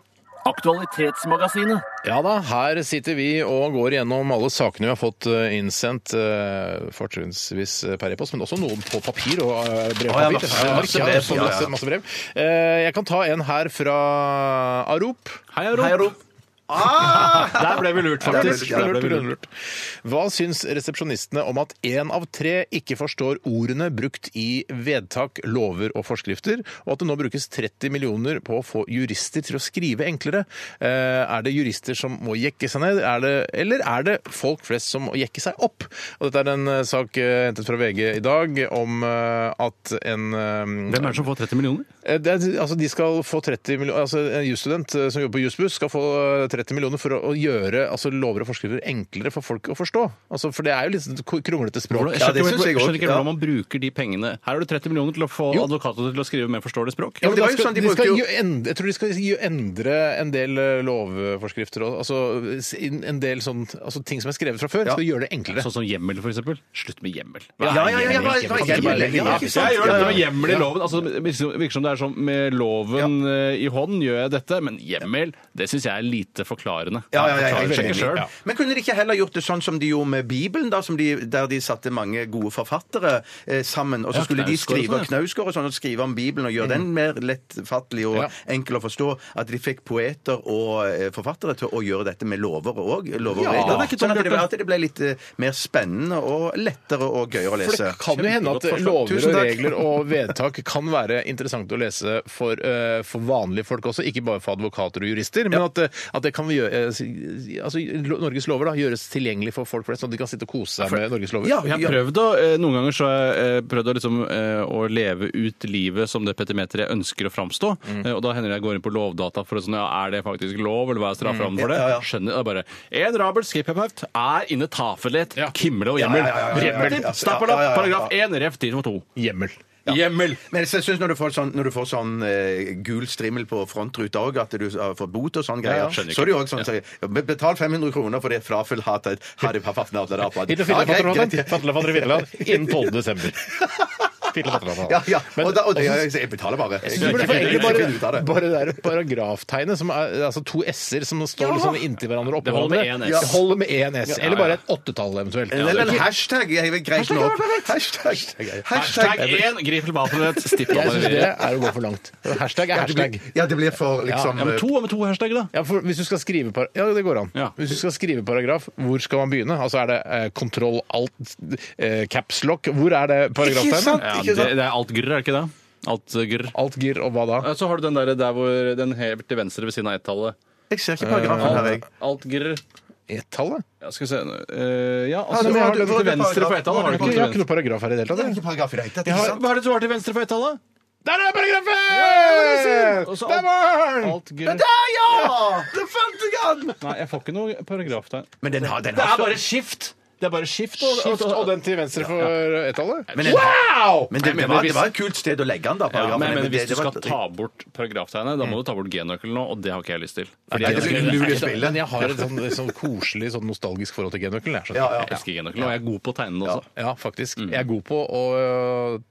Speaker 7: Aktualitetsmagasinet.
Speaker 3: Ja da, her sitter vi og går gjennom alle sakene vi har fått eh, innsendt, eh, fortrinnsvis eh, per e-post, men også noen på papir og eh,
Speaker 5: Å, ja,
Speaker 3: brevpapir.
Speaker 5: masse-
Speaker 3: Ja,
Speaker 5: masse
Speaker 3: ja,
Speaker 5: brev,
Speaker 3: så
Speaker 5: ja, ja.
Speaker 3: masse- masse brev. Eh, Jeg kan ta en her fra Arop.
Speaker 4: Hei,
Speaker 5: Hei,
Speaker 4: Aro.
Speaker 5: Ro. Ah!
Speaker 4: Der ble vi lurt,
Speaker 5: Der ble vi
Speaker 4: faktisk.
Speaker 5: lurt, ja.
Speaker 4: Der ble vi lurt.
Speaker 3: Lurt. Hva syns resepsjonistene om at én av tre ikke forstår ordene brukt i vedtak, lover og forskrifter, og at det nå brukes 30 millioner på å få jurister til å skrive enklere? Eh, Er det jurister som må jekke seg ned, er det, eller er det folk flest som må jekke seg opp? Og dette er en eh, sak eh, hentet fra VG i dag om eh, at en eh,
Speaker 4: Hvem er det som får 30 millioner?
Speaker 3: Eh, Det er, altså, de skal få 30 millioner, altså En jusstudent eh, som jobber på Jussbuss, skal få eh, 30 millioner for å, å gjøre altså, lover og forskrifter enklere for folk å forstå. Altså, for det er jo litt sånn k- kronglete språk.
Speaker 4: Jeg
Speaker 5: Ja, det
Speaker 4: skjønner ikke,
Speaker 5: synes jeg
Speaker 4: jeg
Speaker 5: også.
Speaker 4: skjønner ikke hvordan man bruker de pengene. Her har du 30 millioner til å få
Speaker 3: Jo.
Speaker 4: advokater til å skrive mer forståelig språk.
Speaker 3: Ja, men
Speaker 5: det
Speaker 3: de
Speaker 5: var jo
Speaker 3: skal,
Speaker 5: sånn, de
Speaker 3: de skal
Speaker 5: brukte jo-
Speaker 3: jo endre, jeg tror de skal jo endre en del eh, lovforskrifter. og- Altså, s- inn en del sånn, altså, ting som er skrevet fra før, skal gjøre det enklere.
Speaker 4: Sånn som hjemmel, for eksempel. Slutt med hjemmel.
Speaker 5: Ja, ja, ja, ja, ja, ja, ja,
Speaker 4: Kan du bare-
Speaker 5: ja, ikke sant?
Speaker 4: Jeg gjør dette med
Speaker 5: Ja, ja.
Speaker 4: hjemmel i loven. Altså, det virker virker som det er sånn med loven eh, i hånd gjør jeg dette, men hjemmel, det syns jeg er lite forklarende.
Speaker 5: Ja, ja, ja, jeg er helt
Speaker 4: Sjekk
Speaker 5: enig.
Speaker 4: sjøl.
Speaker 5: Ja. Men kunne de ikke heller gjort det sånn som de gjorde med Bibelen, da, som de, der de satte mange gode forfattere eh, sammen, og så
Speaker 4: Ja,
Speaker 5: skulle
Speaker 4: Knausgård
Speaker 5: de
Speaker 4: og
Speaker 5: skrive
Speaker 4: sånn, ja.
Speaker 5: Knausgård og sånn, og skrive om Bibelen og gjøre den mer lettfattelig og
Speaker 3: Ja.
Speaker 5: enkel å forstå, at de fikk poeter og eh, forfattere til å gjøre dette med lover òg, lover og
Speaker 3: Ja,
Speaker 5: regler.
Speaker 4: det er ikke
Speaker 5: sånn at
Speaker 4: dumt,
Speaker 5: det, ble- at det ble litt eh, mer spennende og lettere og gøyere å
Speaker 3: For det
Speaker 5: lese.
Speaker 3: kan jo hende at
Speaker 4: Kjempegodt forslag.
Speaker 3: lover
Speaker 5: Tusen
Speaker 3: og
Speaker 5: takk.
Speaker 3: regler og vedtak kan være interessant å lese for, eh, for vanlige folk også, ikke bare for advokater og jurister. Men at, eh, at det kan vi gjøre, eh, si- altså, lo- Norges lover da, gjøres tilgjengelig for folk flest, sånn at de kan sitte og kose seg med Norges lover.
Speaker 5: Ja,
Speaker 4: Jeg har
Speaker 5: ja.
Speaker 4: prøvd å, eh, Noen ganger så har jeg eh, prøvd å, liksom, eh, å leve ut livet som det petimeteret jeg ønsker å framstå.
Speaker 5: Mm.
Speaker 4: Eh, Og da hender det jeg går inn på Lovdata for å sånn, ja, er det faktisk lov, eller hva er strafferammen for det?
Speaker 5: Mm. Ja, ja.
Speaker 4: Skjønner jeg bare En rabel skippermøft er inne tafelet,
Speaker 3: Ja.
Speaker 4: kimle og
Speaker 5: Ja, ja,
Speaker 4: hjemmel.
Speaker 5: ja, ja, ja, ja, ja.
Speaker 4: Reptil, stappelapp,
Speaker 5: Ja, ja, ja, ja.
Speaker 4: paragraf 1, ref 1002.
Speaker 3: Hjemmel.
Speaker 4: Hjemmel!
Speaker 5: Men jeg syns når du får sånn, når du får sånn eh, gul strimmel på frontruta òg, at du eh, får bot og sånn greier,
Speaker 4: skjønner
Speaker 5: så er det jo òg sånn som sier ja, be- Betal 500 kroner for det frafyll hatet Harry Pafatnadlerapa.
Speaker 3: Hitler, Fitler, Fatterland, Fatterland, Fatterland, Fitlerland, innen 12. desember. Fitler, Fatterland, Fatterland.
Speaker 5: Ja, ja.
Speaker 3: Men
Speaker 5: Og da, og det,
Speaker 3: også-
Speaker 5: jeg, jeg betaler bare. Jeg,
Speaker 3: Du burde få egentlig
Speaker 5: finne ut av
Speaker 3: bare,
Speaker 5: det.
Speaker 3: bare det der paragraftegnet, som er, altså to s-er som står liksom inntil hverandre oppå
Speaker 4: Det holder med
Speaker 3: hverandre.
Speaker 4: én S.
Speaker 3: Det holder med én s.
Speaker 4: Ja,
Speaker 3: Eller
Speaker 4: ja.
Speaker 3: bare et åttetall eventuelt.
Speaker 5: Eller en hashtag. Jeg vil greie nå opp. Hashtag.
Speaker 4: Hashtag 1, Griffel Bapenett, stipp
Speaker 3: Jeg syns det
Speaker 4: Ja,
Speaker 3: er å gå for langt. Hashtag er
Speaker 5: Ja, det blir-
Speaker 3: hashtag.
Speaker 5: Ja, det blir for liksom
Speaker 4: men to med to hashtag, da.
Speaker 3: Ja, for hvis du skal skrive par ja, det går an.
Speaker 4: Ja.
Speaker 3: Hvis du skal skrive paragraf, hvor skal man begynne? Altså Er det eh, kontroll alt, eh, caps lock? Hvor er det
Speaker 5: Ikke sant?
Speaker 3: paragraftegnet?
Speaker 4: Ja, det,
Speaker 5: Ikke sant?
Speaker 4: det er alt grr, er det ikke det? Alt eh, grr.
Speaker 3: Alt gir, og hva da?
Speaker 4: Ja, Eh, Så har du den der, der hvor den hever til venstre ved siden av ett-tallet. Eh,
Speaker 5: Jeg ser ikke paragrafen her, jeg.
Speaker 4: Alt grr.
Speaker 3: Ett-tallet?
Speaker 4: Ja, skal vi se eh, Ja,
Speaker 5: Ja,
Speaker 4: altså,
Speaker 5: men
Speaker 4: du har
Speaker 5: har du-
Speaker 4: den
Speaker 5: har
Speaker 4: til
Speaker 5: du
Speaker 4: venstre
Speaker 5: paragraf-
Speaker 4: på ett-tallet.
Speaker 5: har
Speaker 3: Jeg har
Speaker 4: har du ikke
Speaker 5: du
Speaker 4: den til
Speaker 3: ikke
Speaker 4: venstre?
Speaker 3: noe paragraf her i det hele
Speaker 5: Det er
Speaker 3: tatt. jeg.
Speaker 5: ikke paragraf i det hele tatt.
Speaker 4: Jeg
Speaker 5: ikke
Speaker 4: har-
Speaker 5: sant?
Speaker 4: Hva er det du har til venstre på ett-tallet?
Speaker 3: Der er
Speaker 4: det
Speaker 3: paragrafen!
Speaker 4: du sier!
Speaker 3: Der var den!
Speaker 4: Alt grr.
Speaker 5: Der, ja! Der fant jeg den!
Speaker 4: Nei, jeg får ikke noe paragraf der.
Speaker 5: Men den har, den har så-
Speaker 4: skift! Det er bare skift og,
Speaker 3: Skift og den til venstre for ett-tallet?
Speaker 5: Men den-
Speaker 3: Wow!
Speaker 5: Men
Speaker 4: Jeg
Speaker 5: det,
Speaker 4: mener,
Speaker 5: det, var,
Speaker 4: hvis-
Speaker 5: det var et kult sted å legge den, da.
Speaker 4: Ja,
Speaker 5: paragrafen.
Speaker 4: men, men
Speaker 5: det-
Speaker 4: hvis du
Speaker 5: det var- Mm.
Speaker 4: skal ta bort paragraftegnet, da må du ta bort g-nøkkelen nå, og det har ikke jeg lyst til. Fordi
Speaker 5: Nei,
Speaker 4: jeg
Speaker 5: det blir
Speaker 4: elsker-
Speaker 5: lurt.
Speaker 4: jeg
Speaker 5: det spillet.
Speaker 3: Men jeg har et sånn, sånn koselig, sånn nostalgisk forhold til G-nøkkelen. jeg, skjønner.
Speaker 5: Ja, ja.
Speaker 4: elsker g-nøkkelen, og jeg er god på å tegne den også.
Speaker 3: Ja, faktisk.
Speaker 4: Mm.
Speaker 3: Jeg er god på å øh,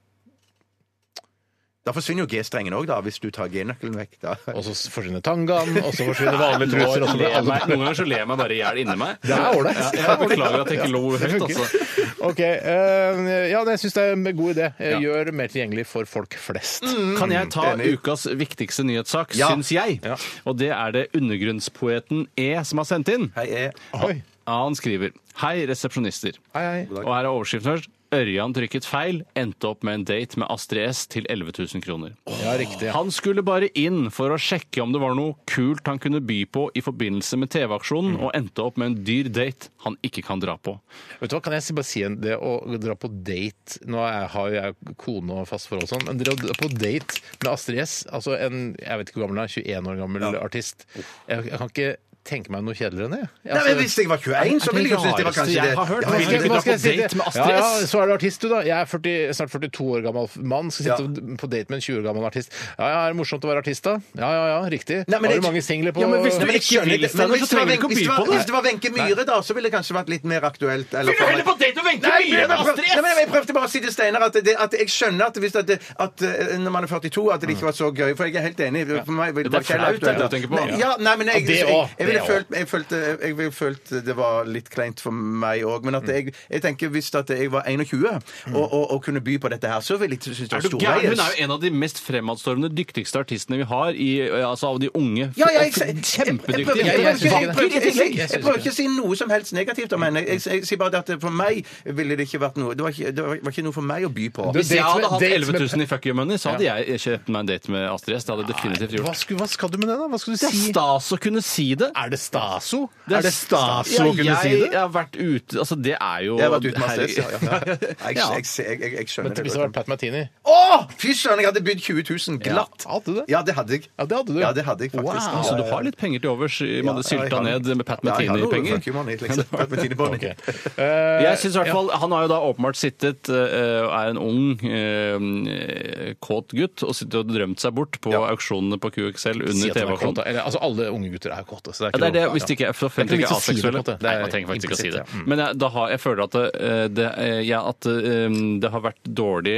Speaker 5: Da forsvinner jo G-strengen òg, hvis du tar G-nøkkelen vekk. da.
Speaker 3: Og så forsvinner tangaen, og så forsvinner vanlige
Speaker 4: Nå
Speaker 3: truser. Og så
Speaker 4: ler
Speaker 3: blir
Speaker 4: jeg
Speaker 3: alle
Speaker 4: meg- Noen ganger så ler jeg meg bare i hjel inni meg.
Speaker 3: Det er ålreit.
Speaker 4: Ja, Jeg beklager at jeg ikke lo
Speaker 3: Det
Speaker 4: høyt,
Speaker 3: funker.
Speaker 4: altså.
Speaker 3: OK. eh, ja, jeg syns det er en god idé. Eh,
Speaker 4: Ja.
Speaker 3: Gjør det mer tilgjengelig for folk flest.
Speaker 5: Mm.
Speaker 4: Kan jeg ta ukas viktigste nyhetssak,
Speaker 5: Ja.
Speaker 4: syns jeg? Og det er det undergrunnspoeten E som har sendt inn.
Speaker 5: Hei, jeg.
Speaker 3: Oi.
Speaker 4: Ja, han skriver Hei, resepsjonister.
Speaker 3: Hei, hei.
Speaker 4: Og her er overskriften først. Ørjan trykket feil, endte opp med en date med Astrid S til 11 000 kroner.
Speaker 3: Ja, riktig.
Speaker 4: Han skulle bare inn for å sjekke om det var noe kult han kunne by på i forbindelse med TV-aksjonen,
Speaker 3: Mm.
Speaker 4: og endte opp med en dyr date han ikke kan dra på.
Speaker 3: Vet du hva, Kan jeg si- bare si en- det å dra på date Nå er, har jo jeg kone og fast forhold og sånn, men dra på date med Astrid S, altså en jeg vet ikke hvor gammel hun er, 21 år gammel artist jeg, jeg kan ikke tenke meg noe kjedeligere enn det. Altså- Jeg,
Speaker 5: Nei, men Hvis jeg var 21, så ville jeg jo synes det var kanskje det.
Speaker 4: Jeg har hørt.
Speaker 5: Ja, men-
Speaker 4: Hvilken-
Speaker 3: hva skal
Speaker 4: dra på
Speaker 3: jeg si?
Speaker 4: date med Astrid
Speaker 3: ja, ja,
Speaker 4: S?
Speaker 3: så er du artist, du, da. Jeg er 40, snart 42 år gammel mann. Skal sitte på date med en 20 år gammel artist. Ja, ja, er det morsomt å være artist, da? Ja, ja, ja, riktig.
Speaker 5: Nei, men
Speaker 3: har
Speaker 5: jeg-
Speaker 3: du mange singler på
Speaker 5: Ja, men hvis du
Speaker 3: Nei, men
Speaker 5: ikke skjønner
Speaker 4: vil
Speaker 5: det, men
Speaker 4: stemme, så
Speaker 5: hvis det var-
Speaker 4: trenger du ikke å
Speaker 5: hvis det
Speaker 4: by
Speaker 5: var-
Speaker 4: på det.
Speaker 5: Hvis det var Wenche Myhre, da, så ville det kanskje vært litt mer aktuelt. Eller for meg.
Speaker 4: date og vente
Speaker 5: Nei, men jeg, prøvde, nei, men jeg prøvde bare å si til Steinar at, det- at jeg skjønner at, hvis at, det- at eh, når man er 42, at det ikke var så gøy. For jeg er helt enig. For meg ville
Speaker 4: Det er
Speaker 5: ikke helt
Speaker 4: flaut, det er det
Speaker 5: aktuelt.
Speaker 4: du tenker på.
Speaker 5: Nei, Ja, nei, men jeg,
Speaker 3: Ja, det
Speaker 5: jeg, jeg,
Speaker 3: også,
Speaker 5: ville
Speaker 3: det
Speaker 5: følt, jeg, følte, jeg ville følt det var litt kleint for meg òg. Men at
Speaker 4: Mm.
Speaker 5: jeg, jeg tenker hvis at jeg var 21 og, og, og kunne by på dette her, så ville jeg ikke synes det
Speaker 4: Er
Speaker 5: var
Speaker 4: du gæren? Hun er
Speaker 5: storveies.
Speaker 4: jo en av de mest fremadstormende, dyktigste artistene vi har, i, altså av de unge.
Speaker 5: Ja, ja, jeg, jeg, jeg, jeg, prøver ikke-
Speaker 4: Kjempedyktig.
Speaker 5: jeg, prøver ikke- jeg, prøver ikke- jeg,
Speaker 3: Jeg
Speaker 5: jeg
Speaker 3: synes
Speaker 5: prøver
Speaker 3: ikke
Speaker 5: ikke å si noe som helst negativt om henne. Jeg, jeg, jeg sier bare det at for meg ville det ikke vært noe Det var ikke, det var, var ikke noe for meg å by på.
Speaker 3: Du-
Speaker 4: Hvis jeg hadde hatt
Speaker 3: Date med-
Speaker 4: 11 000 i fuck you money, så hadde jeg kjøpt meg en date med Astrid S. Det hadde jeg definitivt
Speaker 3: hva,
Speaker 4: gjort.
Speaker 3: skal, hva skal du med det, da? Hva skal du
Speaker 4: Det er
Speaker 3: si?
Speaker 4: stas å kunne si det.
Speaker 3: Er det staso? Er det staso
Speaker 4: Ja,
Speaker 3: å kunne si
Speaker 4: jeg
Speaker 3: det?
Speaker 4: har vært ute Altså, det er jo
Speaker 5: Jeg har vært ute med Astrid.
Speaker 4: Herregud.
Speaker 5: Ja, ja. Jeg, jeg, jeg, jeg, jeg skjønner
Speaker 3: Men
Speaker 5: det.
Speaker 3: hvis det hadde vært Pat Martini
Speaker 5: Å, fy søren! Jeg hadde bydd 20 000 glatt.
Speaker 3: Ja, hadde du det?
Speaker 5: Ja, det hadde jeg.
Speaker 3: Ja, det hadde du.
Speaker 5: Ja, det hadde jeg faktisk.
Speaker 3: Wow.
Speaker 4: Så Altså, du har litt penger til overs? Man hadde
Speaker 5: Ja, jeg
Speaker 4: sylta
Speaker 5: har-
Speaker 4: ned med Pat
Speaker 5: Ja, jeg har noe
Speaker 4: Martini-penger?
Speaker 5: fuck you money, liksom. Pat Martini-money.
Speaker 3: Ok. Eh,
Speaker 4: Jeg synes i hvert fall, Han har jo da åpenbart sittet eh, og er en ung, eh, kåt gutt og sitter og drømt seg bort på auksjonene på QXL
Speaker 3: Si
Speaker 4: under
Speaker 3: at de er kåte.
Speaker 4: TV-aksjonen.
Speaker 3: Eller, altså, alle unge gutter er kåte. Så det er ikke
Speaker 4: Ja, det er det,
Speaker 3: noe-
Speaker 4: hvis det ikke er for
Speaker 3: Det er ikke
Speaker 4: ikke er
Speaker 3: vits å si det, på en
Speaker 4: aseksuelle.
Speaker 3: måte. Det
Speaker 4: Nei,
Speaker 3: er
Speaker 4: man trenger faktisk ikke å si det.
Speaker 3: implisitt, ja. Mm.
Speaker 4: Men jeg, da har, jeg føler at, eh, det, eh, ja, at eh, det har vært dårlig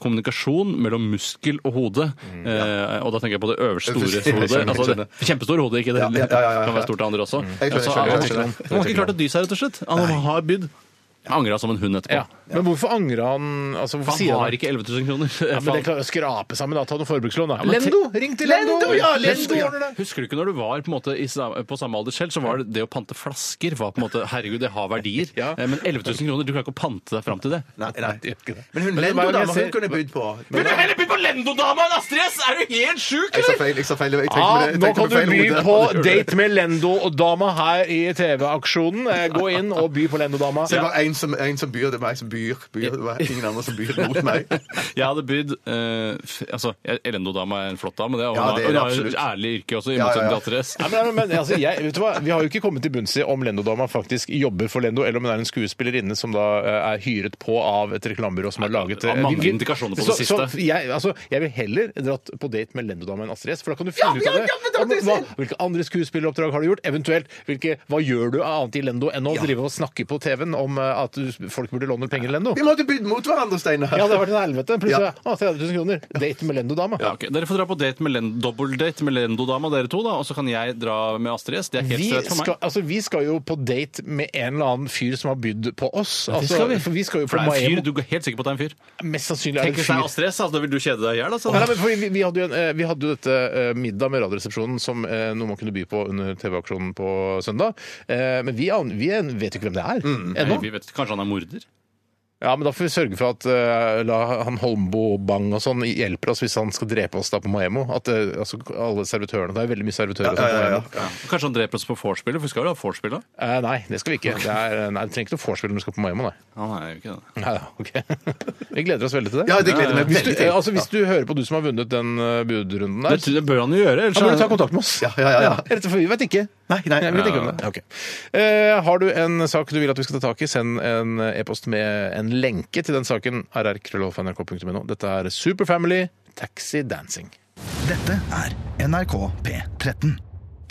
Speaker 4: kommunikasjon mellom muskel og hode. Eh, og da tenker jeg på det øverste store
Speaker 5: Øverste, jeg
Speaker 4: hodet.
Speaker 5: skjønner, jeg
Speaker 4: Altså, det kjempestore hodet, ikke det?
Speaker 5: Ja, ja, ja, ja, ja.
Speaker 4: kan være stort det andre også.
Speaker 5: Jeg skjønner,
Speaker 4: Altså,
Speaker 5: jeg skjønner, jeg
Speaker 4: han-
Speaker 5: skjønner.
Speaker 4: Han har ikke klart å dy seg, rett og slett. Han har bydd. Han angra som en hund etterpå.
Speaker 3: Ja. Men hvorfor angrer han altså, hvorfor
Speaker 4: For
Speaker 3: sier
Speaker 4: han
Speaker 3: han
Speaker 4: har ikke 11 000 kroner.
Speaker 3: ja, men det klarer å skrape sammen, da. Ta noe forbrukslån, da.
Speaker 4: men te-
Speaker 3: Lendo! Ring til Lendo!
Speaker 5: Lendo, ja,
Speaker 3: Lendo
Speaker 5: Lendo.
Speaker 3: ordner det.
Speaker 4: Husker du ikke når du var på, en måte, i, sa- på samme alder selv, så var det det å pante flasker var på en måte Herregud, det har verdier.
Speaker 3: Ja.
Speaker 4: Eh, Men 11 000 kroner, du klarer ikke å pante deg fram til det.
Speaker 5: Nei, nei.
Speaker 3: gjør ikke det.
Speaker 5: Men hun
Speaker 3: Men det var
Speaker 5: Lendo,
Speaker 3: jo
Speaker 5: da,
Speaker 3: det jeg
Speaker 5: hun
Speaker 3: ser-
Speaker 5: kunne bydd på.
Speaker 4: Vil du heller by på Lendo-dama enn Astrid S? Er du helt sjuk,
Speaker 5: Jeg sa
Speaker 4: eller?
Speaker 5: feil. jeg sa feil. Jeg
Speaker 3: Ja,
Speaker 5: tenkte på det- jeg
Speaker 3: Ah, nå
Speaker 5: tenkte
Speaker 3: kan du
Speaker 5: feil
Speaker 3: by
Speaker 5: hode.
Speaker 3: på date med Lendo-dama her i TV-aksjonen. Eh, Gå inn og by på Lendo-dama.
Speaker 5: Så det var en som, en som byr, det var meg som byr. byr. Det var ingen andre som byr mot meg.
Speaker 4: Jeg hadde bydd eh, f- Altså, Lendo-dama er en flott dame, det. Og
Speaker 5: Ja,
Speaker 4: hun har-
Speaker 5: det er
Speaker 4: hun
Speaker 5: det
Speaker 4: har jo
Speaker 5: absolutt.
Speaker 4: et ærlig yrke også, i
Speaker 5: Ja, ja,
Speaker 4: motsetning til
Speaker 5: ja.
Speaker 4: Astrid S.
Speaker 3: Nei, men, men altså, jeg, vet du hva? Vi har jo ikke kommet til bunns i om Lendo-dama faktisk jobber for Lendo, eller om hun er en skuespillerinne som da eh, er hyret på av et reklamebyrå som har laget eh,
Speaker 4: Ja, mange indikasjoner på det
Speaker 3: så,
Speaker 4: siste.
Speaker 3: Så jeg, altså, jeg vil heller dratt på date med Lendo-dama enn Astrid S, for da kan du finne ut
Speaker 5: Ja, ja,
Speaker 3: av det.
Speaker 5: ja, men det er det jeg
Speaker 3: Om hva, hvilke andre skuespilleroppdrag har du gjort? Eventuelt hvilke, hva gjør du av annet i Lendo enn å drive og snakke på TV-en om eh, at du, folk burde låne penger i Lendo?
Speaker 5: Vi måtte bydd mot hverandre, Steinar.
Speaker 3: Ja, det har vært en helvete. Plutselig
Speaker 5: Ja.
Speaker 3: å, 30 000 kroner. Date med Lendo-dama.
Speaker 4: Ja, ok. Dere får dra på date med Lendo, dobbeldate med Lendo-dama, dere to, da, og så kan jeg dra med Astrid S. Det er helt
Speaker 3: Vi
Speaker 4: streit for meg.
Speaker 3: skal, altså, vi skal jo på date med en eller annen fyr som har bydd på oss. Altså,
Speaker 4: skal vi.
Speaker 3: For vi skal jo
Speaker 4: For
Speaker 3: på
Speaker 4: det er en fyr,
Speaker 3: Maemo.
Speaker 4: du er helt sikker på at det er en fyr?
Speaker 3: Mest sannsynlig er
Speaker 4: Tenk
Speaker 3: det en
Speaker 4: hvis det er
Speaker 3: fyr.
Speaker 4: Astrid S, altså, da vil du kjede deg i hjel, altså.
Speaker 3: Nei, nei, men fordi vi, vi, hadde jo en, eh, vi hadde jo dette eh, middag med Radioresepsjonen som eh, noe man kunne by på under TV-aksjonen på søndag. Eh, men vi, an- vi vet jo ikke hvem det er
Speaker 4: Nei,
Speaker 3: ennå.
Speaker 4: vi vet, kanskje han er morder?
Speaker 3: Ja, men da får vi sørge for at eh, la han Holmbo Bang og sånn hjelper oss hvis han skal drepe oss da på Maemo. At eh, altså, alle servitørene Det er veldig mye servitører. og sånt på Maemo.
Speaker 4: Kanskje han dreper oss på vorspielet? For vi skal jo ha vorspiel, da?
Speaker 3: Eh, nei, det skal vi ikke. Det er, eh, nei, du trenger ikke noe vorspiel når du skal på Maemo, nei.
Speaker 4: Han er jo ikke det.
Speaker 3: Nei da, ok. Vi gleder oss veldig til det.
Speaker 5: Ja, det gleder jeg meg
Speaker 3: Hvis du,
Speaker 5: veldig til.
Speaker 3: altså, hvis du hører på du som har vunnet den eh, budrunden der,
Speaker 4: Det, det bør han jo gjøre. ellers
Speaker 3: da må du
Speaker 4: er-
Speaker 3: ta kontakt med oss.
Speaker 5: Ja, ja, ja, ja.
Speaker 3: Rett og slett, vi vet ikke.
Speaker 5: Nei, nei,
Speaker 3: Jeg vet ikke om det. Ok. Eh, har du en sak du vil at vi skal ta tak i, send en eh, e-post med en lenke til den saken. rrkrøllalfa.nrk.no. Dette er Superfamily Taxi Dancing.
Speaker 1: Dette er NRK P13.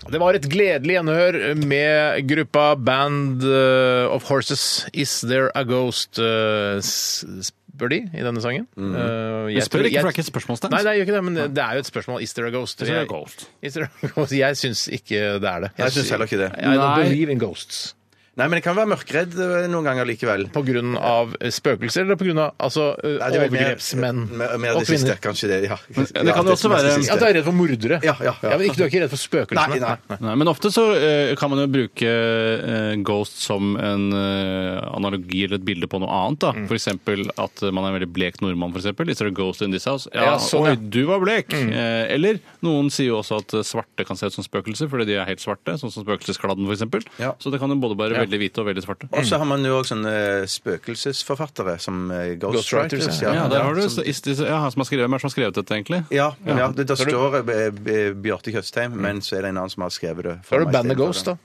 Speaker 3: Det var et gledelig gjenhør med gruppa Band eh, of Horses. Is There A Ghost? eh, s- spør de i denne sangen. Eh,
Speaker 4: Jeg Mm. spør
Speaker 3: tror-
Speaker 4: ikke, for det er ikke et spørsmålstegn.
Speaker 3: Nei, det er jo ikke det, men det- det er jo et spørsmål. Is there a ghost?
Speaker 4: there a ghost?
Speaker 3: Is there a ghost? Jeg syns ikke det er det.
Speaker 5: Jeg syns heller ikke det.
Speaker 3: I don't
Speaker 4: Nei.
Speaker 3: believe in ghosts.
Speaker 5: Nei, men jeg kan være mørkredd eh, noen ganger likevel.
Speaker 3: På grunn av eh, spøkelser eller på grunn av altså, eh,
Speaker 5: Nei, det er vel mer-
Speaker 3: overgrepsmenn
Speaker 5: mer- mer
Speaker 3: og
Speaker 5: det siste,
Speaker 3: kvinner?
Speaker 5: Kanskje det, ja.
Speaker 4: det kan jo også
Speaker 5: mest
Speaker 4: være-
Speaker 5: siste.
Speaker 3: At du er redd for mordere?
Speaker 5: Ja, ja, ja.
Speaker 3: men ikke, du er ikke redd for spøkelsene?
Speaker 5: Nei, nei, nei.
Speaker 4: Nei, men ofte så eh, kan man jo bruke eh, Ghost som en eh, analogi eller et bilde på noe annet. da. For eksempel at man er en veldig blek nordmann, for eksempel. Is there a ghost in this house? Ja,
Speaker 3: Ja, sånn,
Speaker 4: oi,
Speaker 3: ja.
Speaker 4: du var blek! Eh, eller noen sier jo også at eh, svarte kan se ut som spøkelser, fordi de er helt svarte. Sånn som spøkelseskladden, for eksempel.
Speaker 5: Ja.
Speaker 4: Så det kan jo både være veldig hvite og veldig svarte.
Speaker 5: Og så har man jo også sånne spøkelsesforfattere som eh,
Speaker 3: Ghostwriters,
Speaker 5: Ghostwriters.
Speaker 4: Ja, der har du
Speaker 5: som-
Speaker 4: så, is, is, ja, som har skrevet, Hvem er det som har skrevet dette, egentlig?
Speaker 5: Ja, ja det, der står eh, B- Bjarte Tjøstheim, men så er det en annen som har skrevet det. for
Speaker 3: Da har
Speaker 5: meg
Speaker 3: du bandet
Speaker 5: istedenfor
Speaker 3: Ghost,
Speaker 5: det.
Speaker 3: da.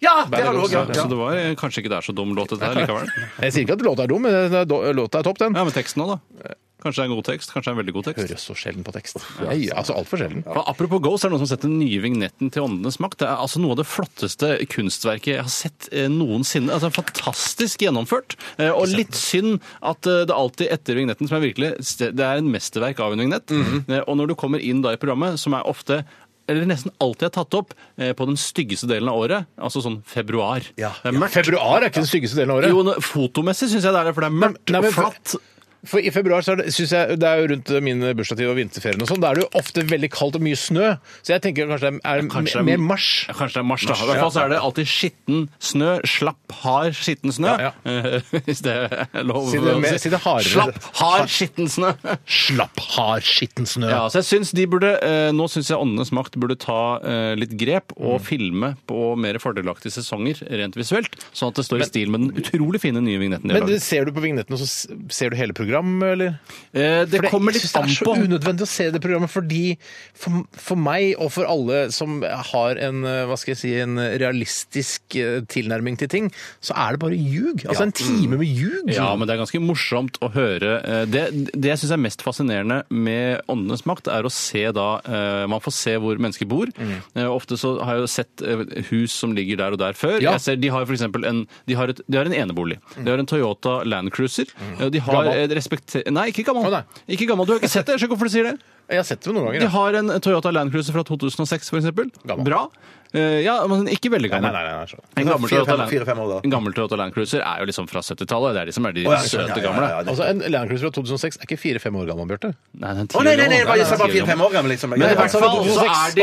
Speaker 5: Ja, det har du
Speaker 3: Ghost,
Speaker 5: også, ja.
Speaker 3: ja.
Speaker 5: ja.
Speaker 4: Så det var eh, kanskje ikke det er så dum låt, dette her likevel.
Speaker 3: Jeg sier ikke at låta er dum, men den er do- låta er topp, den.
Speaker 4: Ja, men teksten òg, da. Kanskje det er en god tekst. Kanskje det er en veldig god tekst.
Speaker 3: Hører så sjelden på tekst. Nei, altså altfor sjelden.
Speaker 4: Ja. Apropos Ghost, er det noen som har sett den nye vignetten til Åndenes makt? Det er altså noe av det flotteste kunstverket jeg har sett eh, noensinne. Altså Fantastisk gjennomført. Eh, og litt synd at eh, det alltid etter vignetten som er virkelig Det er en mesterverk av en vignett.
Speaker 3: Mhm.
Speaker 4: eh, og når du kommer inn da i programmet, som er ofte eller nesten alltid er tatt opp eh, på den styggeste delen av året, altså sånn februar.
Speaker 5: Ja.
Speaker 4: Det er mørkt.
Speaker 3: Februar er ikke den styggeste delen av året.
Speaker 4: Jo, nå- fotomessig syns jeg det er det, for det er mørkt
Speaker 3: Nei, men-
Speaker 4: og flatt.
Speaker 3: For I februar så er det, synes jeg, det er jo rundt min bursdagstid og vinterferien, og sånn, da er det jo ofte veldig kaldt og mye snø. Så jeg tenker kanskje det er,
Speaker 4: Kanskje det
Speaker 3: er
Speaker 4: er-
Speaker 3: mer mars.
Speaker 4: Ja, kanskje det er mars, da. I hvert fall så er det alltid skitten snø. Slapp, hard, skitten snø.
Speaker 3: Ja,
Speaker 4: Hvis det er lov
Speaker 3: Si det mer- si det hardere.
Speaker 4: Slapp, hard, skitten snø.
Speaker 3: Slapp, hard, skitten snø.
Speaker 4: Ja, så jeg synes de burde, eh, Nå syns jeg Åndenes makt burde ta eh, litt grep
Speaker 3: Mm.
Speaker 4: og filme på mer fordelaktige sesonger rent visuelt, sånn at det står i stil med den utrolig fine nye vignetten de har
Speaker 3: Men det
Speaker 4: laget.
Speaker 3: ser du på vignetten, og så s- ser du hele programmet, eller?
Speaker 4: Eh, Det
Speaker 3: For det,
Speaker 4: kommer
Speaker 3: jeg
Speaker 4: litt
Speaker 3: synes
Speaker 4: an
Speaker 3: det er så
Speaker 4: på.
Speaker 3: unødvendig å se det programmet, fordi for, for meg og for alle som har en, eh, hva skal jeg si, en realistisk eh, tilnærming til ting, så er det bare ljug. Altså en time med ljug.
Speaker 4: Ja, men det er ganske morsomt å høre. eh, Det, det jeg syns er mest fascinerende med Åndenes makt, er å se da eh, Man får se hvor mennesker bor.
Speaker 3: Mm.
Speaker 4: Eh, Ofte så har jeg jo sett eh, hus som ligger der og der før.
Speaker 3: Ja. Mm.
Speaker 4: Jeg ser, de har for eksempel en, de har et, de har en enebolig. De har en Toyota Land Cruiser. Eh, De har
Speaker 3: Gammel.
Speaker 4: et respekter... Nei, ikke gammel.
Speaker 3: Å, nei.
Speaker 4: Ikke gammel. Du har ikke sett det? Jeg skjønner ikke hvorfor du sier det.
Speaker 3: Jeg har sett det noen ganger.
Speaker 4: De
Speaker 3: ja.
Speaker 4: har en Toyota Land Cruiser fra 2006, for eksempel.
Speaker 3: Gammel.
Speaker 4: Bra. Eh, Ja, men ikke veldig
Speaker 3: Nei,
Speaker 4: gammel.
Speaker 3: nei, nei, sånn. nei, nei.
Speaker 4: En gammel,
Speaker 5: Fire,
Speaker 4: Toyota
Speaker 5: fem-
Speaker 4: Land,
Speaker 5: fire, fem år, da.
Speaker 4: en gammel Toyota Land Cruiser er jo liksom fra 70-tallet. Det er de som er de
Speaker 5: Å, ja,
Speaker 4: søte
Speaker 5: skjønner, ja, ja,
Speaker 4: gamle.
Speaker 5: ja, det-
Speaker 3: Altså, En Land Cruiser fra 2006 er ikke fire-fem år gammel, Bjarte.
Speaker 4: Nei, den er
Speaker 5: Å
Speaker 4: ti år
Speaker 5: nei, nei, nei,
Speaker 4: gammel.
Speaker 5: jeg bare- jeg sa
Speaker 4: Ti
Speaker 5: bare
Speaker 4: år
Speaker 5: fire-fem
Speaker 4: gammel.
Speaker 5: år gammel, liksom.
Speaker 4: Men i hvert fall så er de-
Speaker 5: Å,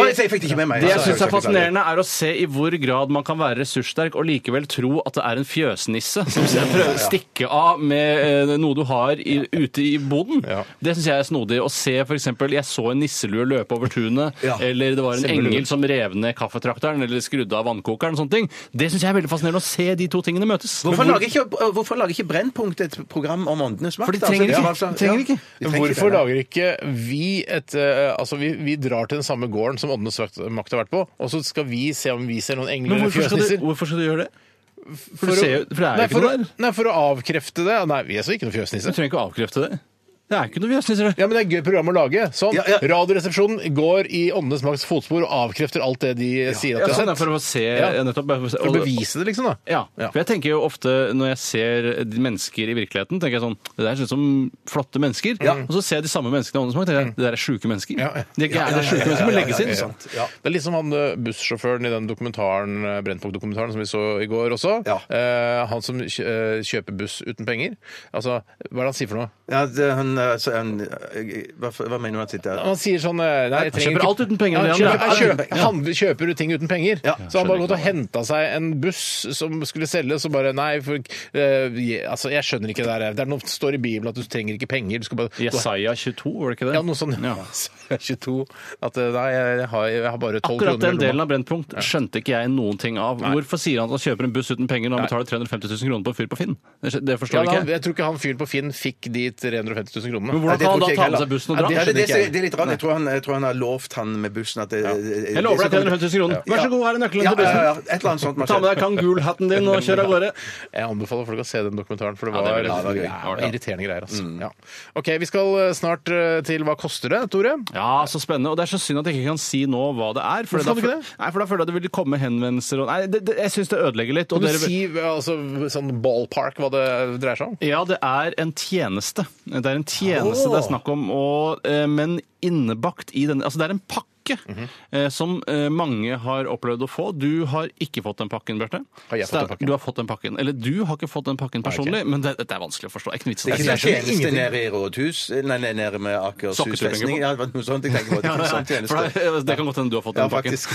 Speaker 5: jeg fikk det ikke med meg. Altså,
Speaker 4: Det jeg syns er
Speaker 5: Sorry, sorry, sorry.
Speaker 4: fascinerende, er å se i hvor grad man kan være ressurssterk og likevel tro at det er en fjøsnisse som ser- prøver å stikke av med eh, noe du har i, ute i boden.
Speaker 3: Ja.
Speaker 4: Det syns jeg er snodig. Å se f.eks. jeg så en nisselue løpe over tunet,
Speaker 5: Ja.
Speaker 4: eller det var en
Speaker 3: Semmelue.
Speaker 4: engel som rev ned kaffetrakteren, eller skrudde av vannkokeren, og sånne ting. Det syns jeg er veldig fascinerende å se de to tingene møtes.
Speaker 5: Hvorfor altså. lager, ikke, hvorfor lager ikke Brennpunkt et program om åndenes makt?
Speaker 4: For de trenger
Speaker 5: Altså,
Speaker 4: ikke.
Speaker 5: altså,
Speaker 4: De trenger
Speaker 5: ja.
Speaker 4: ikke.
Speaker 5: De trenger
Speaker 3: Hvorfor
Speaker 5: det, ja.
Speaker 3: lager ikke vi et eh, Altså, vi, vi drar til den samme gården som Åndenes makt har vært på, og så skal vi se om vi ser noen engler
Speaker 4: Men
Speaker 3: eller
Speaker 4: hvorfor skal, du,
Speaker 3: fjøsnisser?
Speaker 4: hvorfor skal du gjøre det? For,
Speaker 3: å-
Speaker 4: du ser, jo- for det er
Speaker 3: nei,
Speaker 4: jo ikke
Speaker 3: for
Speaker 4: noe
Speaker 3: å-
Speaker 4: der.
Speaker 3: Nei, for å avkrefte det. Nei, vi er så ikke noen
Speaker 4: Du
Speaker 3: fjøsnisser.
Speaker 4: trenger ikke å avkrefte det. Det er ikke noe fjøsnisser, det.
Speaker 3: Ja, men Det er et gøy program å lage. Sånn,
Speaker 5: Ja, ja.
Speaker 3: Radioresepsjonen går i Åndenes makts fotspor og avkrefter alt det de sier at
Speaker 4: Ja,
Speaker 3: de
Speaker 4: sånn
Speaker 3: har
Speaker 4: er
Speaker 3: sett.
Speaker 4: for å se
Speaker 3: Ja.
Speaker 4: nettopp bare for å se-
Speaker 3: For å
Speaker 4: og-
Speaker 3: bevise det, liksom. da.
Speaker 4: Ja. for jeg tenker jo ofte når jeg ser de mennesker i virkeligheten, tenker jeg sånn Det der ser ut som flotte mennesker. Og så ser jeg de samme menneskene i Åndenes makt, tenker jeg det der er sjuke mennesker.
Speaker 3: Mm. Ja, ja.
Speaker 4: De er gærne sjuke mennesker som må legges inn.
Speaker 3: Ja. Det er litt som han eh, bussjåføren i den dokumentaren, eh, Brennpunkt-dokumentaren som vi så i går også.
Speaker 5: Ja.
Speaker 3: Eh, han som kjø- eh, kjøper buss uten penger. Altså, hva er det han sier for noe?
Speaker 5: Ja, det, han, eh, så, han, eh, hva, hva mener du med sitt
Speaker 3: Han sier sånn eh, nei, jeg trenger
Speaker 4: kjøper
Speaker 3: ikke-
Speaker 4: alt uten penger,
Speaker 3: Ja,
Speaker 4: det han
Speaker 3: kjøper,
Speaker 4: gjør.
Speaker 3: han kjøper, han kjøper ting uten penger.
Speaker 5: Ja.
Speaker 3: så han bare
Speaker 4: Skjønner
Speaker 3: gått og henta seg en buss som skulle selges, og bare Nei, for, eh, je- altså, jeg skjønner ikke det der. Det er noe som står i Bibelen at du trenger ikke penger. Du skal bare
Speaker 4: Jesaja 22, var det ikke det?
Speaker 3: Ja, noe sånn
Speaker 4: Ja.
Speaker 3: 22 At eh, nei, jeg har, jeg har bare 12
Speaker 4: Akkurat
Speaker 3: kroner.
Speaker 4: den delen av Brennpunkt skjønte ikke jeg noen ting av. Hvorfor sier han at han kjøper en buss uten penger når han betaler 350 000 kroner på en fyr på Finn? Det skj- Det
Speaker 3: ja,
Speaker 4: forstår
Speaker 3: men han,
Speaker 4: ikke jeg.
Speaker 3: jeg tror ikke han fyren på Finn fikk de 350 000
Speaker 4: Men
Speaker 3: kronene.
Speaker 4: hvordan
Speaker 5: det
Speaker 4: kan han
Speaker 5: tror
Speaker 4: da
Speaker 5: ikke
Speaker 4: ta med
Speaker 5: jeg heller.
Speaker 4: seg bussen og
Speaker 3: Ja,
Speaker 4: dra?
Speaker 5: Ja, det,
Speaker 3: skjønner
Speaker 5: det,
Speaker 3: ikke jeg.
Speaker 5: det er litt rart. Jeg tror han, jeg tror han har lovt han med bussen at det,
Speaker 4: Jeg lover deg 350 000 kroner. Vær så god, her er nøkkelen
Speaker 5: Ja,
Speaker 4: til
Speaker 5: ja,
Speaker 4: bussen.
Speaker 5: ja, et eller annet sånt. må
Speaker 4: Ta med
Speaker 5: skje.
Speaker 4: deg kangul-hatten din og kjør av gårde.
Speaker 3: Jeg anbefaler folk å se den dokumentaren, for det
Speaker 4: Ja,
Speaker 3: var, ja,
Speaker 4: det var- det Mm. var gøy.
Speaker 3: det var irriterende greier. Altså. Ja. OK, vi skal eh, snart eh, til Hva koster det, Tore?
Speaker 4: Ja, så spennende. Og det er så synd at jeg ikke kan si nå hva det er.
Speaker 3: Hvorfor
Speaker 4: da,
Speaker 3: kan du ikke det?
Speaker 4: Nei, for da føler jeg det vil komme henvendelser og Nei, det, det, jeg syns det ødelegger litt. Og
Speaker 3: Kan du
Speaker 4: dere-
Speaker 3: si altså, sånn ballpark hva det dreier seg om?
Speaker 4: Ja, det er en tjeneste. Det er en tjeneste det er snakk om, og, eh, men innebakt i denne Altså, det er en pakke. pakke
Speaker 3: Mhm.
Speaker 4: eh, som eh, mange har opplevd å få. Du har ikke fått den pakken, Bjarte.
Speaker 3: Har jeg fått den
Speaker 4: Stein,
Speaker 3: pakken?
Speaker 4: Du har fått den pakken. Eller du har ikke fått den pakken personlig, men det, dette er vanskelig å forstå. Det er ikke noe vits i å
Speaker 5: Det er
Speaker 4: si
Speaker 5: ikke
Speaker 4: det.
Speaker 5: en tjeneste nede i Rådhus, eh, nei, nei, nede med Akershus
Speaker 4: Sokketur tenker
Speaker 5: festning.
Speaker 4: på.
Speaker 5: Ja, det var noe sånt jeg tenker på. Det
Speaker 4: Ja,
Speaker 5: er ikke en
Speaker 4: nei,
Speaker 5: sånn
Speaker 4: for
Speaker 5: tjeneste.
Speaker 4: det, det kan godt hende du har fått
Speaker 5: Ja,
Speaker 4: den pakken.
Speaker 5: faktisk.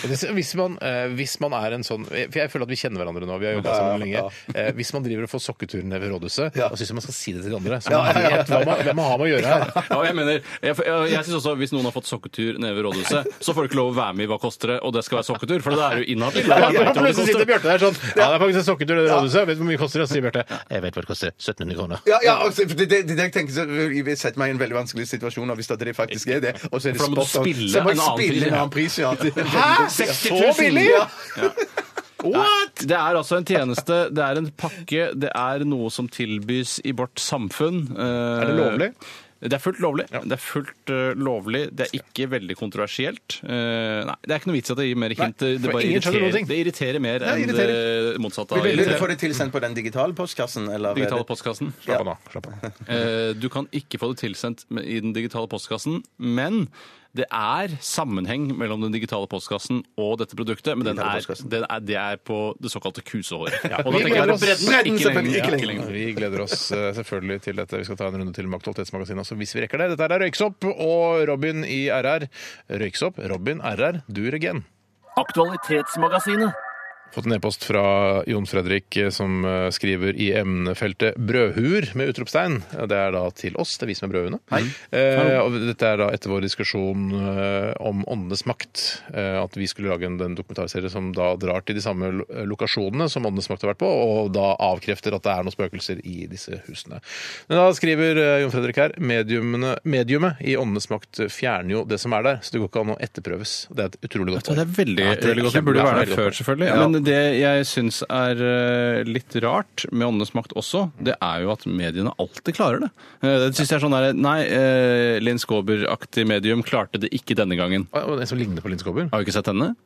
Speaker 3: Hvis hvis man, eh, hvis man er en sånn For jeg føler at vi kjenner hverandre nå. Vi har jobbet sammen lenge. Eh, hvis man driver og får sokketur ned ved rådhuset,
Speaker 5: Ja.
Speaker 3: da syns jeg man skal si det til de andre. Så
Speaker 5: Ja,
Speaker 3: man
Speaker 5: ja, ja.
Speaker 3: vet hva man, hvem man har med å gjøre her.
Speaker 4: Ja, og jeg mener, jeg, jeg, jeg synes også Hvis noen har fått sokketur nede ved rådhuset, så får du ikke lov å være med i Hva koster det, og det skal være sokketur, for da er du inhabil.
Speaker 3: Ja, plutselig sitter Bjarte der sånn Ja, det er faktisk en sokketur ned ved rådhuset. Vet du hvor mye det koster det? Og sier Bjarte Jeg vet hva det koster. 1700 kroner.
Speaker 5: Ja, ja, altså, for det, det, det jeg tenker så Vi setter meg i en veldig vanskelig situasjon hvis det faktisk er det. Og så er det
Speaker 4: For da må du
Speaker 5: spot on.
Speaker 4: spille
Speaker 5: Så må
Speaker 4: en
Speaker 5: jeg
Speaker 4: annen
Speaker 5: spille
Speaker 4: pris,
Speaker 5: en
Speaker 4: ja.
Speaker 5: annen pris. Ja.
Speaker 3: Hæ?
Speaker 4: 60
Speaker 3: Så billig?
Speaker 5: Ja.
Speaker 4: What?! Det er altså en tjeneste, det er en pakke, det er noe som tilbys i vårt samfunn. eh,
Speaker 3: Er det lovlig?
Speaker 4: Det er fullt lovlig. Det er fullt eh, lovlig. Det er ikke veldig kontroversielt. Eh, nei, Det er ikke noe vits i at det gir mer hint.
Speaker 3: Nei,
Speaker 4: det,
Speaker 3: for
Speaker 4: bare
Speaker 3: ingen skjønner noen
Speaker 4: irriterer,
Speaker 3: ting.
Speaker 4: det irriterer mer
Speaker 5: Nei,
Speaker 4: enn det motsatte av
Speaker 5: Vil du få
Speaker 4: irriterende.
Speaker 5: det tilsendt på den digitale postkassen? Eller
Speaker 4: Digitale postkassen.
Speaker 3: Slapp av nå. Slapp av. nå.
Speaker 4: Eh, Du kan ikke få det tilsendt med- i den digitale postkassen, men det er sammenheng mellom den digitale postkassen og dette produktet, men den
Speaker 5: Digitale
Speaker 4: er,
Speaker 5: postkassen.
Speaker 4: den er, det er på det såkalte kusehåret. Og
Speaker 3: Vi
Speaker 4: da tenker jeg
Speaker 3: gleder
Speaker 4: på
Speaker 3: oss.
Speaker 4: bredden,
Speaker 5: Bredden,
Speaker 4: ikke
Speaker 5: selvfølgelig,
Speaker 4: lengden.
Speaker 5: ikke
Speaker 4: Ja, ikke
Speaker 5: lengden.
Speaker 4: lengden.
Speaker 3: Vi gleder oss eh, selvfølgelig til dette. Vi skal ta en runde til med Aktualitetsmagasinet også, hvis vi rekker det. Dette er Røyksopp og Robin i RR. Røyksopp, Robin, RR, du regen.
Speaker 7: Aktualitetsmagasinet.
Speaker 3: Fått en e-post fra Jon Fredrik eh, som eh, skriver i emnefeltet 'brødhuer' med utropstegn. Ja, Det er da til oss, det er vi som er brødhuene. Eh, og dette er da etter vår diskusjon eh, om åndenes makt. Eh, at vi skulle lage en, en dokumentarserie som da drar til de samme lo- eh, lokasjonene som åndenes makt har vært på, og da avkrefter at det er noen spøkelser i disse husene. Men da skriver eh, Jon Fredrik her mediumene, mediumet i åndenes makt fjerner jo det som er der, så det går ikke an å etterprøves. Det er et utrolig godt
Speaker 4: Det er veldig,
Speaker 3: Ja, det er
Speaker 4: veldig godt.
Speaker 3: kjempe-
Speaker 4: Du
Speaker 3: det
Speaker 4: burde jo
Speaker 3: er
Speaker 4: være
Speaker 3: veldig
Speaker 4: der
Speaker 3: godt.
Speaker 4: før, selvfølgelig. Men det jeg syns er eh, litt rart med Åndenes makt også, det er jo at mediene alltid klarer det. Eh, Det syns jeg er sånn der Nei, eh, Linn Skåber-aktig medium klarte det ikke denne gangen.
Speaker 3: Å, Ah, og En som ligner på Linn Skåber?
Speaker 4: Har du ikke sett henne?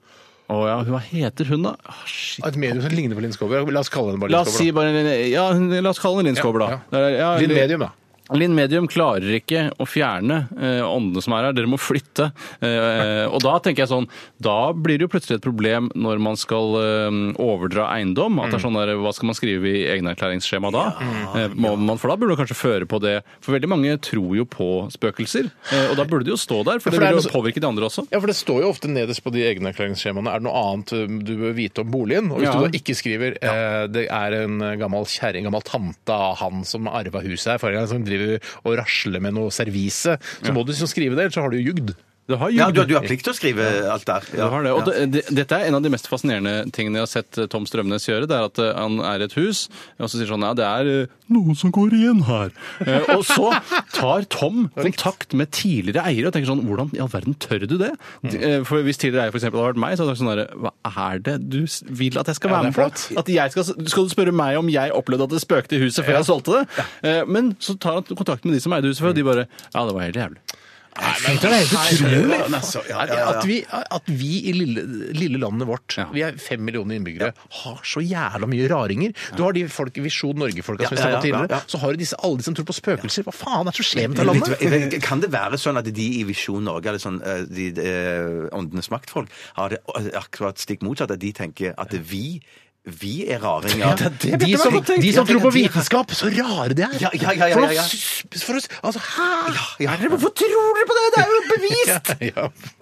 Speaker 4: Å ja, hva heter hun da? Ah, shit.
Speaker 3: Et medium som ligner på Linn Skåber? La oss kalle henne bare
Speaker 4: La
Speaker 3: Linn
Speaker 4: oss,
Speaker 3: Skåber.
Speaker 4: si bare, ja, la oss kalle henne Linn Skåber, da.
Speaker 3: Ja,
Speaker 4: Ja,
Speaker 3: Linn
Speaker 4: Linn-
Speaker 3: Medium, da.
Speaker 4: Linn Medium klarer ikke å fjerne eh, åndene som er her. Dere må flytte. Eh, og da tenker jeg sånn Da blir det jo plutselig et problem når man skal eh, overdra eiendom. At det er sånn der, Hva skal man skrive i egenerklæringsskjema da? Eh, må man, for da burde man kanskje føre på det. For veldig mange tror jo på spøkelser. Eh, og da burde det jo stå der, for,
Speaker 3: for
Speaker 4: det
Speaker 3: det er
Speaker 4: vil jo
Speaker 3: noe
Speaker 4: påvirke de andre også.
Speaker 3: Ja, for det står jo ofte nederst på de egenerklæringsskjemaene er det noe annet um, du bør vite om boligen. Og hvis
Speaker 4: Ja.
Speaker 3: du da ikke skriver eh, det er en gammel kjerring, gammel tante av han som arva huset her forrige gang, som driver og rasler med noe servise, så må du liksom skrive det, ellers så har du jugd.
Speaker 4: Det har
Speaker 5: Ja,
Speaker 4: jugd.
Speaker 5: du, du har plikt til å skrive alt der.
Speaker 4: Du
Speaker 5: Ja.
Speaker 4: har det. Og
Speaker 5: Ja.
Speaker 4: det, det, dette er en av de mest fascinerende tingene jeg har sett eh, Tom Strømnes gjøre. Det er at eh, han er i et hus, og så sier han ja, det er eh, noen som går igjen her. Eh, Og så tar Tom kontakt med tidligere eiere og tenker sånn Hvordan i all verden tør du det?
Speaker 3: Mm.
Speaker 4: Eh, For hvis tidligere eier for eksempel hadde vært meg, så hadde jeg vært sånn der, Hva er det du s- vil at jeg skal
Speaker 3: Ja,
Speaker 4: være
Speaker 3: det
Speaker 4: med
Speaker 3: er
Speaker 4: på? At jeg skal, skal du spørre meg om jeg opplevde at det spøkte i huset før jeg solgte det? Eh, Men så tar han kontakt med de som eide huset før, og de
Speaker 3: Mm.
Speaker 4: bare Ja, det var helt jævlig.
Speaker 5: Ja, altså, ja, ja, ja.
Speaker 3: At vi, at vi i lille, lille landet vårt,
Speaker 4: Ja.
Speaker 3: vi er fem millioner innbyggere, har så jævla mye raringer. Du har de folk, Visjon Norge-folka som vi
Speaker 5: Ja, ja,
Speaker 3: snakket om
Speaker 5: ja, ja.
Speaker 3: tidligere, så har du disse, alle de som tror på spøkelser. Hva faen er det som skjer med dette
Speaker 5: Men vet du
Speaker 3: landet?
Speaker 5: hva, jeg vet- Kan det være sånn at de i Visjon Norge, eller sånn eh, de, eh, Åndenes maktfolk, har det eh, akkurat stikk motsatt? At de tenker at vi, vi er raringer. Ja,
Speaker 3: de, som, de som tror på vitenskap, så rare de er!
Speaker 5: Ja, ja, ja, ja,
Speaker 3: For å
Speaker 5: ja.
Speaker 3: s- For å s- altså, hæ?!
Speaker 5: ja.
Speaker 3: Er dere- Hvorfor tror dere på det?! Det er jo bevist!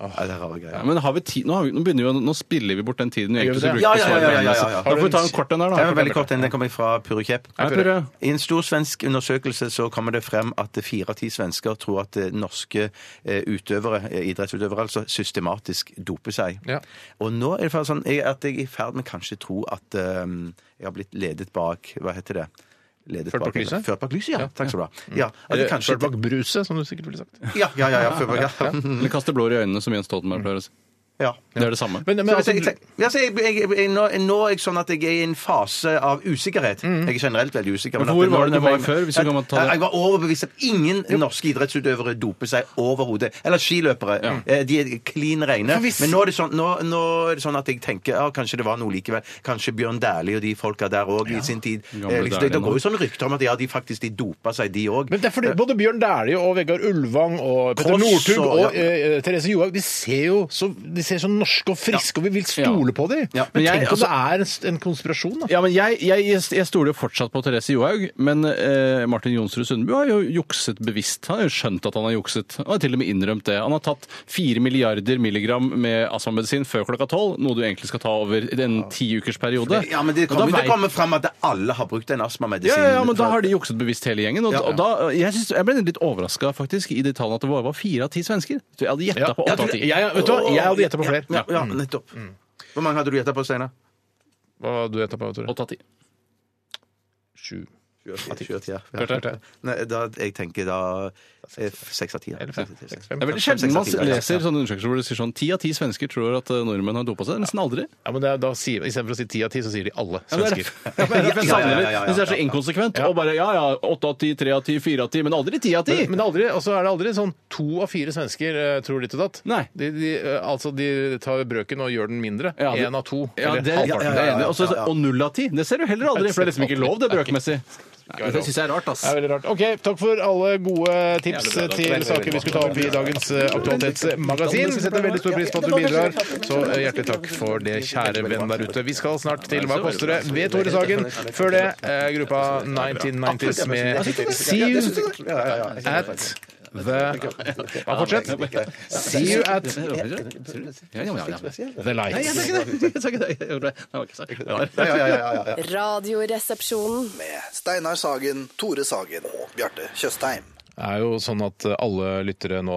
Speaker 5: Ja, det er rare greier.
Speaker 4: Ja, men har vi tid? Nå, har vi, nå, begynner vi, å- nå spiller vi bort den tiden vi
Speaker 3: Gjør
Speaker 4: egentlig
Speaker 3: vi
Speaker 4: skulle
Speaker 3: det?
Speaker 4: bruke
Speaker 5: Ja,
Speaker 4: på
Speaker 5: ja,
Speaker 4: svaret.
Speaker 5: ja, ja, ja, ja.
Speaker 4: Har du- Får vi ta en kort en her, da?
Speaker 5: Det var veldig kort, den, den kommer fra Pure Kjepp.
Speaker 4: Hei, Purre.
Speaker 5: I en stor svensk undersøkelse så kommer det frem at fire av ti svensker tror at eh, norske eh, utøvere, eh, idrettsutøvere altså, systematisk doper seg.
Speaker 3: Ja.
Speaker 5: Og nå er det faktisk sånn jeg- at jeg er i ferd med kanskje tro at eh, jeg har blitt ledet bak Hva heter det? Ledet
Speaker 3: Ført bak lyset?
Speaker 5: Ført bak lyset, ja. Takk skal du ha.
Speaker 4: Mm.
Speaker 5: Ja, at
Speaker 3: Eller
Speaker 5: jeg kanskje-
Speaker 3: bak bruset, som du sikkert ville sagt.
Speaker 5: Ja, ja, ja. ja, ført bak, ja.
Speaker 4: Mm. Eller kaste blår i øynene, som Jens Stoltenberg pleier å si.
Speaker 5: Ja.
Speaker 4: Det er det samme.
Speaker 3: Men, men
Speaker 5: Så
Speaker 3: altså,
Speaker 5: jeg, jeg, altså, jeg, jeg, jeg, nå, nå er jeg sånn at jeg er i en fase av usikkerhet. Jeg er generelt veldig usikker.
Speaker 4: Mm. Men hvor
Speaker 5: at-
Speaker 4: var det du
Speaker 5: nå-
Speaker 4: var før, hvis du kan ta det?
Speaker 5: Jeg, jeg var overbevist om at ingen norske idrettsutøvere doper seg overhodet. Eller skiløpere. Eh, De er klin reine.
Speaker 3: For hvis-
Speaker 5: Men nå er, det sånn, nå, nå er det sånn at jeg tenker ja, kanskje det var noe likevel. Kanskje Bjørn Dæhlie og de folka der òg i sin tid.
Speaker 4: Gamle
Speaker 5: Eh, liksom, det, det
Speaker 4: Dæhlie nå.
Speaker 5: går jo sånne rykter om at ja, de faktisk de dopa seg, de òg.
Speaker 3: Men det er fordi Både Bjørn Dæhlie og Vegard Ulvang og Petter
Speaker 5: Koss
Speaker 3: Northug
Speaker 5: og-
Speaker 3: og,
Speaker 5: ja.
Speaker 3: eh, Therese Johaug de ser jo så, de ser så norske og friske, og vi vil
Speaker 4: Ja.
Speaker 3: stole på dem.
Speaker 5: Ja.
Speaker 3: Men
Speaker 4: Men jeg-
Speaker 3: tenk om
Speaker 4: altså-
Speaker 3: det er en, s- en konspirasjon, da.
Speaker 4: Ja, men jeg, jeg, jeg stoler jo fortsatt på Therese Johaug, men eh, Martin Jonsrud Sundbu har jo jukset bevisst. Han har jo skjønt at han har jukset. Han har til og med innrømt det. Han har tatt fire milliarder milligram med astmamedisin før klokka tolv, noe du egentlig skal ta over en tiukersperiode.
Speaker 5: ja, men det
Speaker 4: Og da
Speaker 5: kommer, det
Speaker 4: vet-
Speaker 5: kommer fram at alle har brukt den
Speaker 4: ja,
Speaker 5: astmamedisinen.
Speaker 4: ja, ja, men da har de jukset bevisst hele gjengen. Og,
Speaker 5: Ja.
Speaker 4: og da, jeg, synes, jeg ble litt overraska faktisk i de tallene at det bare var fire av ti svensker. Så Jeg hadde gjetta på åtte av ti.
Speaker 3: jeg, vet du hva, jeg hadde gjetta på flere.
Speaker 5: Ja, ja,
Speaker 4: Mm.
Speaker 5: nettopp. Hvor mange hadde du gjetta på, Steinar?
Speaker 3: Hva hadde du gjetta på, Tore?
Speaker 4: Åtte av ti.
Speaker 3: Sju.
Speaker 5: Kjørt, ja.
Speaker 3: Kjørt, kjørt, ja.
Speaker 5: Nei, da, jeg tenker da eh, seks av ti. ja. Seks av ti, seks av ti.
Speaker 4: Det er veldig
Speaker 5: Fem,
Speaker 4: sjelden
Speaker 5: seks av
Speaker 4: man
Speaker 5: ti, ja.
Speaker 4: leser sånne undersøkelser hvor det sier sånn ti av ti svensker tror at eh, nordmenn har dopa seg. Nesten aldri.
Speaker 3: Ja, men det, er- da sier, Istedenfor å si ti av ti, så sier de alle
Speaker 4: Ja, men det er
Speaker 3: svensker.
Speaker 4: derfor- ja, men det er derfor jeg
Speaker 5: Ja, ja, ja,
Speaker 4: savner
Speaker 5: ja,
Speaker 4: det.
Speaker 5: ja,
Speaker 4: Hvis det er så
Speaker 5: ja, ja.
Speaker 4: inkonsekvent. Og bare ja, ja, åtte av ti, tre av ti, fire av ti, men aldri ti av ti!
Speaker 3: Men det er aldri, og så er det aldri sånn to av fire svensker eh, tror ditt og datt.
Speaker 4: Nei.
Speaker 3: De, de, eh, altså, de tar brøken og gjør den mindre.
Speaker 4: Ja,
Speaker 3: Én
Speaker 4: det-
Speaker 3: av to.
Speaker 4: Ja,
Speaker 3: eller
Speaker 4: det, ja,
Speaker 3: halvparten.
Speaker 4: ja, ja, ja. Og så- Og null av ti! Det ser du heller aldri, for det er liksom ikke lov, det brøkmessig. Nei, Det syns jeg er rart, ass.
Speaker 3: Det er veldig rart. Ok, Takk for alle gode tips
Speaker 4: Jævlig bra, da.
Speaker 3: til saker vi skulle ta opp i dagens eh, Aktualitetsmagasin. Vi setter veldig stor pris på at du bidrar, så eh, hjertelig takk for det, kjære venn der ute. Vi skal snart til Hva koster det? ved Tore Sagen. Før det eh, gruppa 1990s med See you at the Ja, fortsett. See you at
Speaker 4: Ja, ja, ja, ja.
Speaker 3: the lights.
Speaker 4: Jeg sa ikke det. Jeg gjorde det. Nei, det var ikke sagt.
Speaker 5: Ja, ja, ja, ja, ja, ja.
Speaker 2: Radioresepsjonen.
Speaker 1: Med Steinar Sagen, Tore Sagen og Bjarte Tjøstheim.
Speaker 3: Det er jo sånn at alle lyttere nå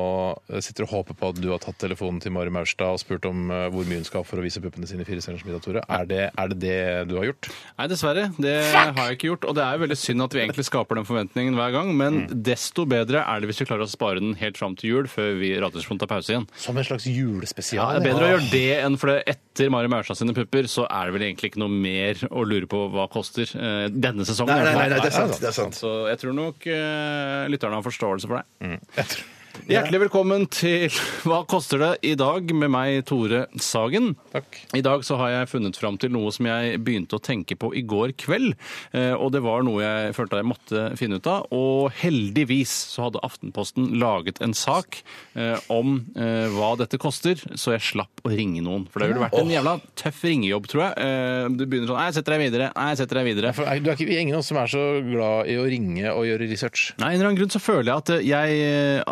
Speaker 3: eh, sitter og håper på at du har tatt telefonen til Mari Maurstad og spurt om eh, hvor mye hun skal ha for å vise puppene sine i Fire stjerners middag, Tore. Er det, er det det du har gjort?
Speaker 4: Nei, dessverre. Det har jeg ikke gjort. Og det er jo veldig synd at vi egentlig skaper den forventningen hver gang, men desto bedre er det hvis vi klarer å spare den helt fram til jul, før vi radiospont tar pause igjen.
Speaker 3: Som en slags
Speaker 4: Ja,
Speaker 3: julespesial.
Speaker 4: det er bedre å gjøre det enn for det etter Mari Maurstad sine pupper, så er det vel egentlig ikke noe mer å lure på hva koster eh, denne sesongen.
Speaker 5: Nei, nei, nei, nei,
Speaker 4: i hvert
Speaker 5: det er
Speaker 4: fall.
Speaker 5: sant. Det er sant.
Speaker 4: Så jeg tror nok eh, lytterne har forståelse for det.
Speaker 3: Jeg tror-
Speaker 4: Hjertelig velkommen til Hva koster det i dag med meg, Tore Sagen.
Speaker 3: Takk.
Speaker 4: I dag så har jeg funnet fram til noe som jeg begynte å tenke på i går kveld. eh, Og det var noe jeg følte jeg måtte finne ut av. Og heldigvis så hadde Aftenposten laget en sak eh, om eh, hva dette koster, så jeg slapp å ringe noen. For det ville vært en jævla tøff ringejobb, tror jeg. Eh, Du begynner sånn Nei, jeg setter deg videre. Nei, jeg setter deg videre.
Speaker 3: For Du er ikke ingen av oss som er så glad i å ringe og gjøre research.
Speaker 4: Nei, en eller annen grunn så føler jeg at eh, jeg,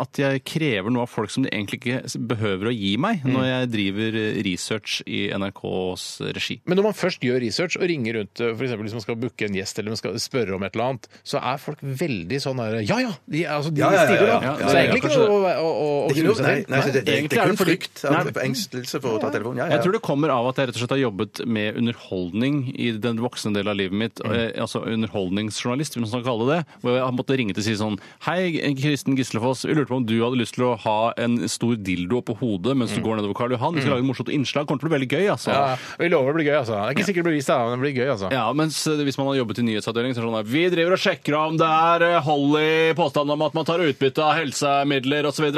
Speaker 4: at jeg krever noe av folk som de egentlig ikke behøver å gi meg, når jeg driver eh, research i NRKs regi.
Speaker 3: Men når man først gjør research og ringer rundt, eh, for eksempel hvis man skal booke en gjest eller man skal spørre om et eller annet, så er folk veldig sånn der Ja ja! De, altså, de
Speaker 5: Ja, ja, ja,
Speaker 3: stiger da.
Speaker 5: ja, ja,
Speaker 4: ja,
Speaker 3: Så det er
Speaker 4: ja,
Speaker 3: egentlig ikke
Speaker 4: kanskje
Speaker 3: noe å, å, å, å
Speaker 5: Det er ikke
Speaker 3: grue
Speaker 5: noe-
Speaker 3: seg
Speaker 5: Nei,
Speaker 3: til.
Speaker 5: nei, så det, det,
Speaker 4: Egentlig
Speaker 5: det
Speaker 4: er
Speaker 5: er
Speaker 4: det
Speaker 5: kun
Speaker 4: fordi-
Speaker 5: frykt. av-
Speaker 4: Nei.
Speaker 5: Engstelse for å ta telefonen. Ja, ja, ja.
Speaker 4: Jeg tror det kommer av at jeg rett og slett har jobbet med underholdning i den voksne delen av livet mitt. eh, Altså underholdningsjournalist, hvis man skal kalle det det. Hvor jeg måtte ringe til og si sånn Hei, Kristen Gislefoss. Vi lurte på om du hadde lyst til å ha en stor dildo på hodet mens du går nedover Karl Johan. Vi skal lage et morsomt innslag. Kommer til å bli veldig gøy, altså.
Speaker 3: Ja, vi lover det blir gøy, altså. Det er ikke sikkert det blir vist, da, men det blir gøy, altså.
Speaker 4: Ja, mens eh, hvis man har jobbet i nyhetsavdelingen, så er det sånn at vi driver og sjekker om det er eh, hold i påstanden om at man tar utbytte av helsemidler osv.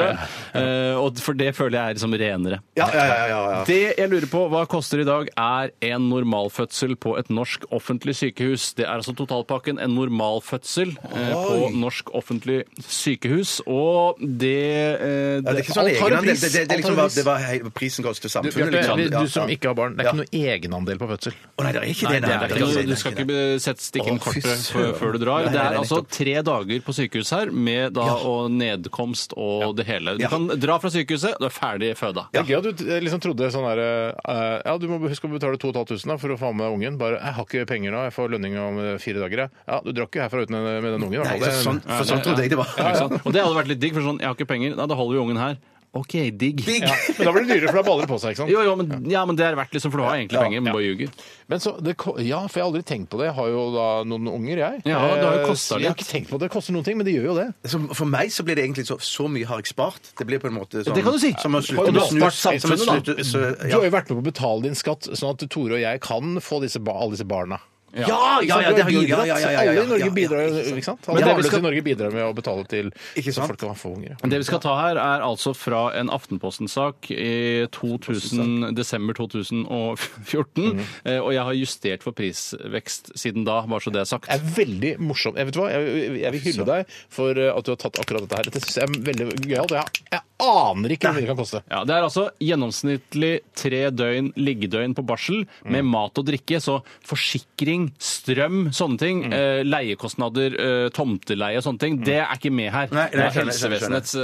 Speaker 4: Eh, og for det føler jeg er liksom renere.
Speaker 5: Ja, ja, ja, ja, ja.
Speaker 4: Det jeg lurer på, hva koster i dag, er en normalfødsel på et norsk offentlig sykehus. Det er altså totalpakken en normalfødsel eh, på norsk offentlig sykehus, og det, eh,
Speaker 5: Ja, det er ikke sånn
Speaker 3: Alt har en
Speaker 5: egenandel.
Speaker 3: pris.
Speaker 5: Det, det, det, er liksom,
Speaker 3: Alt har en
Speaker 5: var- det var hei, prisen koster
Speaker 3: Du,
Speaker 5: samfunnet. liksom.
Speaker 3: Bjarte,
Speaker 5: Ja,
Speaker 3: du som
Speaker 5: ja.
Speaker 3: ikke har barn, det er
Speaker 5: Ja.
Speaker 3: ikke noe egenandel på fødsel.
Speaker 5: Å nei, det er ikke
Speaker 4: Nei,
Speaker 5: det.
Speaker 4: det er
Speaker 5: det
Speaker 4: ikke
Speaker 5: det
Speaker 4: noe, du skal ikke sette stikke inn
Speaker 5: Å, fy
Speaker 4: kortet før,
Speaker 5: søren.
Speaker 4: før du drar.
Speaker 5: Nei,
Speaker 4: Det
Speaker 5: nei,
Speaker 4: er
Speaker 5: nei,
Speaker 4: altså
Speaker 5: nettopp.
Speaker 4: tre dager på sykehus her, med da og nedkomst og det hele. Du
Speaker 5: Ja.
Speaker 4: kan dra fra sykehuset, du er ferdig føda.
Speaker 3: Det er gøy at du eh, liksom trodde sånn her eh, Ja, du må huske å betale 2500 da, for å få med deg ungen. Bare 'Jeg har ikke penger nå, jeg får lønning om eh, fire dager', jeg. Ja, du drakk jo herfra uten den- med den ungen. i hvert
Speaker 5: Nei,
Speaker 3: fall.
Speaker 5: så, sånn, for sånn trodde jeg det var.
Speaker 4: Ikke sant? Og det hadde vært litt digg, for sånn, jeg har ikke penger, nei, da holder vi ungen her. OK, digg.
Speaker 5: Digg!
Speaker 3: Ja, men da blir det dyrere, for da baller det på seg. ikke sant?
Speaker 4: Jo, jo, men, ja, men det er verdt liksom, for du har egentlig penger, men bare ljuger.
Speaker 3: Men så, det, ko- ja, for jeg har aldri tenkt på det. Jeg har jo da noen unger, jeg.
Speaker 4: Ja, det har jo
Speaker 3: Eh,
Speaker 4: kostet
Speaker 3: så Jeg har
Speaker 4: litt.
Speaker 3: ikke tenkt på at det koster noen ting, men det gjør jo det.
Speaker 5: Så for meg så blir det egentlig så, så mye har jeg spart. Det blir på en måte sånn
Speaker 4: Det kan du si.
Speaker 5: Som
Speaker 3: Og
Speaker 5: å slutte
Speaker 3: du
Speaker 5: med
Speaker 3: har
Speaker 5: snus.
Speaker 4: spart
Speaker 5: som å
Speaker 4: samfunnet,
Speaker 5: slutte- så,
Speaker 3: Du
Speaker 5: ja.
Speaker 3: har jo vært med på å betale din skatt, sånn at Tore og jeg kan få disse, ba alle disse barna.
Speaker 5: Ja, Ah, ja, ja,
Speaker 3: Så
Speaker 5: det har
Speaker 3: har
Speaker 5: jeg gjort.
Speaker 3: bidratt.
Speaker 5: Ja, ja, ja, ja, ja,
Speaker 3: Alle i
Speaker 5: ja,
Speaker 3: Norge
Speaker 5: ja,
Speaker 3: bidrar jo,
Speaker 5: ja,
Speaker 3: ikke sant? Alle
Speaker 4: Men det vi
Speaker 3: barnløse
Speaker 4: skal-
Speaker 3: i Norge bidrar med å betale til
Speaker 5: liksom- Ikke
Speaker 3: så
Speaker 5: sant?
Speaker 3: folk kan få unger. ja.
Speaker 4: Det vi skal ta her, er altså fra en Aftenposten-sak i 2000, desember 2014.
Speaker 5: Mhm.
Speaker 4: eh, Og jeg har justert for prisvekst siden da, bare så det er sagt.
Speaker 3: Det er veldig morsomt. Jeg, vet du hva? Jeg, jeg vil hylle deg for eh, at du har tatt akkurat dette her. Dette synes jeg er veldig gøyalt. og Jeg, jeg aner ikke hvor mye det kan koste.
Speaker 4: Ja, Det er altså gjennomsnittlig tre døgn liggedøgn på barsel
Speaker 5: Mm.
Speaker 4: med mat og drikke. Så forsikring, strøm, sånne ting,
Speaker 5: Mm.
Speaker 4: eh, leiekostnader, eh, tomteleie og sånne ting, det er ikke med her.
Speaker 5: Nei, nei,
Speaker 4: det
Speaker 5: jeg
Speaker 4: er
Speaker 5: skjønner, jeg skjønner,
Speaker 4: helsevesenets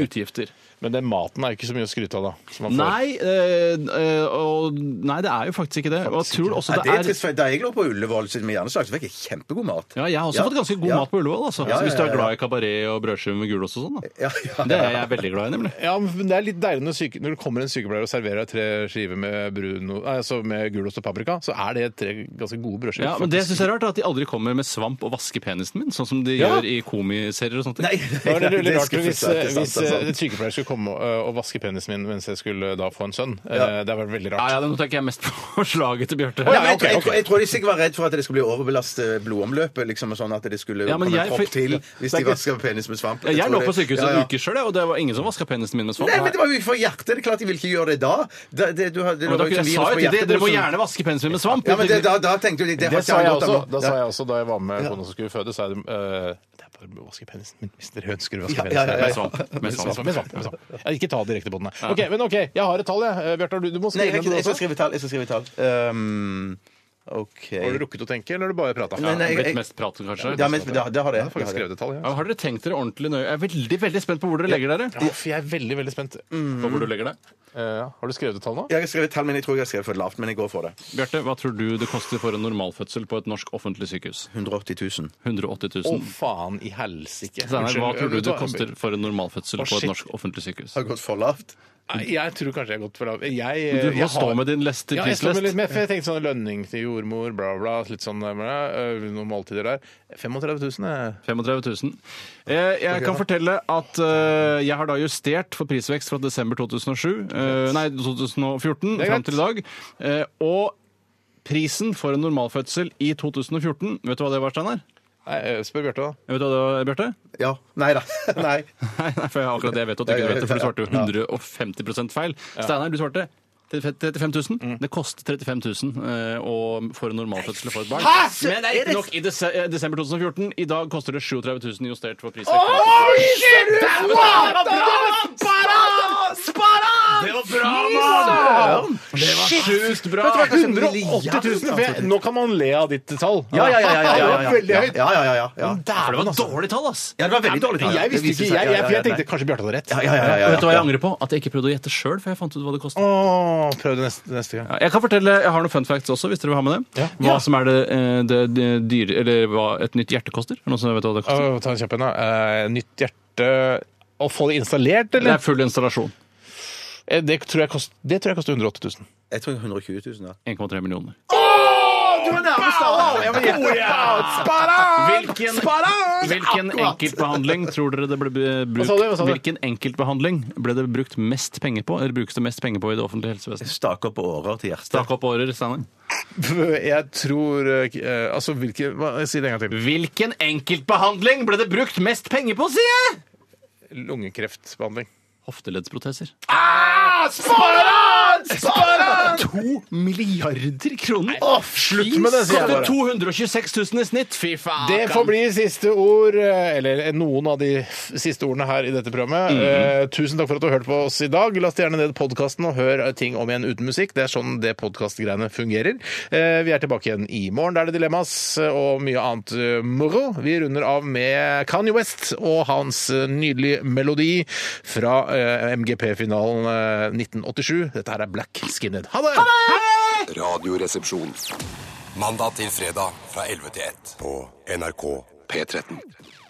Speaker 4: eh, utgifter.
Speaker 3: Men den maten er jo ikke så mye å skryte av, da. Som man får.
Speaker 4: Nei, eh, eh, og, nei, det er jo faktisk ikke det. Og jeg tror også
Speaker 5: Nei, det
Speaker 4: det
Speaker 5: er
Speaker 4: er
Speaker 5: trist, for Da jeg lå på Ullevål så- med hjerneslag, så fikk jeg kjempegod mat.
Speaker 4: ja, jeg har også
Speaker 5: Ja.
Speaker 4: fått ganske god
Speaker 5: Ja.
Speaker 4: mat på Ullevål. Altså.
Speaker 5: Ja, ja,
Speaker 4: Hvis du er
Speaker 5: ja, ja.
Speaker 4: glad i kabaret og brødskive med gulost og sånn. Da.
Speaker 5: Ja, ja.
Speaker 4: Det er jeg veldig glad i, nemlig.
Speaker 3: Ja, men Det er litt deilig når, syke, når det kommer en sykepleier og serverer deg tre skiver med, bruno, nei, altså med gulost og paprika. Så er det tre ganske gode brødskiver.
Speaker 4: Ja, men det
Speaker 3: faktisk.
Speaker 4: synes jeg er rart, at de aldri kommer med svamp og vasker penisen min, sånn som de
Speaker 3: Ja.
Speaker 4: gjør i komiserier og sånt.
Speaker 5: Nei,
Speaker 3: Da er det veldig
Speaker 5: er
Speaker 3: rart hvis, eh,
Speaker 5: skuffelse, det er sant, altså.
Speaker 3: hvis
Speaker 5: det er sant.
Speaker 3: en sykepleier skulle komme og, og vaske penisen min mens jeg skulle da få en sønn. Eh, Det hadde vært veldig
Speaker 4: Ja,
Speaker 3: rart.
Speaker 4: ja, Nå tenker jeg mest på slaget til Bjarte.
Speaker 3: Å,
Speaker 5: Nei, men jeg,
Speaker 3: ok,
Speaker 5: jeg,
Speaker 3: ok.
Speaker 5: jeg, tror de sikkert var redd for at det skulle bli overbelastet blodomløpet. liksom, og sånn At det skulle
Speaker 4: Ja, men
Speaker 5: komme
Speaker 4: jeg-
Speaker 5: en propp til hvis
Speaker 4: Det er
Speaker 5: de
Speaker 4: ikke-
Speaker 5: vasker penis med svamp.
Speaker 4: Jeg,
Speaker 5: Jeg tror
Speaker 4: lå
Speaker 5: det-
Speaker 4: på sykehuset
Speaker 5: Ja, ja.
Speaker 4: en uke sjøl, og det var ingen som vaska penisen min med svamp.
Speaker 5: Nei, men det var jo ikke for hjertet. Det er klart de vil ikke gjøre det da. Det, det, du, har- det,
Speaker 4: Men dere,
Speaker 5: var jo ikke
Speaker 4: jeg
Speaker 5: virus
Speaker 4: sa
Speaker 5: på
Speaker 4: jo ikke det. Dere må
Speaker 5: hjerteposen.
Speaker 4: gjerne vaske penisen min med svamp.
Speaker 5: Ja, men det, da, da tenkte jo de Det,
Speaker 3: Det
Speaker 5: har ikke
Speaker 3: sa
Speaker 5: han
Speaker 3: jeg
Speaker 5: godt av
Speaker 3: også
Speaker 5: nå.
Speaker 3: da,
Speaker 5: Ja.
Speaker 3: sa jeg også da jeg var med kona som skulle føde. sa jeg eh, det er bare å vaske penisen min hvis dere ønsker å vaske
Speaker 5: Ja,
Speaker 3: penisen. sånn,
Speaker 5: ja, ja, ja.
Speaker 4: Med svamp. Med svamp.
Speaker 3: Med svamp, med svamp. Ja, Ikke ta direkte på den. nei. Ok, men ok, jeg har et tall, jeg. Eh, Bjarte, har du, du må
Speaker 5: Nei,
Speaker 3: skrive ned
Speaker 5: jeg, har ikke-
Speaker 3: det
Speaker 5: jeg skal
Speaker 3: også.
Speaker 5: skrive tall. Jeg skal skrive tall. Um, OK
Speaker 3: Har du rukket å tenke, eller har du bare prata?
Speaker 5: Nei, nei, jeg-
Speaker 4: Blitt mest prat, kanskje.
Speaker 5: Ja, men det, det har
Speaker 3: Jeg
Speaker 5: det.
Speaker 3: har faktisk skrevet et tall, jeg.
Speaker 4: Ja, Har dere tenkt dere ordentlig nøye? Jeg er veldig veldig spent på hvor dere legger dere.
Speaker 3: Ja, for jeg er veldig, veldig spent.
Speaker 4: På hvor du legger deg.
Speaker 3: Eh, har du skrevet et tall nå?
Speaker 5: Jeg har skrevet tall, men jeg tror jeg har skrevet for lavt. Men jeg går for det.
Speaker 4: Bjarte, hva tror du det koster for en normalfødsel på et norsk offentlig sykehus?
Speaker 5: 180 000.
Speaker 4: 180
Speaker 3: Å,
Speaker 4: 000.
Speaker 3: faen i helsike.
Speaker 4: Steinar, hva
Speaker 3: Unnskyld,
Speaker 4: tror du
Speaker 3: vet
Speaker 4: det
Speaker 3: hva?
Speaker 4: koster for en
Speaker 3: Å,
Speaker 4: normalfødsel på
Speaker 3: shit.
Speaker 4: et norsk offentlig sykehus?
Speaker 5: Har jeg gått for lavt?
Speaker 3: Nei, Jeg tror kanskje jeg har gått for lavt. Jeg,
Speaker 4: Du må
Speaker 3: jeg
Speaker 4: stå med din leste
Speaker 3: ja, jeg står med litt
Speaker 4: prislest.
Speaker 3: mer, for jeg tenkte sånn lønning til jordmor, bla, bla. Litt sånn eh, øh, noen måltider der. 35 000 er
Speaker 4: 35 000. Eh, Jeg kan fortelle at eh, jeg har da justert for prisvekst fra desember 2007, eh, nei 2014
Speaker 3: er
Speaker 4: fram
Speaker 3: greit.
Speaker 4: til i dag. Eh, Og prisen for en normalfødsel i 2014, vet du hva det var, Steinar?
Speaker 3: Nei, eh, Spør Bjarte, da.
Speaker 4: Vet du hva det var, Bjarte?
Speaker 5: Ja. Nei da. Nei.
Speaker 4: Nei, nei, for jeg, akkurat det jeg vet at du ikke vet det, for du svarte jo 150 feil. Steinar, du svarte 35 000. Det koster 35 000 eh, å- for en normalfødsel for et barn. Men det er ikke nok i dese eh, desember 2014. I dag koster det 37 000 justert for prisvekst. Det var bra, mann! Det var sjukt bra!
Speaker 5: Vet du hva, sånn
Speaker 3: 180 000! For
Speaker 5: altså.
Speaker 3: jeg, nå kan man le av ditt tall.
Speaker 5: Ja, ja, ja. ja, ja, ja, ja.
Speaker 3: Veldig høyt.
Speaker 5: Ja, ja, ja, ja, ja.
Speaker 4: For det var dårlig tall, ass!
Speaker 5: Ja, det var veldig dårlig tall.
Speaker 3: Jeg
Speaker 5: Det
Speaker 3: visste
Speaker 5: viser
Speaker 3: ikke,
Speaker 5: seg.
Speaker 3: jeg, jeg, for jeg
Speaker 5: Ja, ja,
Speaker 3: tenkte kanskje Bjarte hadde rett.
Speaker 5: Ja, ja, ja, ja, ja.
Speaker 4: Vet du hva jeg angrer på? At jeg ikke prøvde å gjette sjøl, for jeg fant ut hva det kosta.
Speaker 3: Åh, prøv det neste, neste gang.
Speaker 4: Ja, Jeg kan fortelle, jeg har noen fun facts også, hvis dere vil ha med det.
Speaker 3: Ja.
Speaker 4: Hva som er det, eh, det, det dyre Eller hva et nytt hjerte koster? Er det Noen som vet hva det koster?
Speaker 3: Åh, ta en kjapp en, da. Eh, nytt hjerte Å få det installert,
Speaker 4: Det
Speaker 3: eller?
Speaker 4: er full installasjon.
Speaker 3: Eh, Det tror jeg kost- det tror jeg koster 180 000.
Speaker 5: Jeg tror 120 000, ja.
Speaker 4: 1,3 millioner.
Speaker 3: Hvilken,
Speaker 4: Hvilken enkeltbehandling tror dere det ble be- brukt,
Speaker 3: sa du? Hva sa du?
Speaker 4: Hvilken enkeltbehandling ble det brukt mest penger på? Eller brukes det mest penger på i det offentlige helsevesenet?
Speaker 5: Stake opp årer til hjertet.
Speaker 4: Stakk opp årer, Steinar.
Speaker 3: Jeg tror eh, k- eh, Altså, hvilken hva, Si det en gang til.
Speaker 4: Hvilken enkeltbehandling ble det brukt mest penger på, sier jeg!
Speaker 3: Lungekreftbehandling.
Speaker 4: Hofteleddsproteser. To milliarder kroner!
Speaker 3: slutt med det, sier jeg bare.
Speaker 4: 226 000 i snitt! Fy faen!
Speaker 3: Det får bli siste ord, eh, eller noen av de f- siste ordene her i dette programmet. Eh, tusen takk for at du hørte på oss i dag. Last gjerne ned podkasten og hør eh, ting om igjen uten musikk. Det er sånn det podkastgreiene fungerer. Eh, vi er tilbake igjen i morgen. Da er det dilemmas eh, og mye annet eh, moro. Vi runder av med Kanye West og hans eh, nydelige melodi fra eh, MGP-finalen eh, 1987. Dette her er Black Skinhead. Ha det!
Speaker 6: Radioresepsjon. Mandag til fredag fra 11 til 1 på NRK P13.